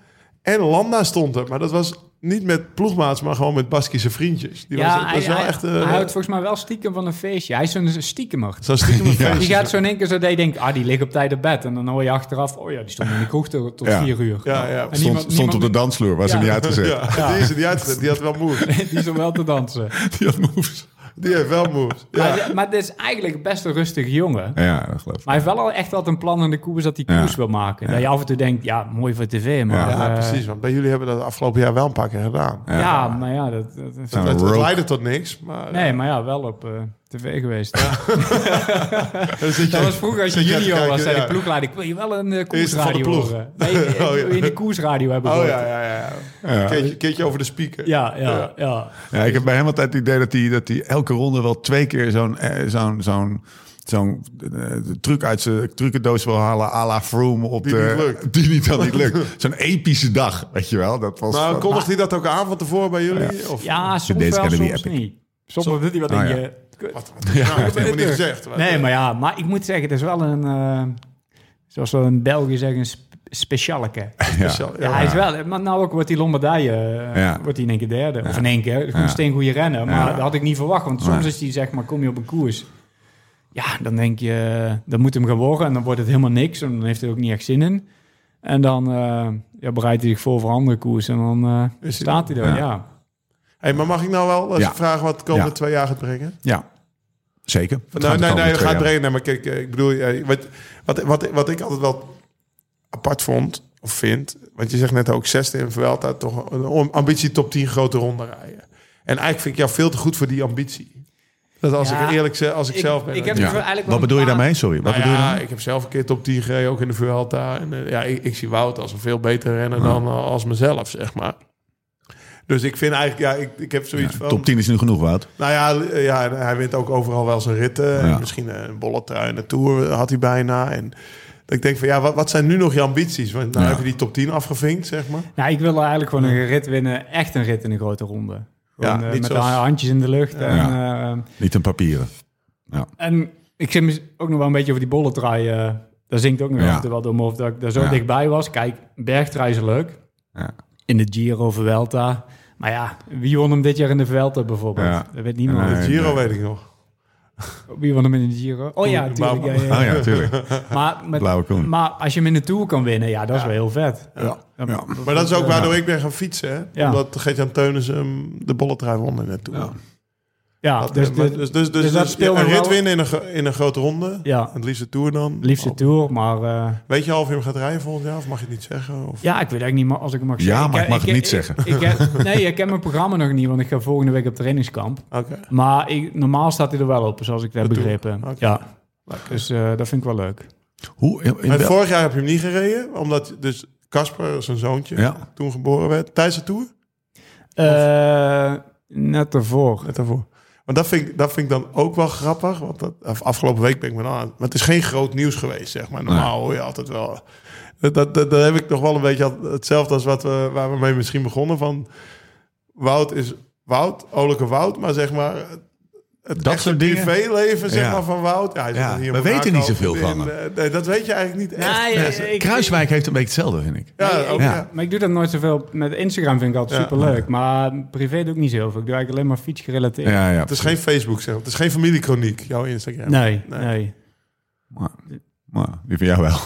En Landa stond er, maar dat was niet met ploegmaats, maar gewoon met Baskische vriendjes. Die was, dat
hij,
was wel
hij-
echt... eh,
hij houdt volgens mij wel stiekem van een feestje. Hij is zo'n stiekemer.
zo stiekem een feestje.
Die gaat zo in één keer zo dat je denkt, ah, die ligt op tijd op bed. En dan hoor je achteraf, oh ja, die stond in de kroeg tot, tot
Ja.
vier uur.
Ja, ja.
En
Stond,
niemand-
stond op de
niemand-
dansvloer, was hem
Ja.
niet uitgezet.
Ja, die is er niet uitgezet. Die had wel moves.
Die stond wel te dansen.
Die had moves.
Die heeft wel moves. Ja.
Maar, maar dit is eigenlijk best een rustige jongen.
Ja, dat geloof ik.
Maar hij heeft wel al echt altijd een plan in de koers dat hij koers
Ja.
wil maken. Dat je af en toe denkt, ja, mooi voor tv, maar...
Ja.
eh,
Ja, precies. Want bij jullie hebben dat afgelopen jaar wel een paar keer gedaan.
Ja, maar ja, dat... dat- dat-
Nou,
Het, het
rogue.
leidde tot niks, maar...
Nee, maar ja, wel op eh, tv geweest.
Dan zit je-
Dat was vroeger als je
zit te
junior
kijken,
was, zei
ja.
de ploegleider, ik wil je wel een eh,
Eerst van de
koersradio
ploeg.
horen. Nee, ik wil je
Oh, ja.
een koersradio hebben
Oh
gehoord.
ja, ja, ja.
Ja.
Keertje, keertje over de speaker.
Ja, ja, ja.
Ja, ik heb bij hem altijd het idee dat hij, dat hij elke ronde wel twee keer zo'n eh, zo'n zo'n zo'n eh, truc uit zijn trucendoos wil halen à la Froome op
Die
de...
niet lukt.
Die niet dan niet lukt. Zo'n epische dag, weet je wel. Dat was
Maar
van-
kondigt hij dat ook aan van tevoren bij jullie? Of,
Ja, soms
Deze
wel,
Academy
soms
Epic.
niet. Soms doet hij wat in
Ah, ja.
je... kut.
Wat, wat, nou, dat heeft helemaal niet gezegd.
Nee, maar ja, maar ik moet zeggen, het is wel een... eh, zoals we in België zeggen, een sp- specialeke.
ja.
Dus Zo,
Ja,
ja.
hij is wel. Maar nou ook wordt die Lombardije eh,
Ja.
wordt hij in één keer derde. Of in één keer. Gewoon een steengoeie rennen. Maar dat had ik niet verwacht. Want soms
Nee.
is die zeg maar, kom je op een koers. Ja, dan denk je, dat moet hem gaan worden. En dan wordt het helemaal niks. En dan heeft hij ook niet echt zin in. En dan eh, ja, bereidt hij zich voor voor andere koers. En dan eh,
Is hij-
staat hij daar, ja.
Hey, maar mag ik nou wel eens
Ja.
vragen wat de komende
Ja.
twee jaar gaat brengen?
Ja, zeker. Het
Nee,
gaat de
nee, nee,
komende
dat
twee
Nou, gaat
jaar.
brengen. Nee, maar kijk, eh, ik bedoel, eh, wat, wat, wat, wat ik altijd wel apart vond, of vind... Want je zegt net ook, zesde in Vuelta, toch een om- ambitie top 10 grote ronde rijden. En eigenlijk vind ik jou veel te goed voor die ambitie. Dat als
Ja,
ik eerlijk zeg, als ik,
ik-
zelf ben...
ik heb
dan-
het wel eigenlijk
Wat
wel een
bedoel je
paar-
daarmee? Sorry, wat
Nou
bedoel je
ja,
daarmee?
ik heb zelf een keer top 10 gereden, ook in de Vuelta. En, eh, ja, ik, ik zie Wout als een veel betere renner dan eh, als mezelf, zeg maar. Dus ik vind eigenlijk, ja, ik, ik heb zoiets van...
Top 10 is nu genoeg, Wout.
Nou ja, l- ja, hij wint ook overal wel zijn ritten.
Ja.
En Misschien een bolle trui in de Tour had hij bijna. En dat ik denk van, ja, wat, wat zijn nu nog je ambities? Want nou
Ja.
heb je die top 10 afgevinkt, zeg maar.
Nou, ik wil eigenlijk gewoon een rit winnen. Echt een rit in een grote ronde. Gewoon,
Ja,
eh,
niet
met
zoals-
de handjes in de lucht. En,
Ja.
eh,
Niet een papieren.
En ik zit me ook nog wel een beetje over die bollentrui. eh, daar zingt ook nog
Ja.
af en toe wel door me over dat ik daar zo
Ja.
dichtbij was. Kijk, bergtrui is leuk.
Ja.
In de Giro, Vuelta. Maar ja, wie won hem dit jaar in de Vuelta bijvoorbeeld?
Ja.
Dat weet niemand.
Nee,
de Giro
nee.
weet ik nog.
Wie won hem in de Giro? Oh ja, natuurlijk.
Bouwman.
Ja, ja.
Ah ja, tuurlijk.
Maar, met-
Blauwe koen.
maar als je hem in de Tour kan winnen, ja, dat is wel heel vet.
Ja. Ja.
Maar dat is ook waardoor ik ben gaan fietsen, hè.
Ja.
Omdat Gert-Jan Teunis hem de bolle trui won in de Tour.
Ja.
Ja,
Dat,
dus,
eh, maar-
de,
dus, dus, dus,
dat
dus
speelde
een rit
wel-
winnen in een, gro- in een grote ronde.
ja,
Het liefste Tour dan.
liefste
Oh,
Tour, maar... eh,
Weet je al of je hem gaat rijden volgend jaar? Of mag je het niet zeggen? Of...
Ja, ik weet eigenlijk niet maar als ik het mag
Ja,
zeggen.
maar ik mag het niet zeggen.
ik heb- nee, ik heb mijn programma nog niet, want ik ga volgende week op trainingskamp.
Oké.
Maar ik, normaal staat hij er wel op, zoals ik het heb
Dat doen we.
begrepen.
Oké.
Ja. Dus eh, dat vind ik wel leuk.
Hoe, in, in
En
wel-
vorig jaar heb je hem niet gereden, omdat dus Casper, zijn zoontje,
Ja.
toen geboren werd. Tijdens de tour?
Eh, net ervoor.
Net daarvoor. Want dat vind, ik, dat vind ik dan ook wel grappig. Want dat, af- afgelopen week ben ik me dan aan. Maar het is geen groot nieuws geweest, zeg maar. Normaal hoor je altijd wel. Dat, dat, dat, dat heb ik nog wel een beetje al- hetzelfde als wat we, waar we mee misschien begonnen. Van Wout is Wout, olijke Wout. Maar zeg maar. Het
Dat
echte
soort dingen.
privéleven zeg
Ja.
maar, van Wout. Ja, hij zit
Ja,
hier in
we
Monaco.
weten niet zoveel van
En, eh, Nee, dat weet je eigenlijk niet echt.
Kruiswijk heeft een beetje hetzelfde, vind ik.
Ja, ook,
Ja.
ja.
Maar ik doe dat nooit zoveel. Met Instagram vind ik altijd
Ja.
superleuk. Maar privé doe ik niet zoveel. Ik doe eigenlijk alleen maar fiets gerelateerd.
Ja, ja.
Het is geen Facebook, zeg maar. Het is geen familiekroniek, jouw Instagram.
Nee,
Nee.
nee.
Maar, maar die van jou wel.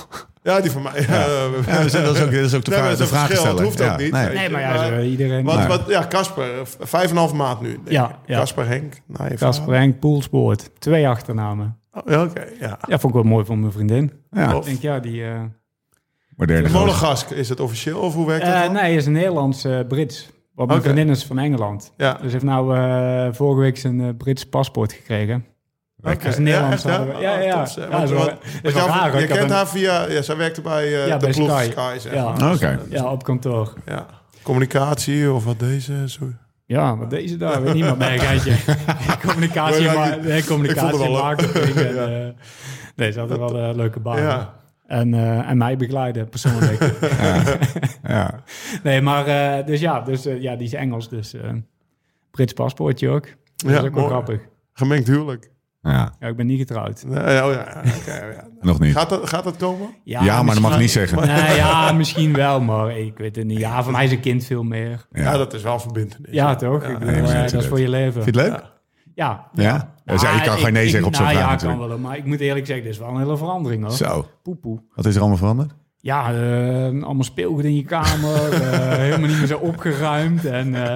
Ja, die van mij.
Ja, dat, is dat is ook, dat is ook de,
Nee,
vraag,
maar
de
dat is een
vraag
verschil,
stellen.
het hoeft ook
Ja,
niet.
nee.
Nee.
Nee, maar ja, eh,
Maar-
zo, iedereen.
Wat,
Maar-
wat, ja, Casper, v- vijf en een half maand nu. denk ik.
Ja, ja.
Casper Henk. Nee,
Casper
vrouw.
Henk Poelspoort. Twee achternamen.
Oh, ja, oké, ja.
Ja, vond ik wel mooi voor mijn vriendin.
Ja,
Ik denk, ja, die... eh,
moderne gozer.
Monegask, is het officieel of hoe werkt dat
eh,
dan?
nee, hij is een Nederlands-Brits. Want mijn
Oké.
vriendin is van Engeland.
Ja.
Dus hij heeft nou eh, vorige week zijn eh, Brits paspoort gekregen.
Oké,
is Nederlands,
Ja, echt,
hadden we- ja,
Oh,
ja.
tof, zeg.
Ja,
Want-
zo-
want-
dat is
want
wel
jou-
raar,
Je
hoor. Ik had
kent
hem-
haar via... Ja, zij werkte bij eh,
Ja,
de
bij
ploeg
Sky.
Sky, zeg
Ja.
maar. Dus, eh,
Oké.
Ja, op kantoor.
Ja. Communicatie of wat deze... Zo.
Ja, maar deze daar weet niemand. Nee, geitje. communicatie
Nee,
ma-
ik-
nee,
ik vond
communicatie
het wel leuk.
marketing. En, eh, nee, ze hadden wel een leuke baan.
Ja.
En, eh, en mij begeleiden, persoonlijk.
Ja.
nee, maar eh, dus ja, dus, eh, ja, die is Engels, dus eh, Brits paspoortje ook.
Ja,
Dat is ook wel
mooi.
grappig.
Gemengd huwelijk.
ja,
Ja, ik ben niet getrouwd.
Nee, oh, ja. oké, ja.
nog niet.
Gaat, dat, gaat dat komen?
Ja, maar dat mag ik niet zeggen.
Nee, ja, misschien wel, maar ik weet het niet. Ja, voor mij is een kind veel meer.
Ja,
Ja.
dat is wel verbindenis.
Ja, toch? Ik
maar
bedoel, eh,
dat is
dat is voor je leven.
Vind je het leuk?
Ja.
Ja? Ja, zei, je kan
Ah,
geen nee
ik-
zeggen op zo'n
nou,
vraag
Ja, kan
natuurlijk.
wel, maar ik moet eerlijk zeggen, dit is wel een hele verandering hoor.
Zo,
Poepoe.
wat is er allemaal veranderd?
Ja, eh, allemaal speelgoed in je kamer, eh, helemaal niet meer zo opgeruimd. En, eh,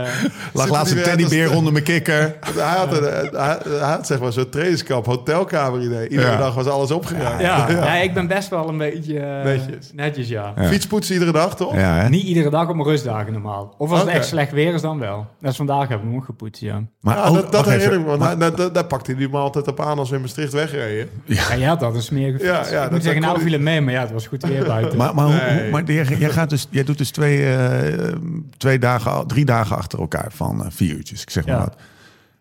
Lag
die
laatst een
weer uit
teddybeer
als-
onder mijn kikker.
Hij had, een, eh, hij, hij had zeg maar zo'n trainingskamp, hotelkamer idee. Iedere
Ja.
dag was alles opgeruimd.
ja, nee, ik ben best wel een beetje eh,
Netjes.
netjes ja.
Ja.
Fietspoetsen iedere dag, toch?
Ja, hè?
Niet iedere dag op mijn rustdagen normaal. Of als
Oké.
het echt slecht weer is, dan wel. Dat is vandaag hebben we hem ook gepoetst, ja.
Maar
Ja,
ook-
dat, dat
wacht
herinner
even.
ik me. want hij- dat- dat- Daar pakte hij me altijd op aan als we in Maastricht wegreden.
Ja, jij had dat een smerige
Ja,
fiets.
ja,
ik
dat-
moet zeggen,
dat
nou
kon
viel het mee, maar ja, het was goed weer buiten.
Maar, maar, hoe-
Nee.
hoe- maar jij, jij gaat dus, jij doet dus twee, eh, twee dagen, al- drie dagen achter elkaar van eh, vier uurtjes, ik zeg maar
Ja.
wat.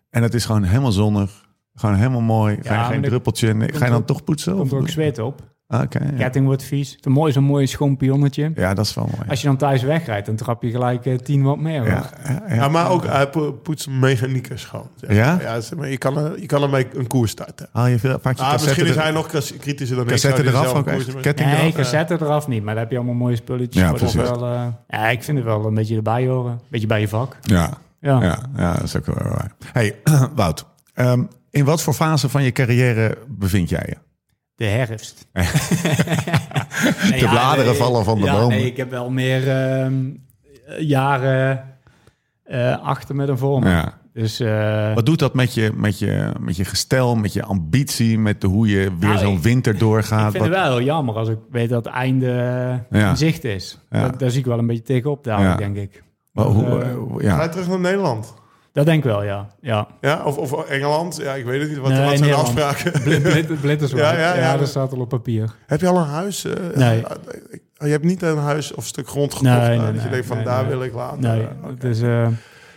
En het is gewoon helemaal zonnig, gewoon helemaal mooi, geen,
maar
geen
dat-
druppeltje. Nee, Ga je dan
ook-
toch poetsen?
komt er
of-
ook zweet op.
Ah, Oké, ja. ja.
Ketting wordt vies. Het is een mooi, zo'n mooi schoon pionnetje.
dat is wel mooi.
Als je dan thuis wegrijdt, dan trap je gelijk eh, 10 watt meer. hoor.
Ja, ja, ja.
Ja, maar ook hij po- poetst mechanieken schoon. zeg maar.
Ja?
ja zeg maar, je, kan er, je kan ermee een koers starten.
Haal je veel, vaak je
Ah, misschien
cassetten
is
er-
hij nog kras- kritischer dan ik.
cassetten
zou die
eraf
zelf
ook
een
echt?
koers-
Ketting
Nee,
eraf?
cassette eraf niet, maar dan heb je allemaal mooie spulletjes.
Ja,
voor. Dat is
precies.
Wel, eh, ja, ik vind het wel een beetje erbij horen. Een beetje bij je vak.
Ja,
Ja.
ja, ja, dat is ook wel waar. Hey, Wout, ehm, in wat voor fase van je carrière bevind jij je?
De herfst. de
bladeren vallen van de
ja,
bomen.
Nee, ik heb wel meer ehm, jaren eh, achter met een vorm.
Ja.
Dus eh,
Wat doet dat met je, met je, met je gestel, met je ambitie, met de, hoe je weer
Nou,
zo'n
ik-
winter doorgaat?
ik vind het
Wat-
wel heel jammer als ik weet dat het einde eh,
Ja.
in zicht is.
Ja.
Dat- daar zie ik wel een beetje tegenop
Ja.
dadelijk, denk ik.
wat- hoe,
eh,
hoe-
Ga
ja.
je terug naar Nederland?
Dat denk ik wel, ja. ja.
Ja? Of, of Engeland? Ja, ik weet het niet. Wat,
Nee,
wat zijn de
Nederland.
afspraken?
Blit, blit, Blitterswijk.
Ja, ja,
ja,
ja.
dat staat al op papier.
Heb je al een huis? eh,
Nee.
eh, je hebt niet een huis of stuk grond gekocht.
Nee,
eh,
nee,
dat je
nee,
denkt van
nee,
daar
nee.
wil ik later.
Nee,
eh, oké.
dus, eh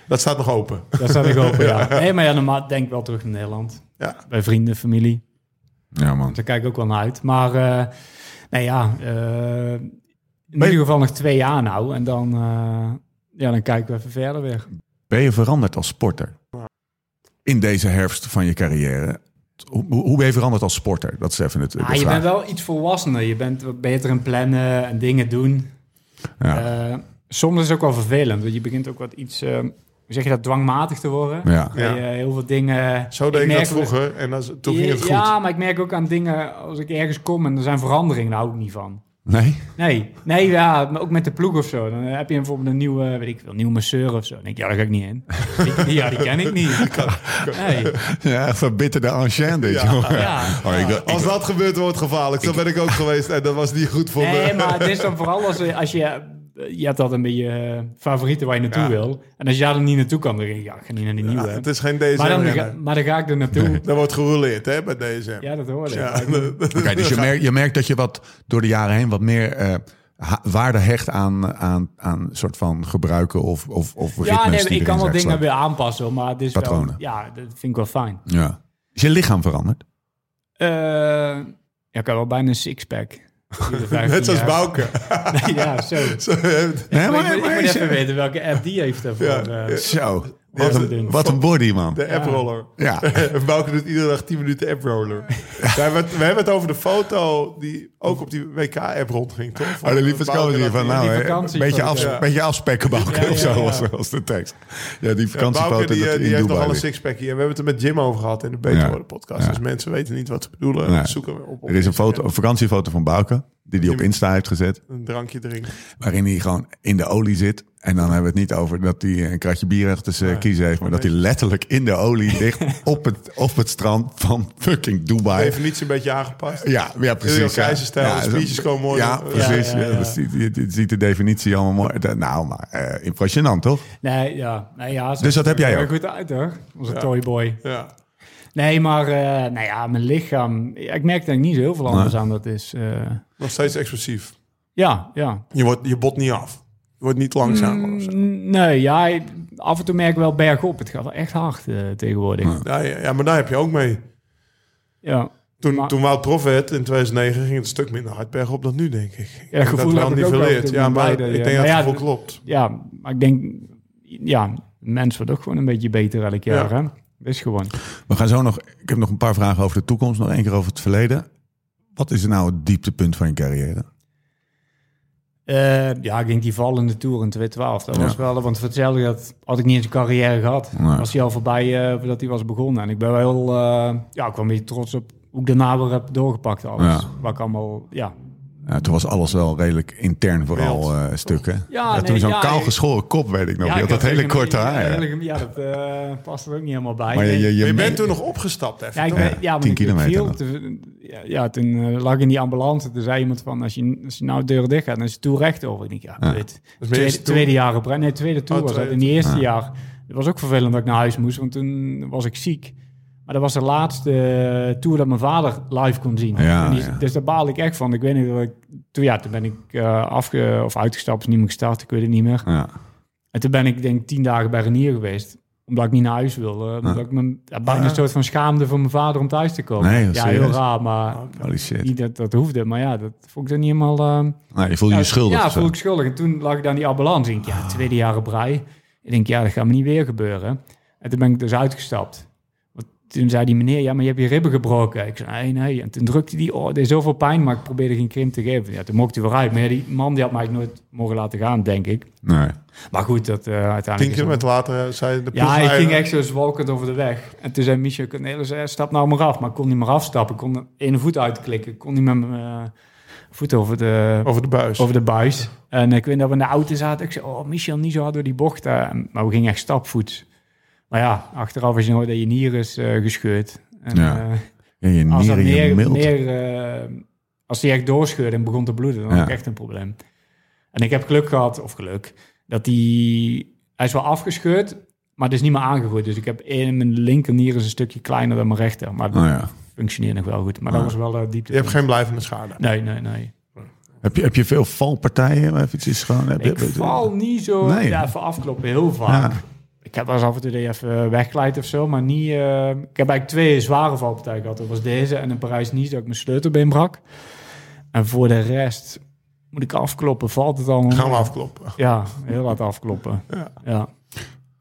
Dat staat nog open.
daar staat ik open, ja. Nee, maar ja, normaal denk ik wel terug naar Nederland.
Ja.
Bij vrienden, familie.
ja, man.
Daar kijk ik ook wel naar uit. Maar, eh nee ja, eh, in ieder geval nog twee jaar nou. En dan, eh, ja, dan kijken we even verder weer.
Ben je veranderd als sporter? In deze herfst van je carrière. Hoe, hoe ben je veranderd als sporter? Dat is even het de
Ah, je
vraag.
bent wel iets volwassener. Je bent wat beter in plannen en dingen doen.
Ja.
Eh, soms is het ook wel vervelend. Want je begint ook wat iets, eh, hoe zeg je dat, dwangmatig te worden.
Ja.
Dat je heel veel dingen...
Zo deed ik,
merk
dat
wel-
vroeger en dat, is- toen ging het goed.
Ja, maar ik merk ook aan dingen, als ik ergens kom en er zijn veranderingen, daar hou ik niet van.
Nee?
Nee, nee ja, maar ook met de ploeg of zo. Dan eh, heb je bijvoorbeeld een nieuwe, weet ik veel, nieuwe masseur of zo. Dan denk ik, ja, daar ga ik niet in. Die- ja, die ken ik niet. Nee,
Ja, verbitterde ancien dit, joh.
ja.
Oh, ik, ik-
Als dat gebeurt, wordt het gevaarlijk. Zo ben ik ook geweest en dat was niet goed voor me.
Nee, maar het is dan vooral als, eh, als je... Je hebt altijd een beetje eh, favorieten waar je naartoe
Ja.
wil. En als je daar dan niet naartoe kan, dan denk ik, ja, ik ga niet naar die
Ja,
nieuwe.
het is geen DSM.
maar, dan,
rennen.
ga- maar dan ga ik er naartoe.
Dat wordt gerouleerd hè, bij DSM.
Ja, dat hoor ik.
Ja,
Maar ik-
dat-
Oké, dus je merkt, je merkt dat je wat door de jaren heen wat meer eh, ha- waarde hecht aan, aan, aan soort van gebruiken of, of, of
Ja,
ritmes
nee,
die
ik
erin
kan wel
zijn
dingen
geslagen.
weer aanpassen, hoor, maar het is
Patronen.
wel... Ja, dat vind ik wel fijn.
Ja. Is je lichaam veranderd?
Eh, ja, ik heb wel bijna een sixpack.
Net zoals Bouke. eh,
ja, zo.
Nee,
Maar ik, moet- ik moet
is-
even weten welke app die heeft daarvoor.
Ja,
eh.
Zo.
Wat
Wat
een
een,
ding.
wat een body, man.
De app-roller.
Ja.
Bouke doet iedere dag 10 minuten app-roller. we, hebben het, we hebben het over de foto die ook op die WK-app rondging, toch?
Oh, de lieve
Bouke
scout hier
dat
van,
die-
nou,
die
hè, een
vakantiefoto.
beetje, af,
Ja.
beetje afspekken Bouke
Ja, ja,
of zo,
ja.
was, was de tekst. Ja, die
Ja, Bouke
vakantiefoto
die,
dat
eh,
in
die heeft nog
Dubai
al een
ligt.
sixpackje. En we hebben het er met Jim over gehad in de Beter
Ja.
Worden podcast.
Ja.
Dus mensen weten niet wat ze bedoelen.
Nee.
Zoeken we op, op
Er is een, foto, een vakantiefoto van Bouke, die hij op Insta heeft gezet,
Een drankje drinken.
waarin hij gewoon in de olie zit. En dan hebben we het niet over dat hij een kratje bier achter zijn kiezen heeft, maar dat hij letterlijk in de olie ligt op het, op het strand van fucking Dubai.
Definitie een beetje aangepast.
Ja, ja precies.
Heel
Ja,
keizerstijl,
Ja,
de
zo-
speeches komen mooi.
Ja,
Ja,
precies.
ja,
Ja,
ja.
dat ziet- je- je ziet de definitie allemaal mooi. Da- Nou, maar eh, impressionant, toch?
Nee, ja. Nee, ja zo-
Dus dat heb jij
er
ook?
goed uit, hoor. Onze toyboy.
Ja.
Nee, maar eh, nou ja, mijn lichaam... ja, Ik merk dat ik niet zo heel veel anders aan dat is. eh.
Nog steeds explosief.
ja, ja.
Je, wordt, je bot niet af. Je wordt niet langzamer. of zo.
Mm, Nee, ja, af en toe merk ik wel bergop. Het gaat wel echt hard eh, tegenwoordig. Ja.
Ja, ja, ja, maar daar heb je ook mee. Toen,
Maar-
toen Wout Prof werd in 2009 ging het een stuk minder hard bergop dan nu, denk ik. ik. denk
gevoel
dat
heb ik
niet
ook wel
verleerd.
toen
Ja,
bij
maar
de-
ik
ja.
denk dat het
Maar ja,
gevoel
het-
klopt.
ja, maar ik denk... Ja, mens wordt ook gewoon een beetje beter elk jaar,
Ja.
hè? Dat is gewoon.
We gaan zo nog. Ik heb nog een paar vragen over de toekomst, nog één keer over het verleden. Wat is nou het dieptepunt van je carrière?
Eh, ja, ik denk die vallende Tour in 2012. Dat was wel, want voor hetzelfde dat had ik niet eens een carrière gehad.
Nee.
Was hij al voorbij eh, voordat hij was begonnen. En ik ben wel heel, eh, ja, ik was een beetje trots op hoe ik daarna weer heb doorgepakt alles.
Ja.
Wat ik allemaal, ja.
Nou, toen was alles wel redelijk intern vooral
Wild.
eh stuk, hè? Ja,
nee,
toen zo'n
ja,
kaal
ik-
geschoren kop, weet ik nog.
ja,
je had
ik
dat
had
hele
tegen
korte
mijn-
haar.
Ja,
hè?
hele- ja, dat eh, past er ook niet helemaal bij.
Maar je, je,
Nee.
je,
Je bent toen nog opgestapt even.
Ja, ik
toch?
ben, ja, want
10
ik- ik
kilometer
viel
nog.
te- ja, ja, toen eh, lag ik in die ambulance. Toen zei iemand van, als je, als je nou de deur dicht gaat, dan is de tour recht over. Ik denk, ja, dit.
mijn
Tweede,
eerste tour.
tweede jaar op rij. Nee, tweede tour
Oh,
was dat.
tweede
In die eerste jaar. Het was ook vervelend dat ik naar huis moest, want toen was ik ziek. Maar dat was de laatste eh, tour dat mijn vader live kon zien.
Ja,
En die-
ja.
Dus daar baal ik echt van. Ik weet niet dat ik... Toen, ja, toen ben ik eh, afge, of uitgestapt, is niet meer gestart. Ik weet het niet meer.
Ja.
En toen ben ik denk tien dagen bij Renier geweest. Omdat ik niet naar huis wilde. Omdat ik me ja, bijna een soort van schaamde voor mijn vader om thuis te komen.
Nee, joh,
ja,
serieus?
heel raar, maar
Holy shit.
niet dat dat hoefde. Maar ja, dat vond ik dan niet helemaal... eh,
Nou, je voelde je
ja,
schuldig.
Ja,
of zo. Ah.
voel ik schuldig. En toen lag ik dan die ambulance. Ik denk, ja, tweede jaar op rij. Ik denk, ja, dat gaat me niet weer gebeuren. En toen ben ik dus uitgestapt. Want toen zei die meneer, ja, maar je hebt je ribben gebroken. Ik zei, nee, nee. En toen drukte die, oh, er is zoveel pijn, maar ik probeerde geen krimp te geven. Ja, toen mocht hij vooruit. Maar ja, die man die had mij nooit mogen laten gaan, denk ik.
Nee.
Maar goed, dat eh uiteindelijk...
Tien
is het-
kilometer later eh, zei de
ja, ik
ploegleider-
ging echt zo zwalkend over de weg. En toen zei Michel Cornelis, eh, stap nou maar af. Maar ik kon niet meer afstappen. Ik kon er één voet uitklikken. Ik kon niet met mijn eh, voet over de,
over de buis.
over de buis. En ik weet dat we in de auto zaten. Ik zei, oh Michel, niet zo hard door die bocht. eh. Maar we gingen echt stapvoets. Maar ja, achteraf is je nooit dat je nier is eh, gescheurd. En,
Ja.
eh,
Ja, je
als dat
nieren, je
meer,
milt.
meer, eh, als die echt doorscheurde en begon te bloeden, dan
Ja.
had ik echt een probleem. En ik heb geluk gehad, of geluk, dat die, hij is wel afgescheurd, maar het is niet meer aangegroeid. Dus ik heb in mijn linkernier is een stukje kleiner dan mijn rechter, maar
Nou ja. Oh
het functioneert nog wel goed. Maar dat was wel de diepte.
Je hebt geen blijvende schade.
Nee, nee, nee.
heb, je, heb je veel valpartijen? Of iets is gewoon, heb je-
Ik val niet zo,
Nee.
ja, voor afkloppen heel vaak.
Ja.
Ik heb wel eens af en toe dat je even wegglijdt of zo, maar niet... eh, ik heb eigenlijk twee zware valpartijen gehad. Dat was deze en in Parijs-Nice dat ik mijn sleutelbeen brak. En voor de rest moet ik afkloppen. Valt het allemaal?
Gaan we afkloppen.
Ja, heel hard afkloppen. Ja.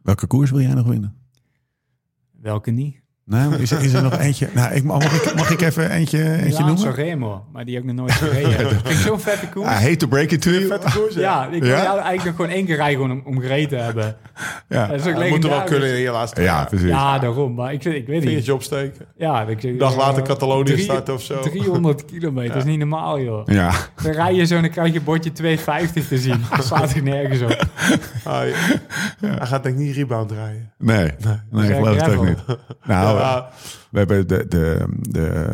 Welke koers wil jij nog winnen?
Welke niet?
Nou, is, er- is er nog eentje? Nou, ik, mag, ik, mag ik even eentje, eentje
Milaan
noemen?
Sanremo, maar die heb ik nog nooit gereden. Dat vind ik zo'n vette koers.
I
Ah,
hate to break it to you.
ja, ik wil
Ja?
jou eigenlijk nog gewoon één keer rijden gewoon om, om gereden te hebben.
Ja.
Dat is
dat moet
ook
er wel
legendarisch.
kunnen in je laatste
Ja,
jaar.
precies.
Ja, daarom. Maar ik, ik weet niet.
Vingertje opsteken.
Ja, dat ik zeg,
dag later
eh,
Catalonië
drie-
starten of zo.
300 kilometer, dat is niet normaal, joh.
Ja.
Dan rij je zo en dan krijg je bordje 250 te zien. Dat slaat er nergens op.
Hij, hij gaat denk ik niet rebound rijden.
Nee, nee, ik
Jack
geloof het ook
Gravel.
niet. Nou,
Ja.
we hebben de, de, de,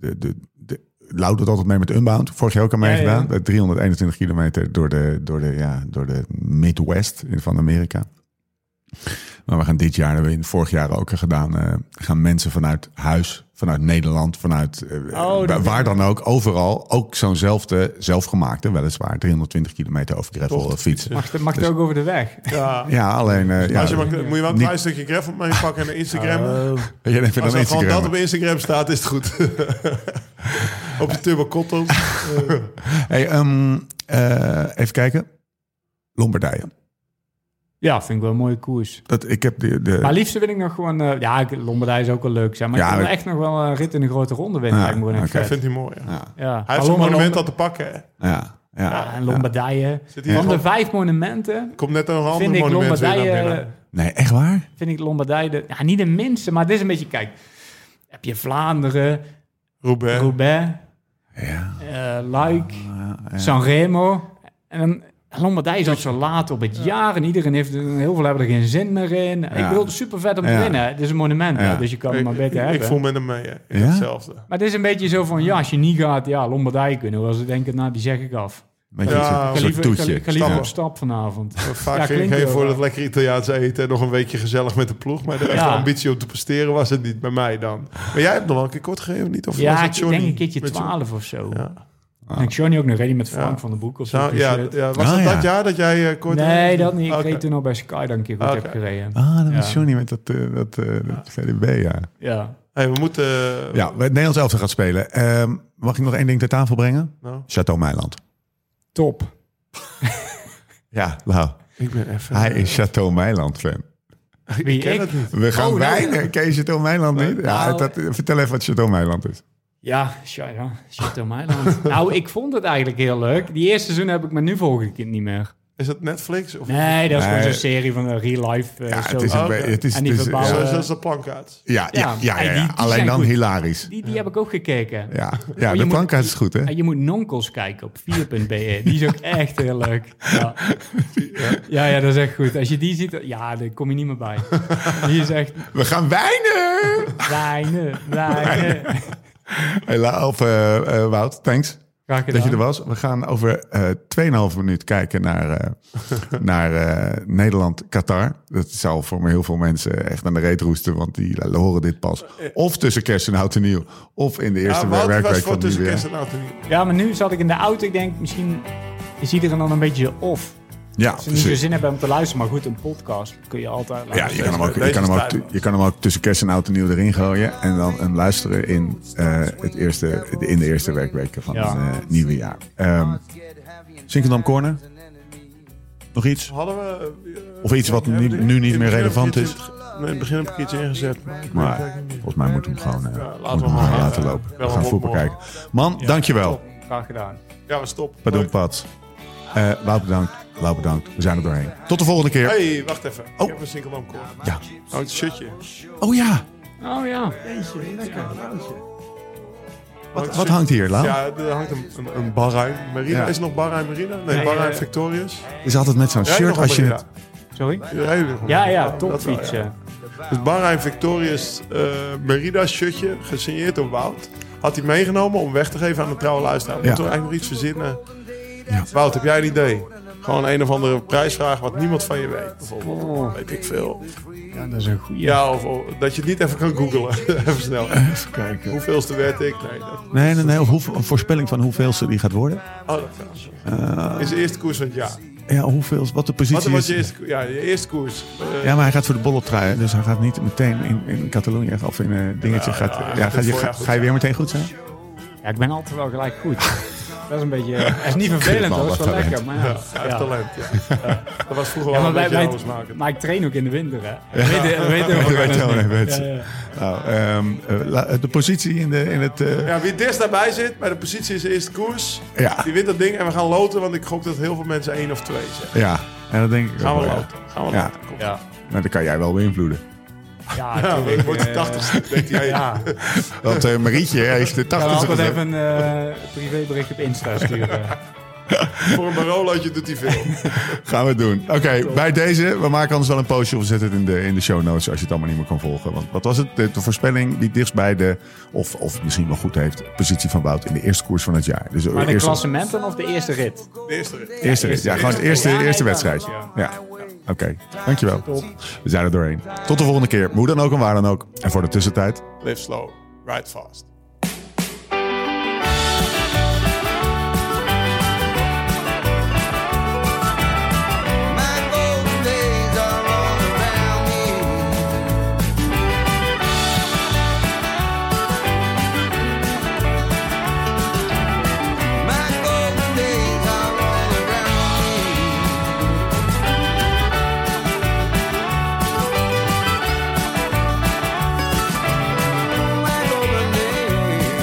de, de, de Lau doet altijd mee met Unbound. Vorig jaar ook al
Ja,
meegedaan.
ja.
Eh, 321 kilometer door de, door de, ja, door de Midwest van Amerika. Maar we gaan dit jaar, dat hebben we in vorig jaar ook gedaan, eh, gaan mensen vanuit huis Vanuit Nederland, vanuit eh,
Oh, dat-
waar dan ook, overal. Ook zo'nzelfde zelfgemaakte, weliswaar 320 kilometer over gravel
Tocht.
fiets.
Mag, het- mag het ook over de weg?
Ja.
Ja, alleen... eh, ja,
Als je maar, moet je wel een
niet-
klein stukje gref op mij pakken en Instagram.
Jij
Eh,
vindt
Als
dan
er gewoon
Instagram.
dat op Instagram staat, is het goed. op je Eh, turbocotto.
Hey, ehm, eh, even kijken. Lombardije.
Ja, vind ik wel een mooie koers.
Dat, ik heb de, de,
Maar liefst wil ik nog gewoon... eh, ja, ik- Lombardij zou ook wel leuk zijn. Maar
Ja,
ik wil
maar- ik-
echt nog wel een rit in een grote ronde winnen.
Ja,
lijkt me gewoon echt
oké.
vet.
vindt hij mooi. ja.
ja,
Ja.
Hij heeft
Maar
zo'n
Lombard-
monument al te pakken. hè.
ja, ja,
Ja, en Lombardije.
Zit hier
Van de
nog-
vijf monumenten
Komt net nog een ander
vind ik eh,
monument weer naar
Lombardije...
binnen.
Nee, echt waar?
Vind ik Lombardije... de- Ja, niet de minste, maar het is een beetje... Kijk, heb je Vlaanderen,
Roubaix.
Roubaix,
Ja.
eh Luik, Sanremo. En dan Lombardij zat zo laat op het jaar. En iedereen heeft heel veel hebben er geen zin meer in.
Ja.
Ik wil super vet om te
Ja.
winnen. Het is een monument, hè,
Ja.
dus je kan
Ik,
het maar
ik,
beter hebben.
ik voel met hem mee. hè. Ik
Ja?
Hetzelfde.
Maar het is een beetje zo van, ja, als je niet gaat, ja, Lombardij kunnen. Hoewel ze denken, nou, die zeg ik af.
Beetje
Ja,
ja,
Ik
een
ga
soort
liever, ik ga-
toetje.
ik ga liever
Ja.
op stap vanavond.
Vaak
Ja,
ging ik
klinkt
heen
heel
voor
raar.
dat lekker Italiaans eten en nog een weekje gezellig met de ploeg. Maar de echte
Ja.
ambitie om te presteren was het niet bij mij dan. Maar jij hebt nog wel een keer kort gegeven, niet? Of was
ja,
het
ik
Johnny?
denk een keertje
Met Johnny.
12 of zo.
Ja.
En ik Johnny ook nog ready met Frank
Ja.
van den Broek of zo.
Nou,
Dus,
ja,
eh,
ja, was
Ah,
dat
ja.
dat jaar dat jij eh, kort...
nee, dat niet. Ik
Oké.
reed toen al bij Sky dan een keer goed
Oké.
heb gereden.
Ah, dat was
Ja.
Johnny met dat, eh, dat, eh, dat VDB, ja.
Ja.
Hey, we moeten... eh,
Ja, het Nederlands elftal gaat spelen. Ehm, mag ik nog één ding ter tafel brengen?
Nou,
Chateau Meiland.
Top.
Ja, nou,
ik ben even...
hij is Chateau Meiland fan.
Wie,
ken
ik?
het niet.
We gaan
nou,
weinig. Ken je Chateau Meiland niet? Ja,
Nou,
dat, eh, vertel even wat Chateau Meiland is.
Ja, tja, ja. Chateau Meiland. nou, ik vond het eigenlijk heel leuk. Die eerste seizoen heb ik me nu volg ik het niet meer.
Is dat Netflix? Of...
Nee, dat is
Nee.
gewoon zo'n serie van eh, real life. eh,
Ja,
zo.
het is een
oké.
be- het is-
En die
het is-
verbouwen-
Zo
ja.
is dat de plankaart.
Ja, ja,
Ja,
ja, ja,
en die-
ja.
die
alleen
zijn
dan
goed.
hilarisch.
Die, die heb ik ook gekeken.
Ja, ja
je
de
moet-
plankaart is goed, hè?
En je moet Nonkels kijken op 4.be. Die is ook echt heel leuk. Ja. ja, ja, dat is echt goed. Als je die ziet, ja, daar kom je niet meer bij. Die is echt
We gaan weinig!
weinig, weinig.
Hey, La- of eh, eh, Wout, thanks
Graag gedaan.
dat je er was. We gaan over eh 2,5 minuut kijken naar, eh, naar eh, Nederland-Qatar. Dat zal voor me heel veel mensen echt aan de reet roesten, want die horen dit pas. Of tussen kerst en oud en nieuw, of in de eerste
Ja, Wouter was
werkweek van
voor
het nieuwe
tussen
jaar.
kerst en oud en nieuw.
Ja, maar nu zat ik in de auto. Ik denk, misschien is iedereen dan een beetje off.
Ja,
Als ze niet zo
precies.
zin hebben om te luisteren. Maar goed, een podcast kun je altijd
Ja,
luisteren.
je kan, hem ook, je,
Deze
kan hem ook,
tijd.
je kan hem ook tussen kerst en oud en nieuw erin gooien. En dan hem luisteren in, eh, het eerste, in de eerste werkweken van
Ja.
het eh, nieuwe jaar. Ehm Sinkeldam Corner. nog iets?
Hadden we... eh,
Of iets wat
hebben
nu-
we
nu niet
in het
meer
begin
relevant
heb ik
is?
iets in- Nee, in het begin heb ik iets ingezet. Maar, ik weet het
Maar
eigenlijk niet.
volgens mij moeten we hem gewoon eh,
Ja, laten we
moeten we hem
hem
gewoon
maar,
laten
eh,
lopen.
wel
We gaan
op
voetbal kijken. Man, dankjewel.
Graag gedaan.
Ja, we stoppen.
Pardon, Pats. Eh Wout bedankt. Lau bedankt. We zijn er doorheen. Tot de volgende keer.
Hé, hey, wacht even.
Oh.
Ik heb een single lamp
Ja.
Oh, het shirtje.
Oh ja,
Oh ja.
wat, wat hangt hier, Lau?
Ja, er hangt een, een, een Bahrein Marina.
Ja.
Is het nog Bahrein Marina? Nee,
Nee,
Bahrein
eh,
Victorious.
Is altijd met zo'n
Rijden
shirt
nog
als je
Marina?
het...
Sorry?
Rijden nog
Ja,
Marina?
ja, eh.
dat wel,
topfiets.
ja.
ja.
Dus Bahrein Victorious eh Merida shirtje, gesigneerd door Wout. Had hij meegenomen om weg te geven aan de trouwe luisteraar. Moeten we eigenlijk nog iets verzinnen?
Ja.
Wout, heb jij een idee? Gewoon een of andere prijsvraag wat niemand van je weet. Bijvoorbeeld, weet ik veel.
Oh. Ja, dat is een goeie.
Ja, of, of dat je het niet even kan googlen. even snel.
Eh, Even kijken.
Hoeveelste werd ik? Nee, dat,
Nee, nee, nee. Of hoe, een voorspelling van hoeveelste die gaat worden.
oh, dat kan.
Eh.
is de eerste koers van het jaar.
Ja, hoeveel, wat de
Wat
positie
was je
is.
eerste, ko- ja, je eerste koers? Eh,
Ja, maar hij gaat voor de bolletrui. hè, Dus hij gaat niet meteen in, in Catalonië of in een dingetje.
Ja,
gaat,
ja,
ja,
hij gaat
gaat je, ga,
het voorjaar goed
ga je weer
zijn.
meteen goed zijn?
Ja, ik ben altijd wel gelijk goed. dat is een beetje... Het is niet vervelend
man,
hoor, het is wel
wat
lekker. Maar, ja.
Hij heeft
Ja.
talent, ja. Dat was vroeger
Ja,
wel
maar,
een beetje
wij, wij-
anders maken.
maar ik train ook in de winter, hè. Weet, weet, weet,
Weet je wel, nee, weet je.
Ja, ja.
Nou, ehm, eh, la- de positie in, de, in het... eh,
Ja, wie dichtst daarbij zit, bij de positie is de eerste koers.
Ja.
Die wint dat ding en we gaan loten, want ik gok dat heel veel mensen één of twee zeggen.
Ja, en dat denk ik
Gaan
ook
we
wel, ja.
loten. Gaan we
Ja.
loten. Kom.
Ja.
Nou, dat kan jij wel beïnvloeden.
Ja,
Ja,
natuurlijk,
ik word de
eh,
tachtigste, denkt hij.
Ja, ik
Want eh, Marietje heeft de
kan
80
altijd
gezet.
even een eh, privébericht op Insta sturen.
Voor een barolootje doet hij veel.
Gaan we doen. Oké, bij deze. We maken anders wel een postje of we zetten het in de, in de show notes als je het allemaal niet meer kan volgen. Want wat was het? De, de voorspelling die dichtst bij de, of, of misschien wel goed heeft, positie van Wout in de eerste koers van het jaar. Dus
Maar de
eerste,
klassementen of de eerste rit?
De eerste rit.
eerste, rit. ja, gewoon het eerste,
Ja, nee,
eerste
kan.
wedstrijd.
Ja.
Ja. Oké, dankjewel. We zijn er doorheen. Tot de volgende keer. Hoe dan ook en waar dan ook. En voor de tussentijd.
Live slow. Ride fast.
My golden days are all around me. My golden days are all around me. My golden days.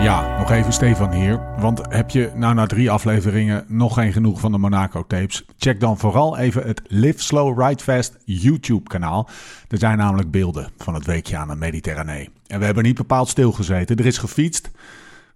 Ja, nog even Stefan hier. Want heb je nou na drie afleveringen nog geen genoeg van de Monaco-tapes? Check dan vooral even het Live Slow Ride Fast YouTube-kanaal. Er zijn namelijk beelden van het weekje aan de Mediterranee. En we hebben niet bepaald stilgezeten. Er is gefietst.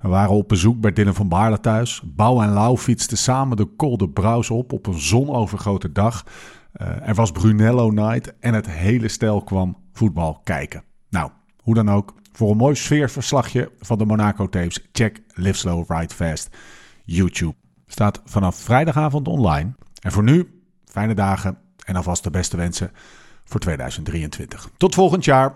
We waren op bezoek bij Dylan van Baarle thuis. Bouw en Lau fietsten samen de Col de Braus op op een zonovergrote dag. Eh, er was Brunello Night en het hele stel kwam voetbal kijken. Nou, hoe dan ook. Voor een mooi sfeerverslagje van de Monaco tapes, check Live Slow Ride Fast YouTube. Staat vanaf vrijdagavond online. En voor nu, fijne dagen en alvast de beste wensen voor 2023. Tot volgend jaar.